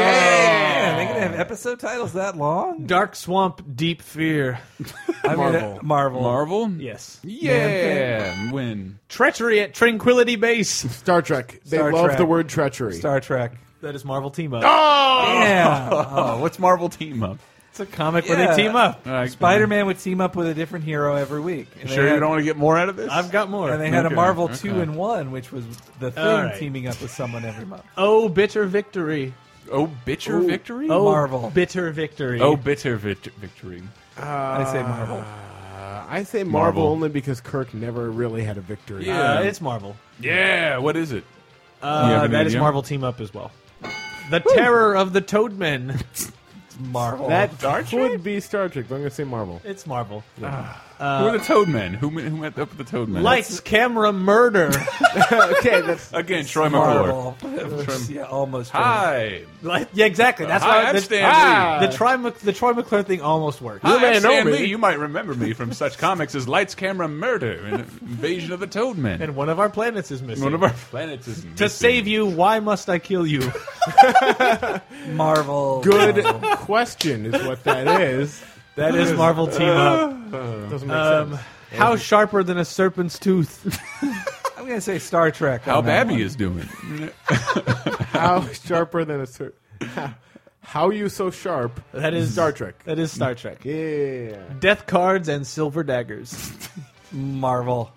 Speaker 3: they gonna have
Speaker 7: Uh,
Speaker 3: episode titles that long?
Speaker 7: Dark swamp, deep fear.
Speaker 3: I'm gonna-
Speaker 8: Marvel.
Speaker 3: Marvel.
Speaker 1: Marvel?
Speaker 7: Yes.
Speaker 1: Yeah. Win.
Speaker 7: Treachery at Tranquility Base.
Speaker 8: Star Trek. They
Speaker 3: Star
Speaker 8: love
Speaker 3: Trek.
Speaker 8: the word treachery. Uh,
Speaker 3: Star Trek.
Speaker 7: That is Marvel Team Up.
Speaker 3: Yeah.
Speaker 1: Oh, what's Marvel team up?
Speaker 7: It's a comic where
Speaker 3: Yeah.
Speaker 7: they team up.
Speaker 1: All right,
Speaker 3: Spider Man would team up with a different hero every week. And they
Speaker 1: Sure,
Speaker 3: had-
Speaker 1: you don't want to get more out of this.
Speaker 7: I've got more.
Speaker 3: And they had
Speaker 1: Okay,
Speaker 3: a Marvel
Speaker 1: okay.
Speaker 3: two and one, which was the thing
Speaker 7: All right.
Speaker 3: teaming up with someone every month.
Speaker 7: oh, bitter victory.
Speaker 1: oh, bitter victory.
Speaker 7: Oh,
Speaker 3: Marvel.
Speaker 7: bitter victory.
Speaker 1: oh, bitter vit- victory.
Speaker 3: I say Marvel.
Speaker 8: Uh, I say Marvel,
Speaker 1: Marvel.
Speaker 8: only because Kirk never really had a victory.
Speaker 1: Yeah.
Speaker 7: uh, it's Marvel.
Speaker 1: Yeah. What is it? You have
Speaker 7: Uh,
Speaker 1: an
Speaker 7: that is
Speaker 1: idea?
Speaker 7: Marvel Team Up as well. The Terror of the Toadmen.
Speaker 3: Marvel.
Speaker 8: That would be Star Trek, but I'm going to say Marvel.
Speaker 7: It's Marvel.
Speaker 1: who are the Toad Men? Who who met up with the Toad Men?
Speaker 7: Lights, camera, murder.
Speaker 8: okay, that's
Speaker 1: again, Troy McClure.
Speaker 3: Marvel. yeah, almost.
Speaker 1: Hi.
Speaker 7: Like- yeah, exactly. That's
Speaker 1: Hi,
Speaker 7: why
Speaker 1: I'm
Speaker 7: the,
Speaker 1: Stan
Speaker 7: Ah,
Speaker 1: Lee.
Speaker 7: the Troy Mc, the Troy McClure thing almost worked.
Speaker 1: Hi,
Speaker 8: may
Speaker 1: I'm
Speaker 8: know
Speaker 1: Stan
Speaker 8: me.
Speaker 1: Lee. You might remember me from such comics as Lights, Camera, Murder, and Invasion of the Toad Men.
Speaker 7: And one of our planets is missing.
Speaker 1: One of our planets is
Speaker 7: to save you, why must I kill you?
Speaker 3: Marvel.
Speaker 8: good question, is what that is. uh,
Speaker 7: That is Marvel team up.
Speaker 8: Doesn't make
Speaker 7: Um,
Speaker 8: sense.
Speaker 7: how sharper than a serpent's tooth?
Speaker 3: I'm gonna say Star Trek.
Speaker 1: How
Speaker 3: on that
Speaker 1: Babby
Speaker 3: one.
Speaker 1: is doing.
Speaker 8: How sharper than a cer- How you so sharp?
Speaker 7: That is
Speaker 8: Star Trek.
Speaker 7: That is Star Trek.
Speaker 8: Yeah.
Speaker 7: Death cards and silver daggers.
Speaker 3: Marvel.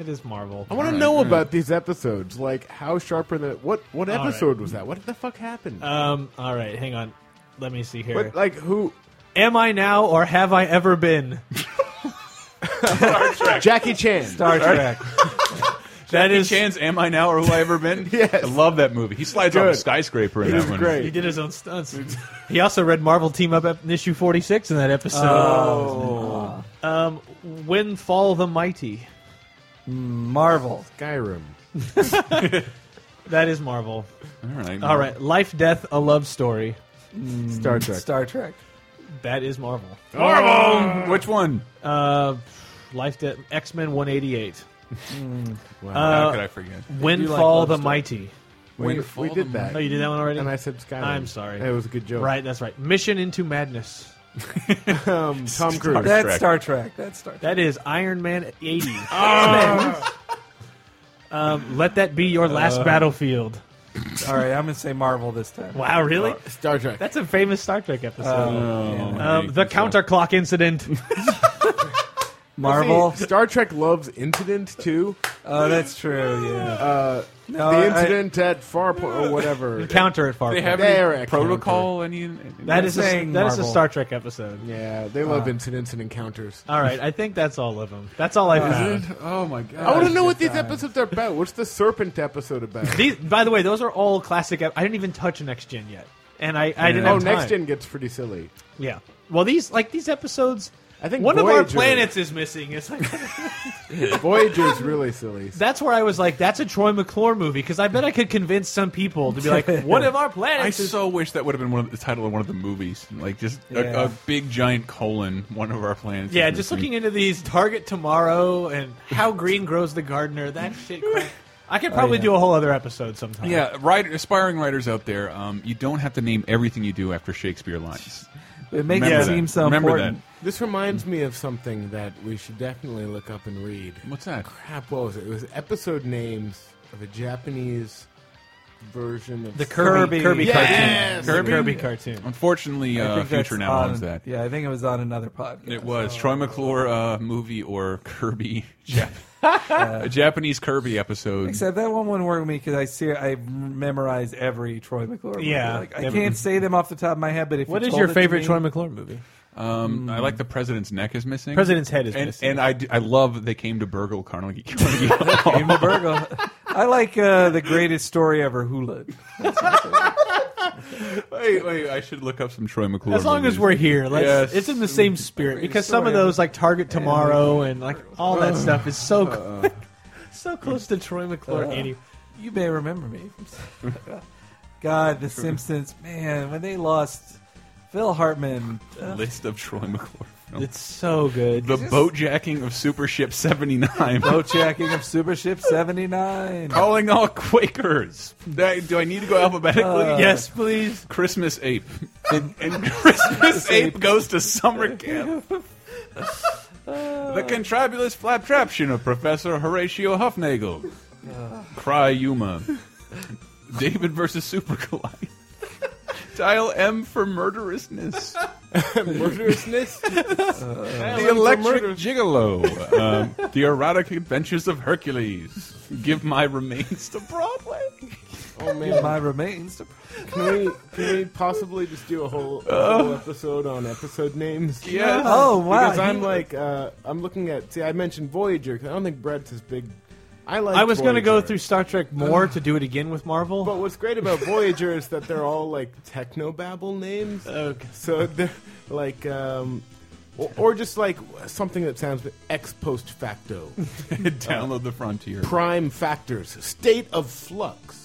Speaker 7: It is Marvel.
Speaker 8: I want to know about these episodes. Like, how sharper than what? What
Speaker 7: right.
Speaker 8: episode was that? What the fuck happened?
Speaker 7: Um. All right, hang on. Let me see here.
Speaker 8: what, like who?
Speaker 7: Am I now or have I ever been?
Speaker 8: Jackie Chan.
Speaker 3: Star Trek.
Speaker 7: That is.
Speaker 1: Chan's Am I Now or Who I Ever Been?
Speaker 8: Yes.
Speaker 1: I love that movie. He slides off a
Speaker 8: Good.
Speaker 1: skyscraper in
Speaker 8: It
Speaker 1: that
Speaker 8: is
Speaker 1: one.
Speaker 7: He
Speaker 8: great.
Speaker 7: did his own stunts. he also read Marvel Team Up ep- in issue 46 in that episode.
Speaker 8: Oh.
Speaker 7: Um, when Fall the Mighty.
Speaker 3: Marvel.
Speaker 8: Skyrim.
Speaker 7: That is Marvel.
Speaker 1: All right.
Speaker 7: All right. Life, Death, a Love Story.
Speaker 8: Star Trek.
Speaker 3: Star Trek.
Speaker 7: That is Marvel.
Speaker 1: Marvel! Mm, Which one?
Speaker 7: Uh, Life, Death, X Men 188.
Speaker 8: Uh,
Speaker 1: How could I forget?
Speaker 7: When
Speaker 8: You like
Speaker 7: Fall
Speaker 8: Love
Speaker 7: the
Speaker 8: Story?
Speaker 7: Mighty.
Speaker 8: We,
Speaker 1: Windfall
Speaker 8: we did that.
Speaker 7: Oh, you did that one already?
Speaker 8: And I said Skyrim.
Speaker 7: I'm sorry.
Speaker 8: That was a good joke.
Speaker 7: Right, that's right. Mission into Madness.
Speaker 8: Um, Tom Cruise.
Speaker 1: Star
Speaker 3: That's
Speaker 1: Trek.
Speaker 3: Star Trek. That's Star Trek.
Speaker 7: That is Iron Man 80.
Speaker 8: Ah!
Speaker 7: um, let that be your
Speaker 8: Uh.
Speaker 7: last battlefield.
Speaker 3: All right, I'm gonna say Marvel this time.
Speaker 7: Wow, really?
Speaker 8: Uh, Star Trek.
Speaker 7: That's a famous Star Trek episode.
Speaker 1: Oh,
Speaker 7: um, the counterclock incident.
Speaker 3: Marvel.
Speaker 8: See, Star Trek loves Incident too. Uh,
Speaker 3: Oh, that's true. Yeah. no,
Speaker 8: the
Speaker 3: I-
Speaker 8: incident at Farpoint or whatever.
Speaker 7: Counter at
Speaker 1: They
Speaker 7: Farpoint.
Speaker 1: have
Speaker 8: They're
Speaker 1: any
Speaker 8: a
Speaker 1: protocol? Any,
Speaker 7: that is a,
Speaker 3: saying
Speaker 7: that is a
Speaker 3: Marvel.
Speaker 7: Star Trek episode.
Speaker 8: yeah, they love incidents and encounters.
Speaker 7: All right, I think that's all of them. That's all I found.
Speaker 1: Oh my god!
Speaker 8: I want to know what these episodes are about. What's the serpent episode about?
Speaker 7: These, by the way, those are all classic. ep- I didn't even touch Next Gen yet, and I, I didn't.
Speaker 8: oh,
Speaker 7: have time.
Speaker 8: next gen gets pretty silly.
Speaker 7: Yeah. Well, these like these episodes.
Speaker 8: I think
Speaker 7: one of our
Speaker 8: Voyager-
Speaker 7: planets is missing. It's like
Speaker 8: Voyager's really silly.
Speaker 7: that's where I was like, that's a Troy McClure movie because I bet I could convince some people to be like, one of our
Speaker 1: I
Speaker 7: planets is
Speaker 1: so wish that would have been one of the title of one of the movies, like just
Speaker 3: Yeah.
Speaker 1: a, a big giant colon, one of our planets.
Speaker 7: Yeah,
Speaker 1: is
Speaker 7: just
Speaker 1: missing.
Speaker 7: looking into these Target Tomorrow and How Green Grows the Gardener, that shit crap. I could probably do a whole other episode sometime.
Speaker 1: Yeah, writer, aspiring writers out there, um, you don't have to name everything you do after Shakespeare lines.
Speaker 3: It
Speaker 1: Remember that. Remember That.
Speaker 8: This reminds me of something that we should definitely look up and read.
Speaker 1: What's that?
Speaker 8: Crap, what was it? It was episode names of a Japanese version of
Speaker 7: The Kirby- Kirby
Speaker 8: Yes!
Speaker 7: cartoon. Kirby? Kirby cartoon.
Speaker 1: Unfortunately,
Speaker 3: I
Speaker 1: uh,
Speaker 3: think that's
Speaker 1: Future Now
Speaker 3: on-
Speaker 1: owns that.
Speaker 3: Yeah, I think it was on another podcast.
Speaker 1: It was Troy McClure uh, movie or Kirby, Jap- a Japanese Kirby episode.
Speaker 3: Except that one wouldn't work with me because I see I memorize every Troy McClure. movie.
Speaker 7: Yeah.
Speaker 3: like, I can't say them off the top of my head. But if
Speaker 7: What
Speaker 3: you
Speaker 7: is
Speaker 3: told
Speaker 7: your
Speaker 3: it to
Speaker 7: favorite
Speaker 3: me-
Speaker 7: Troy McClure movie?
Speaker 1: Um, I
Speaker 3: Mm.
Speaker 1: like the president's neck is missing.
Speaker 7: President's head is
Speaker 1: and,
Speaker 7: missing.
Speaker 1: And I, d- I love they came to Burgle Carnegie.
Speaker 3: Game of Burgle. I like uh, the greatest story ever, Hula.
Speaker 1: wait, wait, I should look up some Troy McClure.
Speaker 7: As long as
Speaker 1: movies.
Speaker 7: we're here, let's,
Speaker 1: Yes.
Speaker 7: it's in the same spirit because some of
Speaker 3: story.
Speaker 7: those, like Target Tomorrow and like all that
Speaker 3: Uh,
Speaker 7: stuff, is so cl- so close to Troy McClure.
Speaker 3: Uh,
Speaker 7: Andy,
Speaker 3: You may remember me. from- God, The Simpsons. Man, when they lost Phil Hartman. uh,
Speaker 1: List of Troy McClure. films.
Speaker 7: it's so good.
Speaker 1: the boatjacking of Super Ship 79.
Speaker 3: Boat jacking of Super Ship 79.
Speaker 1: Calling all Quakers. Do I, do I need to go alphabetically?
Speaker 7: yes, please.
Speaker 1: Christmas Ape. And, and Christmas Ape goes to summer camp. the Contrabulous Flaptraption of Professor Horatio Hufnagel. Cry Yuma. David versus Super Goliath. Dial M for murderousness.
Speaker 8: murderousness.
Speaker 1: Uh, the Electric Gigolo. Um, the Erotic Adventures of Hercules. Give My Remains to Broadway.
Speaker 8: oh man,
Speaker 3: Give My remains. to-
Speaker 8: can we can we possibly just do a whole,
Speaker 1: Uh.
Speaker 8: a whole episode on episode names?
Speaker 1: Yes.
Speaker 3: Oh wow!
Speaker 8: because
Speaker 3: He-
Speaker 8: I'm like uh, I'm looking at. See, I mentioned Voyager. 'cause I don't think Brett's as big. I like.
Speaker 7: I was going to go
Speaker 8: Voyager.
Speaker 7: through Star Trek more to do it again with Marvel.
Speaker 8: But what's great about Voyager is that they're all like technobabble names.
Speaker 7: Okay.
Speaker 8: So they're like, um, or, or just like something that sounds ex post facto.
Speaker 1: Download the Frontier.
Speaker 8: Prime factors. State of flux.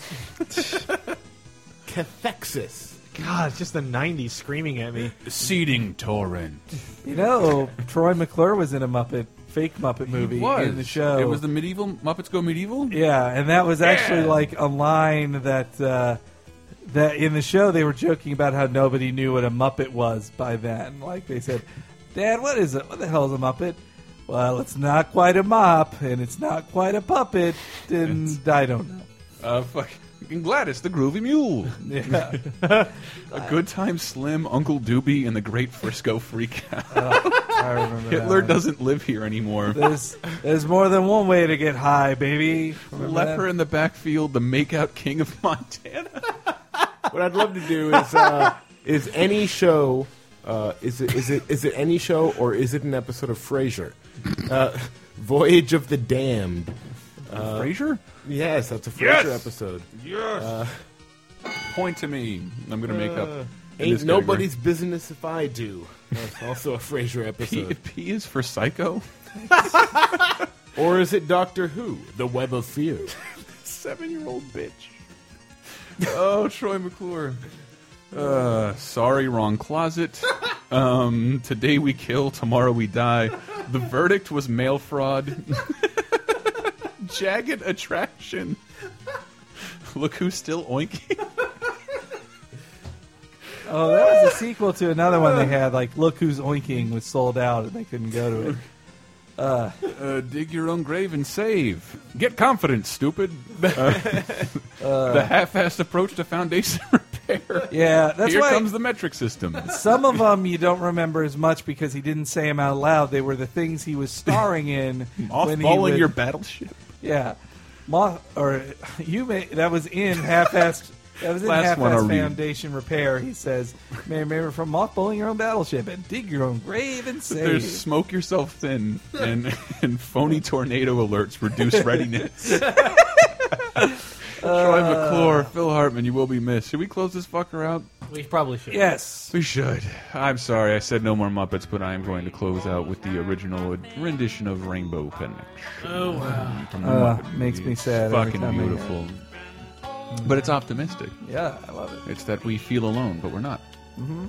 Speaker 8: Cathexis.
Speaker 7: God, it's just the '90s screaming at me.
Speaker 1: Seeding Torrent.
Speaker 3: you know, Troy McClure was in a Muppet fake Muppet movie in the show.
Speaker 1: It was the medieval Muppets Go Medieval.
Speaker 3: Yeah, and that was actually like a line that uh, that in the show they were joking about how nobody knew what a Muppet was by then. Like they said, "Dad, what is it? What the hell is a Muppet?" Well, it's not quite a mop, and it's not quite a puppet, and I don't know.
Speaker 1: Uh, fucking Gladys, the Groovy Mule,
Speaker 3: Yeah,
Speaker 1: a good time Slim, Uncle Doobie, and the Great Frisco Freak.
Speaker 3: I remember.
Speaker 1: Hitler
Speaker 3: that one.
Speaker 1: doesn't live here anymore.
Speaker 3: There's there's more than one way to get high, baby. Remember
Speaker 1: Leper
Speaker 3: that?
Speaker 1: in the backfield, the makeout king of Montana.
Speaker 8: What I'd love to do is uh, is any show. Uh, is it is it is it any show or is it an episode of Frasier? Uh, Voyage of the Damned.
Speaker 3: Uh,
Speaker 1: Frasier,
Speaker 8: Yes, that's a Frasier
Speaker 1: Yes!
Speaker 8: episode.
Speaker 1: point to me. I'm gonna make
Speaker 3: uh,
Speaker 1: up. in this
Speaker 8: Uh, Ain't
Speaker 1: category.
Speaker 8: nobody's business if I do. That's also a Frasier
Speaker 1: P,
Speaker 8: episode.
Speaker 1: P is for psycho.
Speaker 8: or is it Doctor Who? The Web of Fear.
Speaker 1: Seven-year-old bitch. Oh, Troy McClure. Uh, sorry, wrong closet. Um, today we kill, tomorrow we die. The verdict was mail fraud. Jagged attraction. Look who's still oinking.
Speaker 3: Oh, that was a sequel to another one they had. Like, look who's oinking was sold out, and they couldn't go to it.
Speaker 1: Uh, dig your own grave and save. Get confidence, stupid. Uh, the half-assed approach to foundation repair.
Speaker 3: Yeah, that's
Speaker 1: Here
Speaker 3: why
Speaker 1: comes the metric system.
Speaker 3: Some of them you don't remember as much because he didn't say them out loud. They were the things he was starring in. when he
Speaker 1: Off-balling
Speaker 3: would-
Speaker 1: your battleship.
Speaker 3: yeah, moth or you may that was in half-assed. That was in
Speaker 1: Last one I'll
Speaker 3: half-assed
Speaker 1: read.
Speaker 3: foundation repair. He says, "May remember from mothballing your own battleship and dig your own grave and save."
Speaker 1: There's smoke yourself thin and and phony tornado alerts reduce readiness. Troy
Speaker 3: Uh.
Speaker 1: McClure, Phil Hartman, you will be missed. Should we close this fucker out?
Speaker 7: We probably should.
Speaker 3: yes,
Speaker 1: We should. I'm sorry, I said no more Muppets, but I am going to close out with the original rendition of Rainbow Connection.
Speaker 7: Oh wow.
Speaker 1: from the
Speaker 3: Uh,
Speaker 1: Muppet
Speaker 3: makes
Speaker 1: movie.
Speaker 3: me sad
Speaker 1: It's
Speaker 3: every
Speaker 1: fucking
Speaker 3: time I hear it.
Speaker 1: beautiful. But it's optimistic.
Speaker 3: yeah, I love it.
Speaker 1: It's that we feel alone, but we're not.
Speaker 8: Mm-hmm.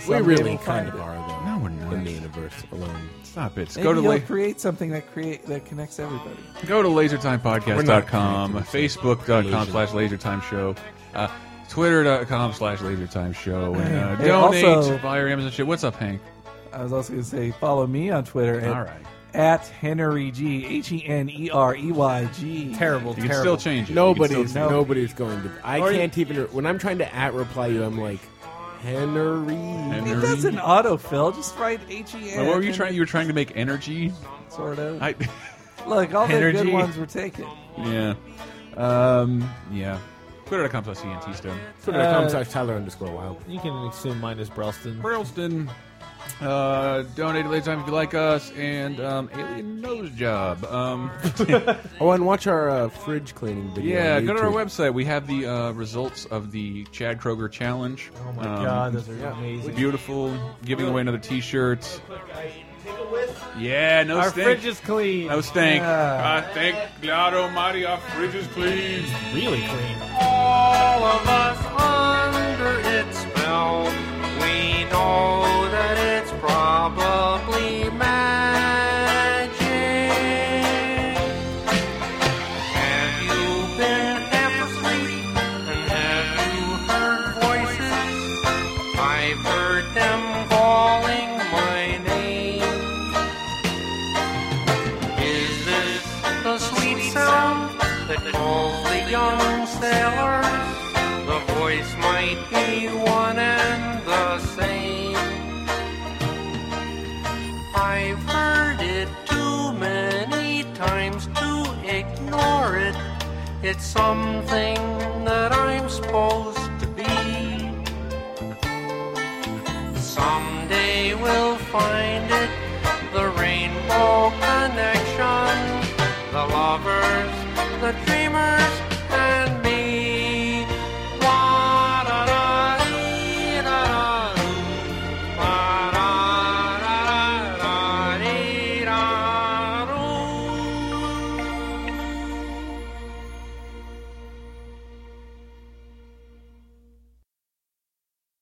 Speaker 3: Someday
Speaker 8: We really
Speaker 3: we'll
Speaker 8: kind
Speaker 3: find
Speaker 8: of
Speaker 3: it.
Speaker 8: are, though.
Speaker 3: No, we're not.
Speaker 8: In the universe alone.
Speaker 1: Stop it.
Speaker 3: Maybe
Speaker 1: Go to
Speaker 3: he'll
Speaker 1: la-
Speaker 3: create something that create that connects everybody.
Speaker 1: Go to lasertimepodcast.com,
Speaker 3: We're not
Speaker 1: facebook.com slash lasertime show, uh, twitter.com slash lasertime show, and uh,
Speaker 3: Hey,
Speaker 1: donate
Speaker 3: also-
Speaker 1: buy your Amazon shit. What's up, Hank?
Speaker 3: I was also going to say follow me on Twitter. At,
Speaker 1: All right.
Speaker 3: At Henry G. H E N E R E Y G. Terrible.
Speaker 8: You can still change it. You can Nobody's- still change it. nobody's going to. I can't even. When I'm trying to at reply you, I'm like, Henry.
Speaker 3: Henry. That's an autofill. Just write H E N.
Speaker 1: what were you trying? You were trying to make energy?
Speaker 3: Sort of.
Speaker 1: I,
Speaker 3: Look, all the good
Speaker 1: Energy.
Speaker 3: ones were taken.
Speaker 1: yeah. Um, yeah. Twitter.com slash ENT Stone.
Speaker 8: Twitter.com slash Tyler underscore Wild.
Speaker 7: You can assume mine is Brelston.
Speaker 1: Brelston. Uh, donate at later time if you like us, and um, Alien Nose Job. Um,
Speaker 8: oh, and watch our uh, fridge cleaning video.
Speaker 1: Yeah,
Speaker 8: on
Speaker 1: go to our
Speaker 8: YouTube.
Speaker 1: website. We have the uh, results of the Chad Kroger challenge. Oh
Speaker 7: my God, those are amazing.
Speaker 1: Beautiful. Giving away another T-shirt. Yeah, no
Speaker 7: Our
Speaker 1: stink.
Speaker 7: fridge is clean.
Speaker 1: No stink.
Speaker 7: Yeah.
Speaker 1: I thank God Almighty, our fridge is clean.
Speaker 7: Really clean.
Speaker 4: All of us under its spell. We know that it's probably magic. Have you been half asleep? And have you heard voices? I've heard them calling my name. Is this the sweet sound that calls the young sailor? The voice might be one and the same. I've heard it too many times to ignore it. It's something that I'm supposed to be. Someday we'll find it the rainbow connection, the lovers, the dream.